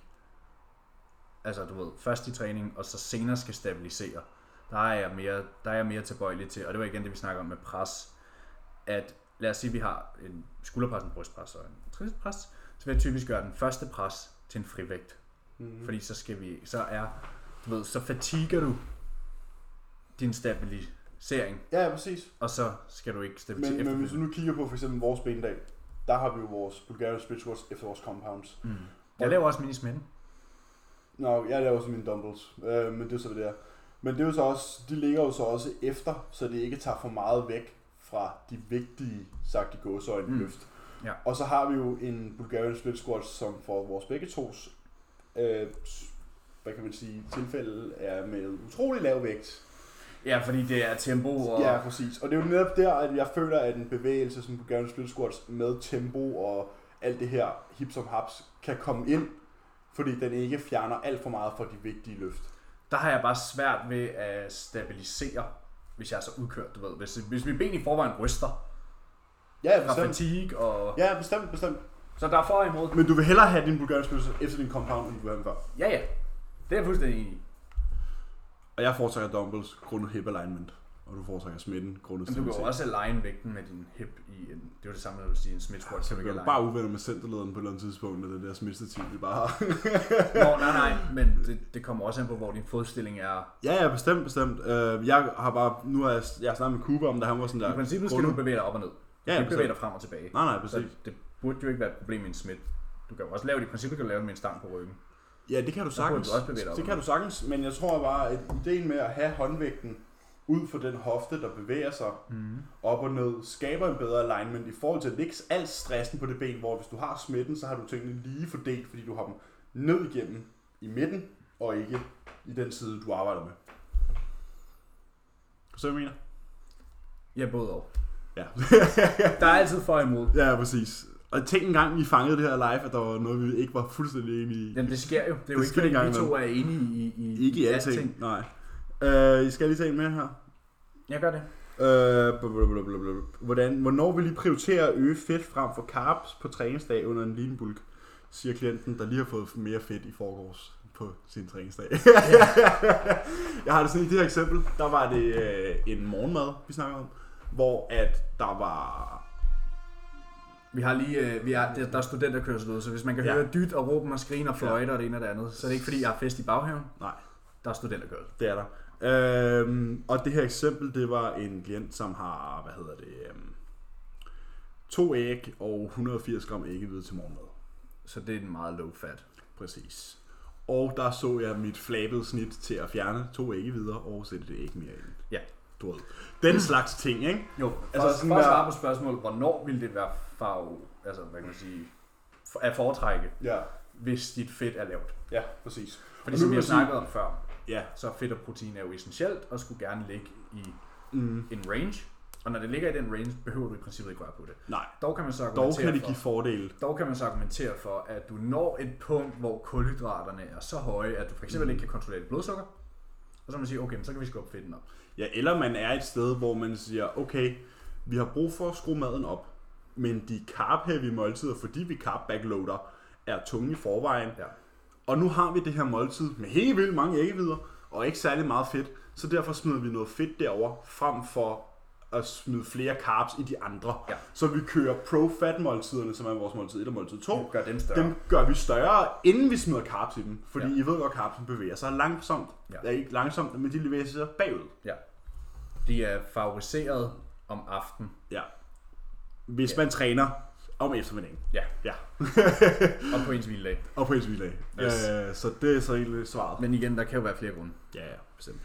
Speaker 1: altså du ved, først i træning, og så senere skal stabilisere, der er jeg mere, der er jeg mere tilbøjelig til, og det var igen det, vi snakker om med pres, at lad os sige, at vi har en skulderpres, en brystpres og en træspres, så vil jeg typisk gøre den første pres til en frivægt,
Speaker 2: Mhm.
Speaker 1: mm. fordi så skal vi, så er, du ved, så fatiger du din stabilisering,
Speaker 2: Ja, ja præcis.
Speaker 1: og så skal du ikke stabilisere
Speaker 2: Men, men hvis du
Speaker 1: efterfølgende.
Speaker 2: nu kigger på for eksempel vores benedag, der har vi jo vores Bulgarian split squats efter vores compounds.
Speaker 1: Mm. Jeg laver også mini smitten.
Speaker 2: Nå, jeg laver også mine dumbbells, øh, men det er så, hvad det er. Men det er jo så også, de ligger jo så også efter, så det ikke tager for meget væk fra de vigtige, sagt i gåsøjne,
Speaker 1: Mm.
Speaker 2: mm. løft.
Speaker 1: Ja.
Speaker 2: Og så har vi jo en Bulgarian split squat, som for vores begge tos, øh, s- hvad kan man sige, tilfælde er med utrolig lav vægt.
Speaker 1: Ja, fordi det er tempo og...
Speaker 2: Ja, præcis. Og det er jo netop der, at jeg føler, at en bevægelse som Bulgarian Split Squats med tempo og alt det her hip som haps kan komme ind, fordi den ikke fjerner alt for meget fra de vigtige løft.
Speaker 1: Der har jeg bare svært ved at stabilisere, hvis jeg er så udkørt, du ved. Hvis, hvis mit ben i forvejen ryster
Speaker 2: Ja,
Speaker 1: fra
Speaker 2: bestemt.
Speaker 1: fatigue og...
Speaker 2: Ja, bestemt, bestemt.
Speaker 1: Så der er for og imod.
Speaker 2: Men du vil hellere have din Bulgarian Split Squats efter din compound, end du vil have den før.
Speaker 1: Ja, ja. Det er jeg fuldstændig enig i.
Speaker 2: Og jeg foretrækker dumbbells grundet hip alignment, og du foretrækker smitten grundet
Speaker 1: Men du kan jo
Speaker 2: stabilitet.
Speaker 1: også align vægten med din hip i en... Det er jo det samme, når du siger en smith squat,
Speaker 2: Så
Speaker 1: som
Speaker 2: du
Speaker 1: ikke
Speaker 2: kan
Speaker 1: align.
Speaker 2: bare uvenner med centerlederen på et eller andet tidspunkt, og det der smidstativ, det bare har.
Speaker 1: Nå, nej, nej. Men det, det kommer også an på, hvor din fodstilling er.
Speaker 2: Ja, ja, bestemt, bestemt. Øh, Jeg har bare, nu har jeg, jeg har snakket med Cooper om det, han var sådan der.
Speaker 1: I princippet skal
Speaker 2: grundet-
Speaker 1: du bevæge dig op og ned. Du
Speaker 2: Ja,
Speaker 1: kan ikke bevæge
Speaker 2: bestemt.
Speaker 1: dig frem og tilbage.
Speaker 2: Nej, nej, præcis.
Speaker 1: Så det burde jo ikke være et problem i en smith. Du kan jo også lave det. I princippet kan du lave det med en stang på ryggen.
Speaker 2: Ja, det kan du sagtens.
Speaker 1: du også bevæge dig
Speaker 2: det
Speaker 1: op.
Speaker 2: kan du sagtens, men jeg tror bare, at ideen med at have håndvægten ud for den hofte, der bevæger sig
Speaker 1: Mm.
Speaker 2: op og ned, skaber en bedre alignment i forhold til at lægge al stressen på det ben, hvor hvis du har smitten, så har du tingene lige fordelt, fordi du har dem ned igennem i midten, og ikke i den side, du arbejder med. Så jeg mener?
Speaker 1: Ja, både og.
Speaker 2: Ja.
Speaker 1: Der er altid for og imod.
Speaker 2: ja, præcis. Og tænk engang, vi fangede det her live, at der var noget, vi ikke var fuldstændig enige i.
Speaker 1: Jamen det sker jo. Det er jo
Speaker 2: Det
Speaker 1: ikke
Speaker 2: sker
Speaker 1: fordi,
Speaker 2: engang
Speaker 1: vi to er enige i, i,
Speaker 2: Ikke i alting, nej. Øh, I skal lige tage en med her.
Speaker 1: Jeg gør det.
Speaker 2: Øh, blablabla. hvordan, hvornår vil I prioritere at øge fedt frem for carbs på træningsdag under en lean bulk, siger klienten, der lige har fået mere fedt i forgårs på sin træningsdag. jeg har det sådan i det her eksempel, der var det øh, en morgenmad, vi snakker om, hvor at der var...
Speaker 1: Vi har lige, øh, vi er, der, der er studenterkørsel ud, så hvis man kan ja.
Speaker 2: Ja.
Speaker 1: høre dyt og råben og skrine og fløjte ja. og det ene og det andet, så er det ikke fordi, jeg har fest i baghaven.
Speaker 2: Nej,
Speaker 1: Der er studenterkørsel.
Speaker 2: det er der. Øhm, og det her eksempel, det var en klient, som har, hvad hedder det, øhm, to æg og 180 gram æggehvide til morgenmad.
Speaker 1: Så det er en meget low fat.
Speaker 2: Præcis. Og der så jeg mit flabede snit til at fjerne to æg videre og sætte det æg mere ind.
Speaker 1: Ja.
Speaker 2: Du ved. Den slags ting, ikke?
Speaker 1: Jo,
Speaker 2: Altså,
Speaker 1: altså for,
Speaker 2: sådan
Speaker 1: for at
Speaker 2: der-
Speaker 1: svare på spørgsmålet, hvornår ville det være farve, altså hvad kan man sige, for- at foretrække,
Speaker 2: Ja,
Speaker 1: hvis dit fedt er lavt.
Speaker 2: ja præcis.
Speaker 1: Fordi
Speaker 2: nu
Speaker 1: som vi har
Speaker 2: vil jeg sige-
Speaker 1: snakket om før,
Speaker 2: Ja.
Speaker 1: så fedt og protein er jo essentielt, og skulle gerne ligge i
Speaker 2: Mm.
Speaker 1: en range. Og når det ligger i den range, behøver du i princippet ikke røre på det.
Speaker 2: Nej,
Speaker 1: Dog kan man så
Speaker 2: dog
Speaker 1: argumentere
Speaker 2: kan det
Speaker 1: for,
Speaker 2: give fordele.
Speaker 1: Dog kan man så argumentere for, at du når et punkt, hvor kulhydraterne er så høje, at du for eksempel
Speaker 2: Mm.
Speaker 1: ikke kan kontrollere dit blodsukker. Og så må man sige, okay, men så kan vi skubbe fedten op.
Speaker 2: Ja, eller man er et sted, hvor man siger, okay, vi har brug for at skrue maden op, men de carb-heavy måltider, fordi vi carb-backloader, er tunge i forvejen.
Speaker 1: Ja.
Speaker 2: Og nu har vi det her måltid med helt vildt mange æggevider, og ikke særlig meget fedt, så derfor smider vi noget fedt derover frem for at smide flere carbs i de andre.
Speaker 1: Ja.
Speaker 2: Så vi kører pro-fat-måltiderne, som er vores måltid 1 og måltid 2,
Speaker 1: Gør den større.
Speaker 2: dem gør vi større, inden vi smider carbs i dem. Fordi
Speaker 1: Ja.
Speaker 2: ja. I ved godt, at carbsen bevæger sig langsomt.
Speaker 1: Ja.
Speaker 2: Ja. Ja, ikke langsomt, men de bevæger sig bagud.
Speaker 1: Ja. De er favoriseret om aftenen.
Speaker 2: Ja. Hvis
Speaker 1: Ja.
Speaker 2: ja. man træner om eftermiddagen.
Speaker 1: Ja,
Speaker 2: Ja.
Speaker 1: og på ens hviledag.
Speaker 2: Og på ens hviledag.
Speaker 1: Yes.
Speaker 2: Øh, så det er så egentlig svaret.
Speaker 1: Men igen, der kan jo være flere grunde.
Speaker 2: Ja, ja, bestemt.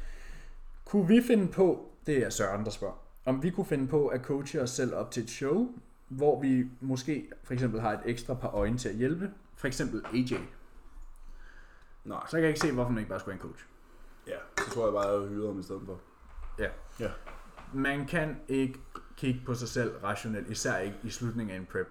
Speaker 4: Kunne vi finde på, det er Søren, der spørger, om vi kunne finde på at coache os selv op til et show, hvor vi måske for eksempel har et ekstra par øjne til at hjælpe.
Speaker 1: For eksempel AJ.
Speaker 2: Nej,
Speaker 1: Så kan jeg ikke se, hvorfor man ikke bare skulle have en coach.
Speaker 2: ja. Så tror jeg bare, at jeg havde hyret ham i stedet for.
Speaker 1: Man kan ikke kigge på sig selv rationelt, især ikke i slutningen af en prep.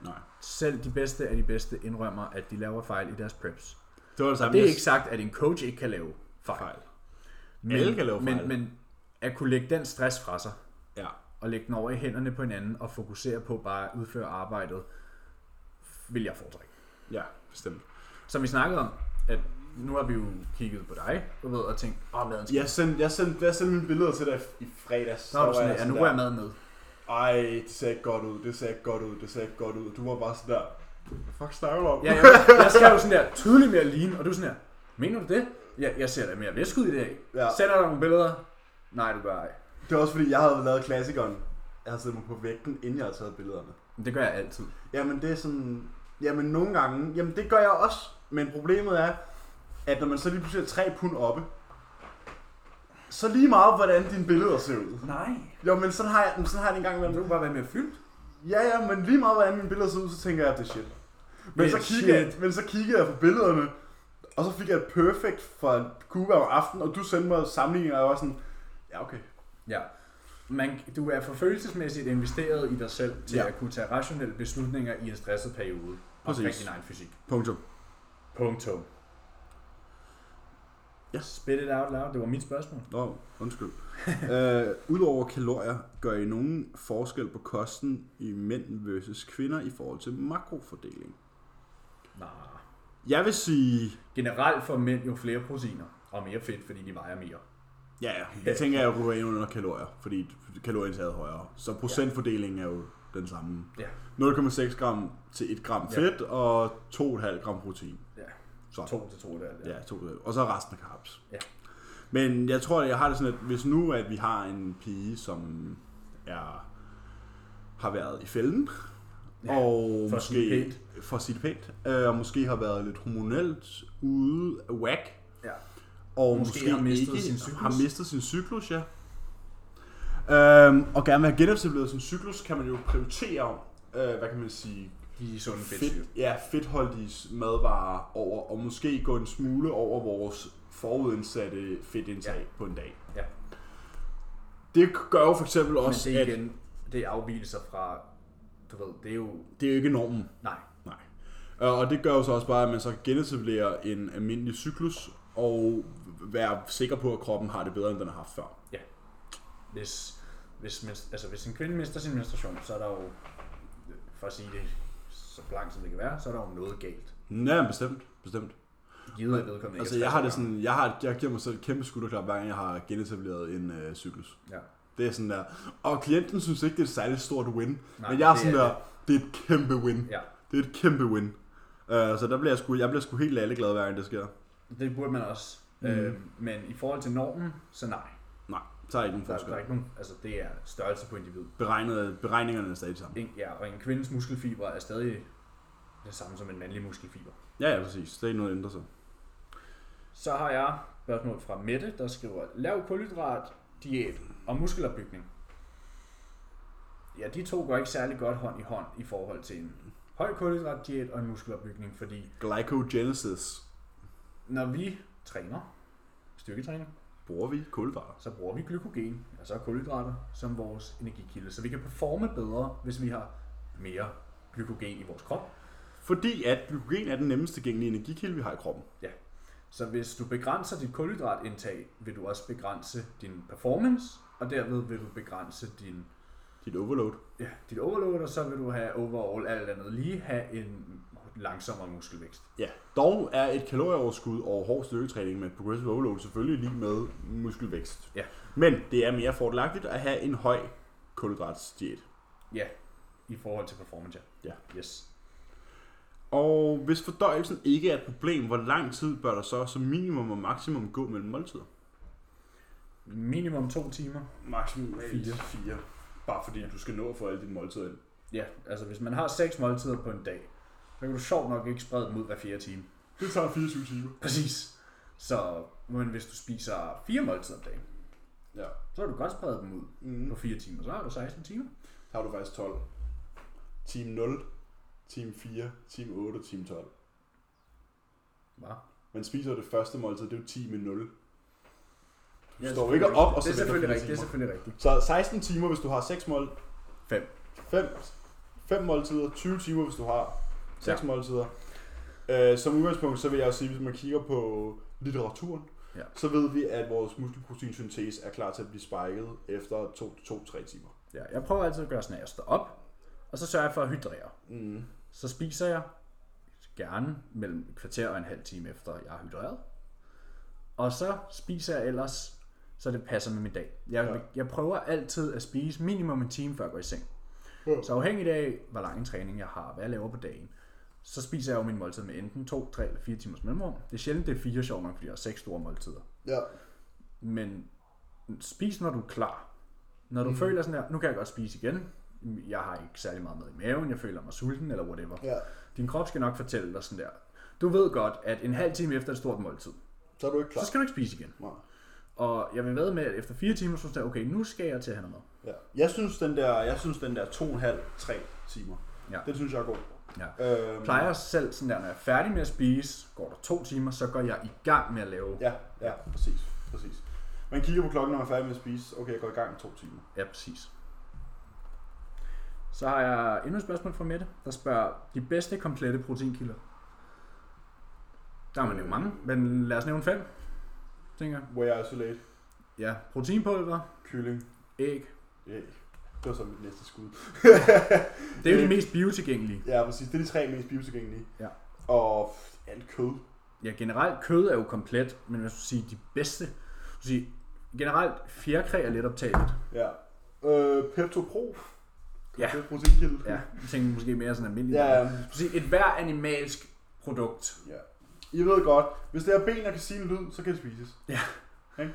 Speaker 2: Nej.
Speaker 1: Selv de bedste af de bedste indrømmer, at de laver fejl i deres preps.
Speaker 2: Det var det samme.
Speaker 1: Det er
Speaker 2: jeg
Speaker 1: ikke sagt, at en coach ikke kan lave fejl.
Speaker 2: fejl. Alle kan lave
Speaker 1: men,
Speaker 2: fejl.
Speaker 1: men at kunne lægge den stress fra sig,
Speaker 2: Ja.
Speaker 1: og lægge den over i hænderne på hinanden, og fokusere på bare at udføre arbejdet, vil jeg foretrække.
Speaker 2: Ja, bestemt.
Speaker 1: Som vi snakkede om, at nu har vi jo kigget på dig, du ved, og tænkt, åh, maden skal
Speaker 2: Jeg sendte, jeg sendte, jeg sendte mine billeder til dig i fredags.
Speaker 1: Så er du
Speaker 2: Der var
Speaker 1: sådan, ja, nu
Speaker 2: der,
Speaker 1: går jeg maden med.
Speaker 2: Ej, det ser ikke godt ud, det ser ikke godt ud, det ser ikke godt ud. Du var bare sådan der, hvad fuck snakker du om?
Speaker 1: Ja, jeg, jeg skal jo sådan der tydeligt mere lean, og du er sådan her, mener du det? Ja, jeg ser da mere væske ud i dag. Ja.
Speaker 2: Ja.
Speaker 1: Sender dig nogle billeder? Nej, du gør ej.
Speaker 2: Det var også fordi, jeg havde lavet klassikeren. Jeg havde siddet mig på vægten, inden jeg havde taget billederne.
Speaker 1: Men Det gør jeg altid.
Speaker 2: Jamen det er sådan, jamen nogle gange, jamen det gør jeg også. Men problemet er, at når man så lige pludselig er tre pund oppe, så lige meget, hvordan dine billeder ser ud.
Speaker 1: Nej.
Speaker 2: Jo, men sådan har jeg, men sådan har jeg det en gang imellem.
Speaker 1: kan bare være mere fyldt.
Speaker 2: Ja, ja, men lige meget, hvordan mine billeder ser ud, så tænker jeg, at det er shit. Men,
Speaker 1: Det er
Speaker 2: så kiggede, jeg,
Speaker 1: shit.
Speaker 2: men så kiggede jeg på billederne, og så fik jeg et perfect fra Kuba om aftenen, og du sendte mig sammenligninger, og jeg var sådan, ja okay.
Speaker 1: Ja. Man, du er forfølelsesmæssigt investeret i dig selv til ja.
Speaker 2: Ja.
Speaker 1: at kunne tage rationelle beslutninger i en stresset periode.
Speaker 2: Præcis.
Speaker 1: Omkring din egen fysik.
Speaker 2: Punktum.
Speaker 1: Punktum.
Speaker 2: Ja.
Speaker 1: Spit it out loud. Det var mit spørgsmål.
Speaker 2: Nå, undskyld. øh, Udover kalorier, gør I nogen forskel på kosten i mænd versus kvinder i forhold til makrofordeling?
Speaker 1: Nej.
Speaker 2: Jeg vil sige...
Speaker 1: Generelt får mænd jo flere proteiner og mere fedt, fordi de vejer mere.
Speaker 2: Ja, ja. Jeg tænker, jeg kunne være inde under kalorier, fordi kalorieindtaget er højere. Så procentfordelingen er jo den samme.
Speaker 1: Ja.
Speaker 2: 0,6 gram til 1 gram
Speaker 1: Ja.
Speaker 2: fedt og 2,5 gram protein.
Speaker 1: Ja.
Speaker 2: Så.
Speaker 1: To til to der. der.
Speaker 2: Ja, to, og så resten af carbs.
Speaker 1: Ja.
Speaker 2: Men jeg tror, jeg har det sådan, at hvis nu, at vi har en pige, som er, har været i fælden,
Speaker 1: Ja,
Speaker 2: og
Speaker 1: for at sige
Speaker 2: måske,
Speaker 1: det
Speaker 2: for at sige det pænt, øh, og måske har været lidt hormonelt ude af whack,
Speaker 1: ja.
Speaker 2: og
Speaker 1: Måske
Speaker 2: måske,
Speaker 1: har mistet
Speaker 2: ikke,
Speaker 1: sin cyklus.
Speaker 2: har mistet sin cyklus, ja. Øhm, og gerne vil have genetableret sin cyklus, kan man jo prioritere, øh, hvad kan man sige,
Speaker 1: De er sunde fedtsyre.
Speaker 2: fedt, ja, fedtholdige madvarer over, og måske gå en smule over vores forudindsatte fedtindtag
Speaker 1: Ja.
Speaker 2: ja. på en dag.
Speaker 1: Ja.
Speaker 2: Det gør jo for eksempel
Speaker 1: Men
Speaker 2: også,
Speaker 1: det er
Speaker 2: at
Speaker 1: igen, det er afvielser fra, du ved, det er jo,
Speaker 2: det er jo ikke normen.
Speaker 1: nej.
Speaker 2: Nej. Øh, Og det gør jo så også bare, at man så kan genetablere en almindelig cyklus, og være sikker på, at kroppen har det bedre, end den har haft før.
Speaker 1: Hvis, hvis, mens- altså, hvis en kvinde mister sin menstruation, så er der jo, for at sige det så blankt som det kan være, så er der jo noget galt.
Speaker 2: Ja, bestemt. Bestemt.
Speaker 1: Givet at vedkommende ikke
Speaker 2: Altså,
Speaker 1: er
Speaker 2: jeg har det
Speaker 1: 60 år
Speaker 2: sådan, jeg, har, jeg giver mig selv et kæmpe skulderklap, hver gang jeg har genetableret en øh, cyklus.
Speaker 1: gammel. Ja.
Speaker 2: Det er sådan der. Og klienten synes ikke, det er et særligt stort win.
Speaker 1: Nej,
Speaker 2: Nej, men jeg er
Speaker 1: det
Speaker 2: sådan
Speaker 1: er
Speaker 2: der, det er et kæmpe win.
Speaker 1: ja.
Speaker 2: Det er et kæmpe win. Uh, så der bliver jeg sgu, jeg bliver sgu helt lalleglad, hver gang det sker.
Speaker 1: Det burde man også. Mm.
Speaker 2: Mhm.
Speaker 1: Øh, men i forhold til normen, så nej.
Speaker 2: Nej, så er ikke nogen
Speaker 1: Der, der
Speaker 2: forskel.
Speaker 1: er ikke nogen, altså det er størrelse på individ.
Speaker 2: Beregnet, beregningerne er stadig sammen.
Speaker 1: En, ja, og en kvindes muskelfibre er stadig det samme som en mandlig muskelfiber.
Speaker 2: Ja, ja, præcis. Det er ikke noget, der ændrer sig.
Speaker 1: Så har jeg spørgsmål fra Mette, der skriver, lav kulhydrat, diæt og muskelopbygning. Ja, de to går ikke særlig godt hånd i hånd i forhold til en høj kulhydrat diæt og en muskelopbygning, fordi
Speaker 2: Glycogenesis.
Speaker 1: når vi træner, styrketræner,
Speaker 2: Bruger vi kulhydrater?
Speaker 1: så bruger vi glykogen, altså kulhydrater, som vores energikilde. Så vi kan performe bedre, hvis vi har mere glykogen i vores krop.
Speaker 2: Fordi at glykogen er den nemmest tilgængelige energikilde, vi har i kroppen.
Speaker 1: Så hvis du begrænser dit kulhydratindtag, vil du også begrænse din performance, og derved vil du begrænse din,
Speaker 2: Dit overload.
Speaker 1: ja, dit overload, og så vil du have overall alt andet lige have en langsommere muskelvækst.
Speaker 2: Ja. Dog er et kalorieoverskud og hård styrketræning med progressive overload selvfølgelig lige med muskelvækst.
Speaker 1: Ja.
Speaker 2: Men det er mere fordelagtigt at have en høj kulhydratsdiæt.
Speaker 1: Ja, i forhold til performance. Ja. Yes.
Speaker 2: Og hvis fordøjelsen ikke er et problem, hvor lang tid bør der så som minimum og maksimum gå mellem måltider?
Speaker 1: Minimum to timer.
Speaker 2: Maksimum
Speaker 1: Fire.
Speaker 2: 4. Bare fordi du skal nå at få alle dine måltider ind.
Speaker 1: Ja, altså hvis man har seks måltider på en dag, så kan du sjovt nok ikke sprede dem ud hver fjerde time.
Speaker 2: Det tager 24 timer.
Speaker 1: Præcis. Så men hvis du spiser fire måltider om dagen,
Speaker 2: Ja.
Speaker 1: så har du godt spredt dem ud
Speaker 2: Mm.
Speaker 1: på fire timer. Så har du 16 timer.
Speaker 2: Så har du faktisk 12. Team 0, team 4, team 8 og team 12.
Speaker 1: Hva?
Speaker 2: Man spiser jo det første måltid, det er jo 10 med 0. Du
Speaker 1: Ja,
Speaker 2: ja, står jo ikke op og
Speaker 1: det
Speaker 2: så
Speaker 1: er selvfølgelig rigtigt. Det er
Speaker 2: timer.
Speaker 1: selvfølgelig rigtigt.
Speaker 2: Så 16 timer, hvis du har 6 mål...
Speaker 1: Fem.
Speaker 2: 5, 5 måltider, 20 timer, hvis du har 6
Speaker 1: Ja.
Speaker 2: ja. måltider. Øh, som udgangspunkt, så vil jeg også sige, hvis man kigger på litteraturen,
Speaker 1: Ja.
Speaker 2: så ved vi, at vores muskelproteinsyntese er klar til at blive spiket efter 2-3 timer.
Speaker 1: Ja, jeg prøver altid at gøre sådan, at jeg står op, og så sørger jeg for at hydrere.
Speaker 2: Mm.
Speaker 1: Så spiser jeg gerne mellem et kvarter og en halv time efter, jeg har hydreret. Og så spiser jeg ellers, så det passer med min dag. Jeg, ja.
Speaker 2: Ja.
Speaker 1: jeg prøver altid at spise minimum en time, før jeg går i seng.
Speaker 2: Ja.
Speaker 1: Så afhængigt af, hvor lang en træning jeg har, hvad jeg laver på dagen, så spiser jeg jo min måltid med enten 2, 3 eller 4 timers mellemrum. Det er sjældent, det er fire sjovt nok, fordi jeg har seks store måltider.
Speaker 2: Ja.
Speaker 1: Men spis, når du er klar. Når du mm. føler sådan her, nu kan jeg godt spise igen. Jeg har ikke særlig meget mad i maven, jeg føler mig sulten eller whatever.
Speaker 2: ja.
Speaker 1: Din krop skal nok fortælle dig sådan der. Du ved godt, at en halv time efter et stort måltid,
Speaker 2: Så er du ikke klar.
Speaker 1: så skal du ikke spise igen.
Speaker 2: Nej.
Speaker 1: Og jeg vil være med, at efter fire timer, så synes jeg, okay, nu skal jeg til at have noget
Speaker 2: Ja. Jeg synes den der, jeg synes den der 2,5-3 timer,
Speaker 1: Ja.
Speaker 2: den synes jeg er god.
Speaker 1: Ja.
Speaker 2: Øhm,
Speaker 1: Jeg plejer selv sådan der, når jeg er færdig med at spise, går der to timer, så går jeg i gang med at lave.
Speaker 2: Ja, ja, præcis, præcis. Man kigger på klokken, når man er færdig med at spise. Okay, jeg går i gang i to timer.
Speaker 1: Ja, præcis. Så har jeg endnu et spørgsmål fra Mette, der spørger, de bedste komplette proteinkilder? Der er man jo mange, men lad os nævne fem, tænker jeg.
Speaker 2: Where I isolate,
Speaker 1: Ja, proteinpulver,
Speaker 2: kylling,
Speaker 1: æg.
Speaker 2: æg. Det var så mit næste skud.
Speaker 1: Det er jo de
Speaker 2: Æg.
Speaker 1: mest biotilgængelige.
Speaker 2: Ja, præcis. Det er de tre mest biotilgængelige.
Speaker 1: Ja.
Speaker 2: Og f- alt kød.
Speaker 1: Ja, generelt kød er jo komplet, men hvis du siger de bedste, du siger, generelt fjerkræ er let optaget.
Speaker 2: Ja. Øh, Pepto Pro.
Speaker 1: Ja.
Speaker 2: Det er proteinkilde.
Speaker 1: Ja, jeg tænker måske mere sådan almindeligt.
Speaker 2: ja. øhm,
Speaker 1: Du siger, et hver animalsk produkt.
Speaker 2: Ja. I ved godt, hvis det er ben, der kan sige en lyd, så kan det spises.
Speaker 1: Ja.
Speaker 2: Okay?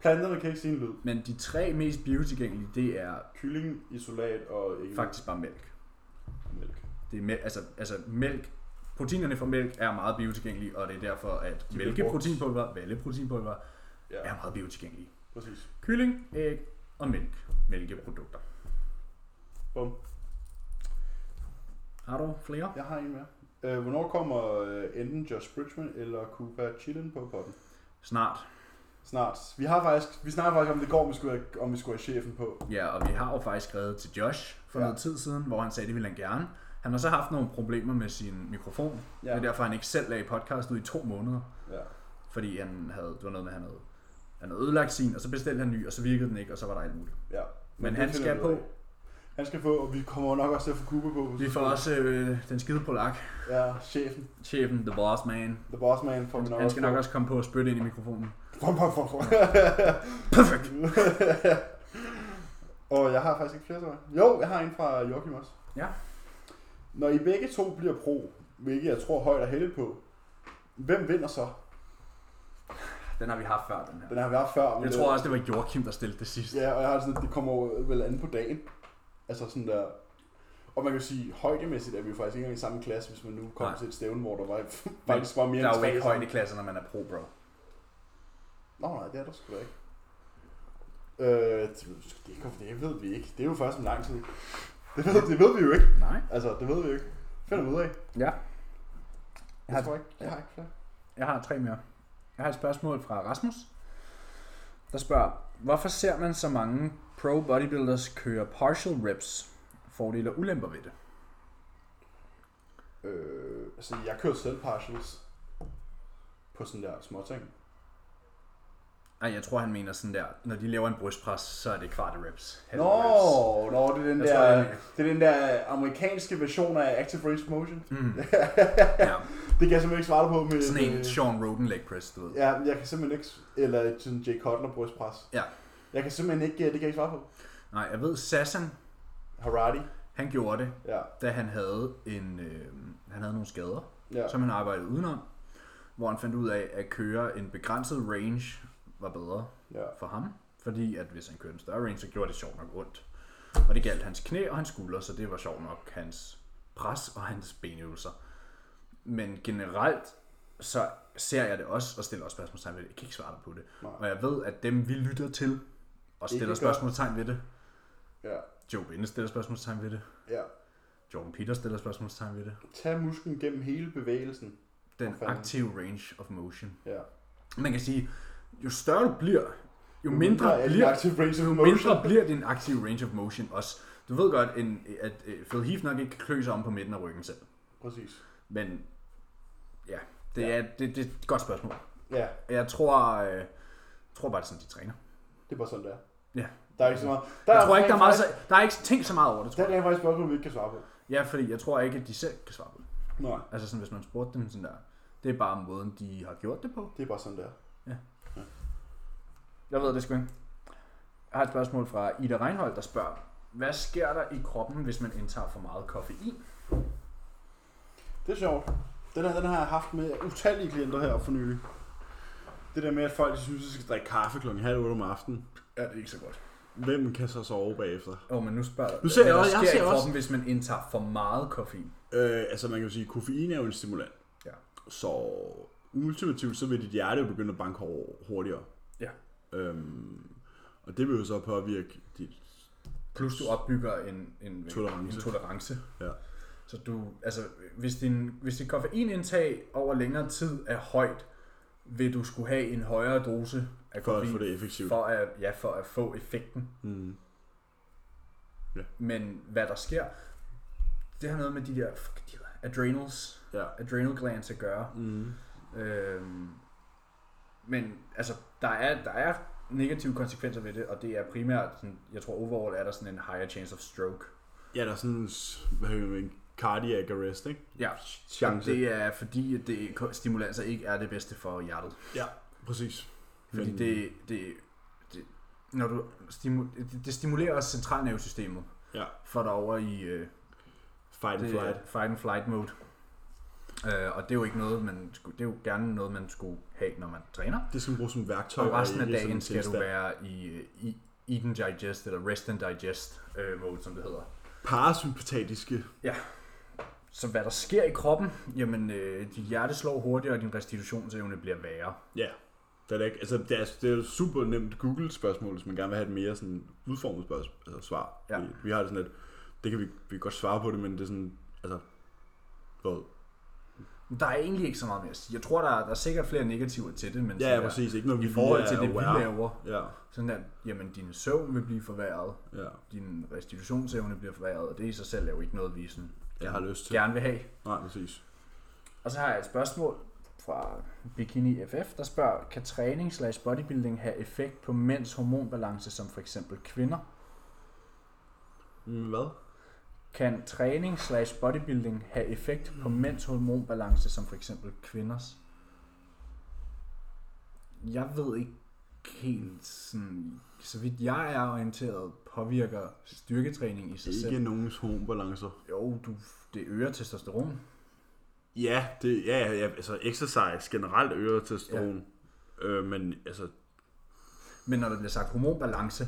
Speaker 2: Planterne kan ikke sige en lyd.
Speaker 1: Men de tre mest biotilgængelige, det er
Speaker 2: Kylling, isolat og æg.
Speaker 1: faktisk bare mælk.
Speaker 2: Mælk.
Speaker 1: Det er mæl- altså, altså mælk. Proteinerne fra mælk er meget biotilgængelige, og det er derfor, at
Speaker 2: bliver
Speaker 1: mælkeproteinpulver, valleproteinpulver,
Speaker 2: Ja,
Speaker 1: er meget biotilgængelige.
Speaker 2: præcis.
Speaker 1: Kylling, æg og mælk. Mælkeprodukter.
Speaker 2: Bum.
Speaker 1: Har du flere?
Speaker 2: Jeg har en mere. Øh, hvornår kommer øh, enten Josh Bridgman eller Cooper Chillen på potten?
Speaker 1: Snart.
Speaker 2: Snart. Vi har faktisk, vi snakker faktisk om det går, om vi skulle have, om vi skulle have chefen på.
Speaker 1: Ja, og vi har jo faktisk skrevet til Josh for ja.
Speaker 2: Ja.
Speaker 1: noget tid siden, hvor han sagde, det ville han gerne. Han har så haft nogle problemer med sin mikrofon. Ja. Det er derfor, han ikke selv lagde podcast ud i to måneder.
Speaker 2: ja.
Speaker 1: Fordi han havde, det var noget med, han havde, han havde ødelagt sin, og så bestilte han en ny, og så virkede den ikke, og så var der alt muligt.
Speaker 2: ja.
Speaker 1: Men
Speaker 2: det
Speaker 1: han
Speaker 2: finder
Speaker 1: skal
Speaker 2: vi ud af.
Speaker 1: på.
Speaker 2: Han skal på, og vi kommer nok også til at få Cooper på.
Speaker 1: Vi får også øh, den skide polak,
Speaker 2: Ja, chefen.
Speaker 1: chefen, the boss man,
Speaker 2: The Boss Man får vi nok
Speaker 1: Han skal nok
Speaker 2: på.
Speaker 1: også komme på at spytte ind i mikrofonen.
Speaker 2: Bum, bum, bum, bum.
Speaker 1: Perfekt!
Speaker 2: og jeg har faktisk ikke flere, tror jeg. Jo, jeg har en fra Joachim også.
Speaker 1: Ja.
Speaker 2: Når I begge to bliver pro, hvilket jeg tror højt er heldigt på, hvem vinder så?
Speaker 1: Den har vi haft før, den her.
Speaker 2: Den har vi haft før. men
Speaker 1: Jeg
Speaker 2: det-
Speaker 1: tror også, det var Joachim, der stillede det sidste.
Speaker 2: Ja, og jeg har det sådan, at det kommer jo vel an på dagen. Altså sådan der...
Speaker 5: Og man kan jo sige, højdemæssigt er vi jo faktisk ikke engang i samme klasse, hvis man nu kom
Speaker 1: Nej.
Speaker 5: til et stævne, hvor der var faktisk var mere
Speaker 1: Der er jo
Speaker 5: tre
Speaker 1: ikke
Speaker 5: sammen.
Speaker 1: højde i klassen, når man er pro, bro.
Speaker 5: Nå nej, det er der sgu da ikke. Øh, det, ved, vi sgu- det, kan- det ved vi ikke. Det er jo først en lang tid. Det ved, det ved vi jo ikke.
Speaker 1: Nej.
Speaker 5: Altså, det ved vi jo ikke. Finder vi ud af.
Speaker 4: Ja.
Speaker 5: Jeg,
Speaker 4: har-
Speaker 5: tror ikke, jeg har ikke flere.
Speaker 4: Jeg har tre mere. Jeg har et spørgsmål fra Rasmus, der spørger, hvorfor ser man så mange pro bodybuilders køre partial reps? Fordele og ulemper ved det.
Speaker 5: Øh, altså, jeg kører selv partials på sådan der små ting.
Speaker 1: Ej, jeg tror, han mener sådan der, når de laver en brystpres, så er det kvarte reps. halve
Speaker 5: Nå,
Speaker 1: reps.
Speaker 5: nå, det er den
Speaker 1: Jeg
Speaker 5: der,
Speaker 1: tror, jeg-
Speaker 5: det er den der øh, amerikanske version af Active Range Motion.
Speaker 1: Mm. ja.
Speaker 5: Det kan jeg simpelthen ikke svare dig på med
Speaker 1: Sådan en
Speaker 5: øh,
Speaker 1: Sean Roden leg press, du ved.
Speaker 5: Ja, men jeg kan simpelthen ikke... Eller sådan Jay Cutler brystpres.
Speaker 1: Ja.
Speaker 5: Jeg kan simpelthen ikke... øh, Det kan jeg ikke svare på.
Speaker 1: Nej, jeg ved, Sassan,
Speaker 5: Harari.
Speaker 1: han gjorde det,
Speaker 5: Ja.
Speaker 1: da han havde, en, øh, han havde nogle skader,
Speaker 5: ja.
Speaker 1: ja. som han arbejdede udenom, hvor han fandt ud af, at køre en begrænset range var bedre
Speaker 5: ja.
Speaker 1: for ham, fordi at hvis han kørte en større range, så gjorde det sjovt nok ondt. Og det galt hans knæ og hans skuldre, så det var sjovt nok hans pres og hans benøvelser. Men generelt, så ser jeg det også, og stiller også spørgsmålstegn ved det. Jeg kan ikke svare dig på det.
Speaker 5: Nej.
Speaker 1: Og jeg ved, at dem vi lytter til, og
Speaker 5: Ikke
Speaker 1: stiller
Speaker 5: gør.
Speaker 1: spørgsmålstegn ved det.
Speaker 5: Ja.
Speaker 1: Joe Binde stiller spørgsmålstegn ved det.
Speaker 5: Ja.
Speaker 1: Jordan Peter stiller spørgsmålstegn ved det.
Speaker 5: Tag musklen gennem hele bevægelsen.
Speaker 1: Den
Speaker 5: For fanden.
Speaker 1: aktive range of motion.
Speaker 5: Ja.
Speaker 1: Man kan sige, jo større du bliver, jo
Speaker 5: er
Speaker 1: mindre
Speaker 5: den
Speaker 1: bliver
Speaker 5: Active range of
Speaker 1: Jo
Speaker 5: motion.
Speaker 1: mindre bliver din aktive range of motion også. Du ved godt, en, at øh, Phil Heath nok ikke kan klø sig om på midten af ryggen selv.
Speaker 5: Præcis.
Speaker 1: Men ja, det,
Speaker 5: Ja.
Speaker 1: ja. Er, det, det er et godt spørgsmål.
Speaker 5: Ja.
Speaker 1: Jeg tror, øh, tror bare, det er sådan, de træner.
Speaker 5: Det er bare sådan, det er.
Speaker 1: Ja.
Speaker 5: Der er ikke så meget... Der
Speaker 1: Jeg tror ikke, der er, meget,
Speaker 5: faktisk,
Speaker 1: så- der er ikke tænkt så meget over det,
Speaker 5: Der
Speaker 1: tror jeg.
Speaker 5: er rent faktisk spørgsmål, vi ikke kan svare på.
Speaker 1: Ja, fordi jeg tror ikke, at de selv kan svare på det.
Speaker 5: Nej.
Speaker 1: Altså sådan, hvis man spurgte dem sådan der, det er bare måden, de har gjort det på.
Speaker 5: Det er bare sådan, det er.
Speaker 4: Jeg ved det sgu ikke. Jeg har et spørgsmål fra Ida Reinhold, der spørger, hvad sker der i kroppen, hvis man indtager for meget koffein?
Speaker 5: Det er sjovt. Den, her, den har jeg haft med
Speaker 2: utallige klienter her for nylig. Det der med, at folk de synes, at de skal drikke kaffe klokken halv otte om aftenen.
Speaker 1: Ja, det er ikke så godt.
Speaker 2: Hvem kan så sove bagefter?
Speaker 4: Åh, oh, men nu spørger
Speaker 2: Nu ser
Speaker 4: hvad
Speaker 2: jeg
Speaker 4: der
Speaker 2: også- jeg
Speaker 4: sker
Speaker 2: ser
Speaker 4: i
Speaker 2: også-
Speaker 4: kroppen, hvis man indtager for meget koffein.
Speaker 2: Øh, altså man kan jo sige, at koffein er jo en stimulant.
Speaker 4: Ja.
Speaker 2: Så ultimativt, så vil dit hjerte jo begynde at banke hår- hurtigere.
Speaker 4: Ja.
Speaker 2: Øhm, og det vil jo så påvirke dit...
Speaker 4: Plus du opbygger en, en,
Speaker 2: Tolerance.
Speaker 4: en tolerance.
Speaker 2: Ja.
Speaker 4: Så du, altså, hvis din, hvis dit koffeinindtag over længere tid er højt, vil du skulle have en højere dose af
Speaker 2: For at
Speaker 4: koffein
Speaker 2: få det effektivt.
Speaker 4: For at, ja, for at få effekten.
Speaker 2: Mm.
Speaker 4: Men hvad der sker, det har noget med de der, fuck, de der adrenals,
Speaker 2: Ja.
Speaker 4: adrenal glands at gøre.
Speaker 2: Mm.
Speaker 4: Øhm, men altså, der er, der er negative konsekvenser ved det, og det er primært, sådan, jeg tror overall er der sådan en higher chance of stroke.
Speaker 2: Ja, der er sådan en, s- hvad hedder det, en cardiac arrest, ikke?
Speaker 4: Ja,
Speaker 2: Chance.
Speaker 4: det er fordi, at det, stimulanser ikke er det bedste for hjertet.
Speaker 2: Præcis.
Speaker 4: Fordi
Speaker 2: Men-
Speaker 4: det, det, det, når du stimu, det, det stimulerer også centralnervesystemet.
Speaker 2: Ja.
Speaker 4: For dig over i øh,
Speaker 2: Fight and
Speaker 4: det,
Speaker 2: flight.
Speaker 4: fight and flight mode. Øh, og det er jo ikke noget, man skulle, det er jo gerne noget, man skulle have, når man træner.
Speaker 2: Det skal man bruge som værktøj.
Speaker 4: Og resten af
Speaker 2: ikke som en
Speaker 4: dagen skal du
Speaker 2: tilstand.
Speaker 4: være i, øh, i eat and digest, eller rest and digest øh, mode, som det hedder.
Speaker 2: Parasympatiske.
Speaker 4: Så hvad der sker i kroppen, jamen øh, dit hjerte slår hurtigere, og din restitutionsevne bliver værre.
Speaker 2: Ja. Det er, da ikke, altså, det er, det er et super nemt Google-spørgsmål, hvis man gerne vil have et mere sådan, udformet spørgsmål, altså, svar.
Speaker 4: Ja.
Speaker 2: Vi, vi, har det sådan, at det kan vi, vi kan godt svare på det, men det er sådan, altså, hvad?
Speaker 4: Der er egentlig ikke så meget mere at sige. Jeg tror, der er, der er sikkert flere negativer til det, men
Speaker 2: Ja,
Speaker 4: sådan
Speaker 2: ja,
Speaker 4: der-
Speaker 2: præcis. Ikke når vi
Speaker 4: Altså, i forhold
Speaker 2: lige
Speaker 4: til
Speaker 2: er
Speaker 4: det, vi
Speaker 2: aware.
Speaker 4: laver.
Speaker 2: Ja,
Speaker 4: Sådan at, jamen, din søvn vil blive forværret,
Speaker 2: ja.
Speaker 4: din restitutionsevne bliver forværret, og det i sig selv er jo ikke noget, vi sådan
Speaker 2: Jeg har lyst til.
Speaker 4: gerne vil have.
Speaker 2: Nej, præcis.
Speaker 4: Og så har jeg et spørgsmål fra Bikini FF, der spørger, kan træning slash bodybuilding have effekt på mænds hormonbalance, som for eksempel kvinder?
Speaker 2: Mm, Hvad?
Speaker 4: Kan træning slash bodybuilding have effekt på mænds hormonbalance, som for eksempel kvinders?
Speaker 1: Jeg ved ikke helt sådan, så vidt jeg er orienteret, påvirker styrketræning i sig selv.
Speaker 2: Ikke nogens hormonbalancer.
Speaker 1: Jo, du, det øger testosteron.
Speaker 2: Ja, det, ja, ja, ja, altså exercise generelt øger testosteron. Ja. Øh, men altså,
Speaker 1: Men når der bliver sagt hormonbalance,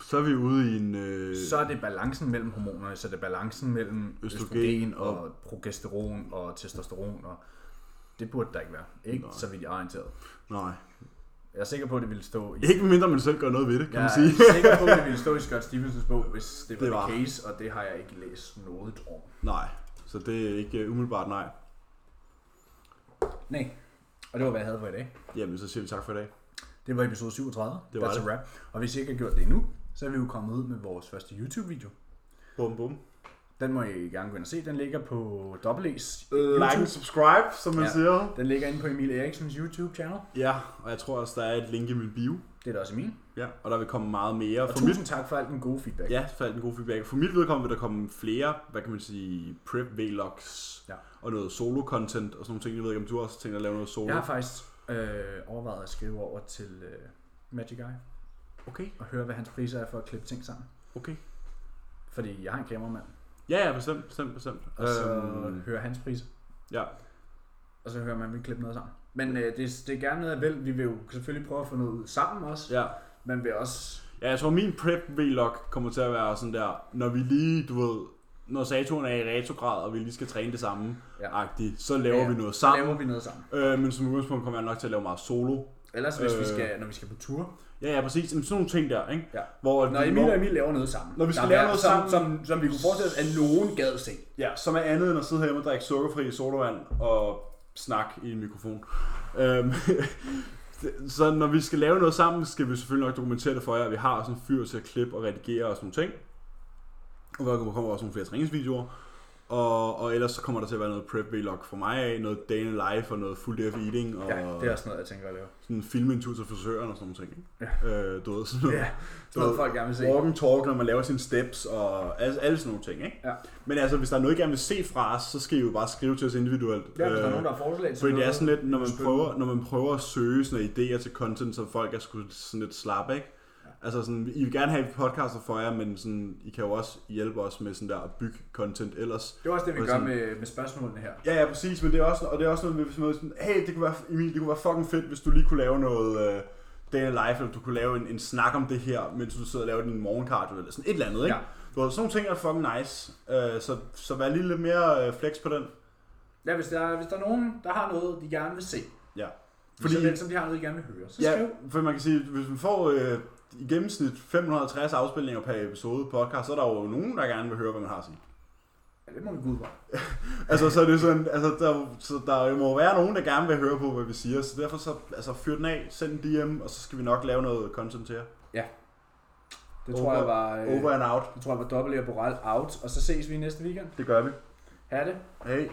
Speaker 2: Så er vi ude i en... Øh,
Speaker 1: Så er det balancen mellem hormonerne, så er det balancen mellem
Speaker 2: Østrogen
Speaker 1: østrogen,
Speaker 2: og-
Speaker 1: og, progesteron og testosteron, og det burde der ikke være. Ikke
Speaker 2: Nej.
Speaker 1: så vidt jeg er orienteret.
Speaker 2: Nej.
Speaker 1: Jeg er sikker på, at det ville stå i...
Speaker 2: Ikke mindre man selv gør noget ved det, kan
Speaker 1: jeg
Speaker 2: man sige.
Speaker 1: er sikker på, at det ville stå i Scott Stevensons bog, hvis det var,
Speaker 2: Det
Speaker 1: det
Speaker 2: var.
Speaker 1: var. the case, og det har jeg ikke læst noget om.
Speaker 2: Nej, så det er ikke øh, umiddelbart nej.
Speaker 1: Nej, og det var, hvad jeg havde for i dag.
Speaker 2: Jamen, så siger vi tak for i dag.
Speaker 1: Det var episode 37.
Speaker 2: Det var
Speaker 1: That's
Speaker 2: det.
Speaker 1: a wrap. Og hvis I ikke har gjort det endnu, så er vi jo kommet ud med vores første YouTube-video.
Speaker 2: Bum, bum.
Speaker 1: Den må I gerne gå ind og se. Den ligger på Dobbelt's
Speaker 2: Like and subscribe, som man ja.
Speaker 1: Ja.
Speaker 2: siger.
Speaker 1: Den ligger inde på Emil Eriksens YouTube-channel.
Speaker 2: Ja, og jeg tror også, der er et link i min bio.
Speaker 1: Det er der også i min.
Speaker 2: Ja, og der vil komme meget mere.
Speaker 1: Og
Speaker 2: For mit,
Speaker 1: tusind tak for alt den gode feedback.
Speaker 2: ja, for alt den gode feedback. For mit vedkommende vil der komme flere, hvad kan man sige, prep vlogs
Speaker 1: Ja.
Speaker 2: og noget solo-content og sådan nogle ting. Jeg ved ikke, om du også tænker at lave noget solo.
Speaker 1: Jeg har faktisk øh, overvejet at skrive over til øh, Magic Eye
Speaker 2: Okay,
Speaker 1: og høre, hvad hans priser er for at klippe ting sammen.
Speaker 2: okay.
Speaker 1: Fordi jeg har en kameramand,
Speaker 2: Ja, ja, bestemt, bestemt, bestemt.
Speaker 1: og så
Speaker 2: Øhm,
Speaker 1: hører hans priser.
Speaker 2: ja.
Speaker 1: Og så hører man, at vi klipper noget sammen. Men øh, det, det er gerne noget af vel. Vi vil jo selvfølgelig prøve at få noget ud sammen også.
Speaker 2: ja.
Speaker 1: Men vi vil også...
Speaker 2: Ja, jeg tror, min prep-vlog kommer til at være sådan der, når vi lige, du ved, når Saturn er i retrograd, og vi lige skal træne det samme,
Speaker 1: Ja.
Speaker 2: agtigt, så laver
Speaker 1: Ja,
Speaker 2: vi noget
Speaker 1: Så
Speaker 2: sammen.
Speaker 1: laver vi noget sammen.
Speaker 2: Øh, men som udgangspunkt kommer jeg nok til at lave meget solo.
Speaker 1: Ellers hvis øh, vi
Speaker 2: Øh.
Speaker 1: skal, når vi skal på tur.
Speaker 2: Ja, ja, præcis. Jamen, sådan nogle ting der, ikke?
Speaker 1: Ja.
Speaker 2: Hvor,
Speaker 1: Når Emil og Emil laver noget sammen.
Speaker 2: Når vi skal
Speaker 1: der
Speaker 2: lave
Speaker 1: er-
Speaker 2: noget
Speaker 1: som,
Speaker 2: sammen-
Speaker 1: Som, som vi kunne forestille os, at nogen gad se.
Speaker 2: Ja, som er andet end at sidde hjemme og drikke sukkerfri sodavand og snakke i en mikrofon. Øhm, så når vi skal lave noget sammen, skal vi selvfølgelig nok dokumentere det for jer. Vi har sådan en fyr til at klippe og redigere og sådan nogle ting. Og der kommer også nogle flere træningsvideoer. Og, og ellers så kommer der til at være noget prep vlog for mig af, noget day in life og noget full day of eating og
Speaker 1: Ja, det er også noget, jeg tænker at lave.
Speaker 2: sådan filme en tur til frisøren og sådan nogle ting. ikke? Øh, du ved, sådan noget.
Speaker 1: Ja, det er noget, folk gerne vil se.
Speaker 2: Walk and talk, når man laver sine steps og alle, alle sådan nogle ting, ikke?
Speaker 1: Ja.
Speaker 2: Men altså, hvis der er noget, I gerne vil se fra os, så skal I jo bare skrive til os individuelt.
Speaker 1: Ja, hvis der er nogen, der har forslag til
Speaker 2: fordi det Øh. er
Speaker 1: noget.
Speaker 2: sådan lidt, når man,
Speaker 1: Spændende.
Speaker 2: prøver, når man prøver at søge sådan nogle idéer til content, så folk er sgu sådan lidt slappe, ikke? Altså sådan, I vil gerne have podcaster for jer, men sådan, I kan jo også hjælpe os med sådan der at bygge content ellers.
Speaker 1: Det er også det, vi
Speaker 2: Og
Speaker 1: gør
Speaker 2: sådan-
Speaker 1: med, med spørgsmålene her.
Speaker 2: Ja, ja, præcis, men det er også, og det er også noget, hvis man er sådan, hey, det kunne være, Emil, det kunne være fucking fedt, hvis du lige kunne lave noget øh, day in life, eller du kunne lave en, en snak om det her, mens du sidder og laver din morgenkardio, eller sådan et eller andet, ikke?
Speaker 1: Ja.
Speaker 2: Du ved, sådan nogle ting er fucking nice, øh, så, så vær lige lidt mere øh, flex på den.
Speaker 1: Ja, hvis der, er, hvis der er nogen, der har noget, de gerne vil se,
Speaker 2: Ja.
Speaker 1: Fordi...
Speaker 2: Fordi,
Speaker 1: såvel som de har noget, de gerne vil høre, så
Speaker 2: ja,
Speaker 1: skriv.
Speaker 2: for man kan sige, hvis man får øh, i gennemsnit 560 afspilninger per episode podcast, så er der jo nogen, der gerne vil høre, hvad man har at sige.
Speaker 1: Ja, det må vi gå ud fra.
Speaker 2: Altså, så er det sådan, altså, der, så der må være nogen, der gerne vil høre på, hvad vi siger, så derfor så, altså, fyr den af, send en DM, og så skal vi nok lave noget content til jer.
Speaker 1: Det
Speaker 2: Over-
Speaker 1: tror jeg var... Øh,
Speaker 2: Over and out.
Speaker 1: det tror jeg var dobbelt og Borel out, og så ses vi næste weekend.
Speaker 2: Det gør vi.
Speaker 1: Ha' det.
Speaker 2: Hey.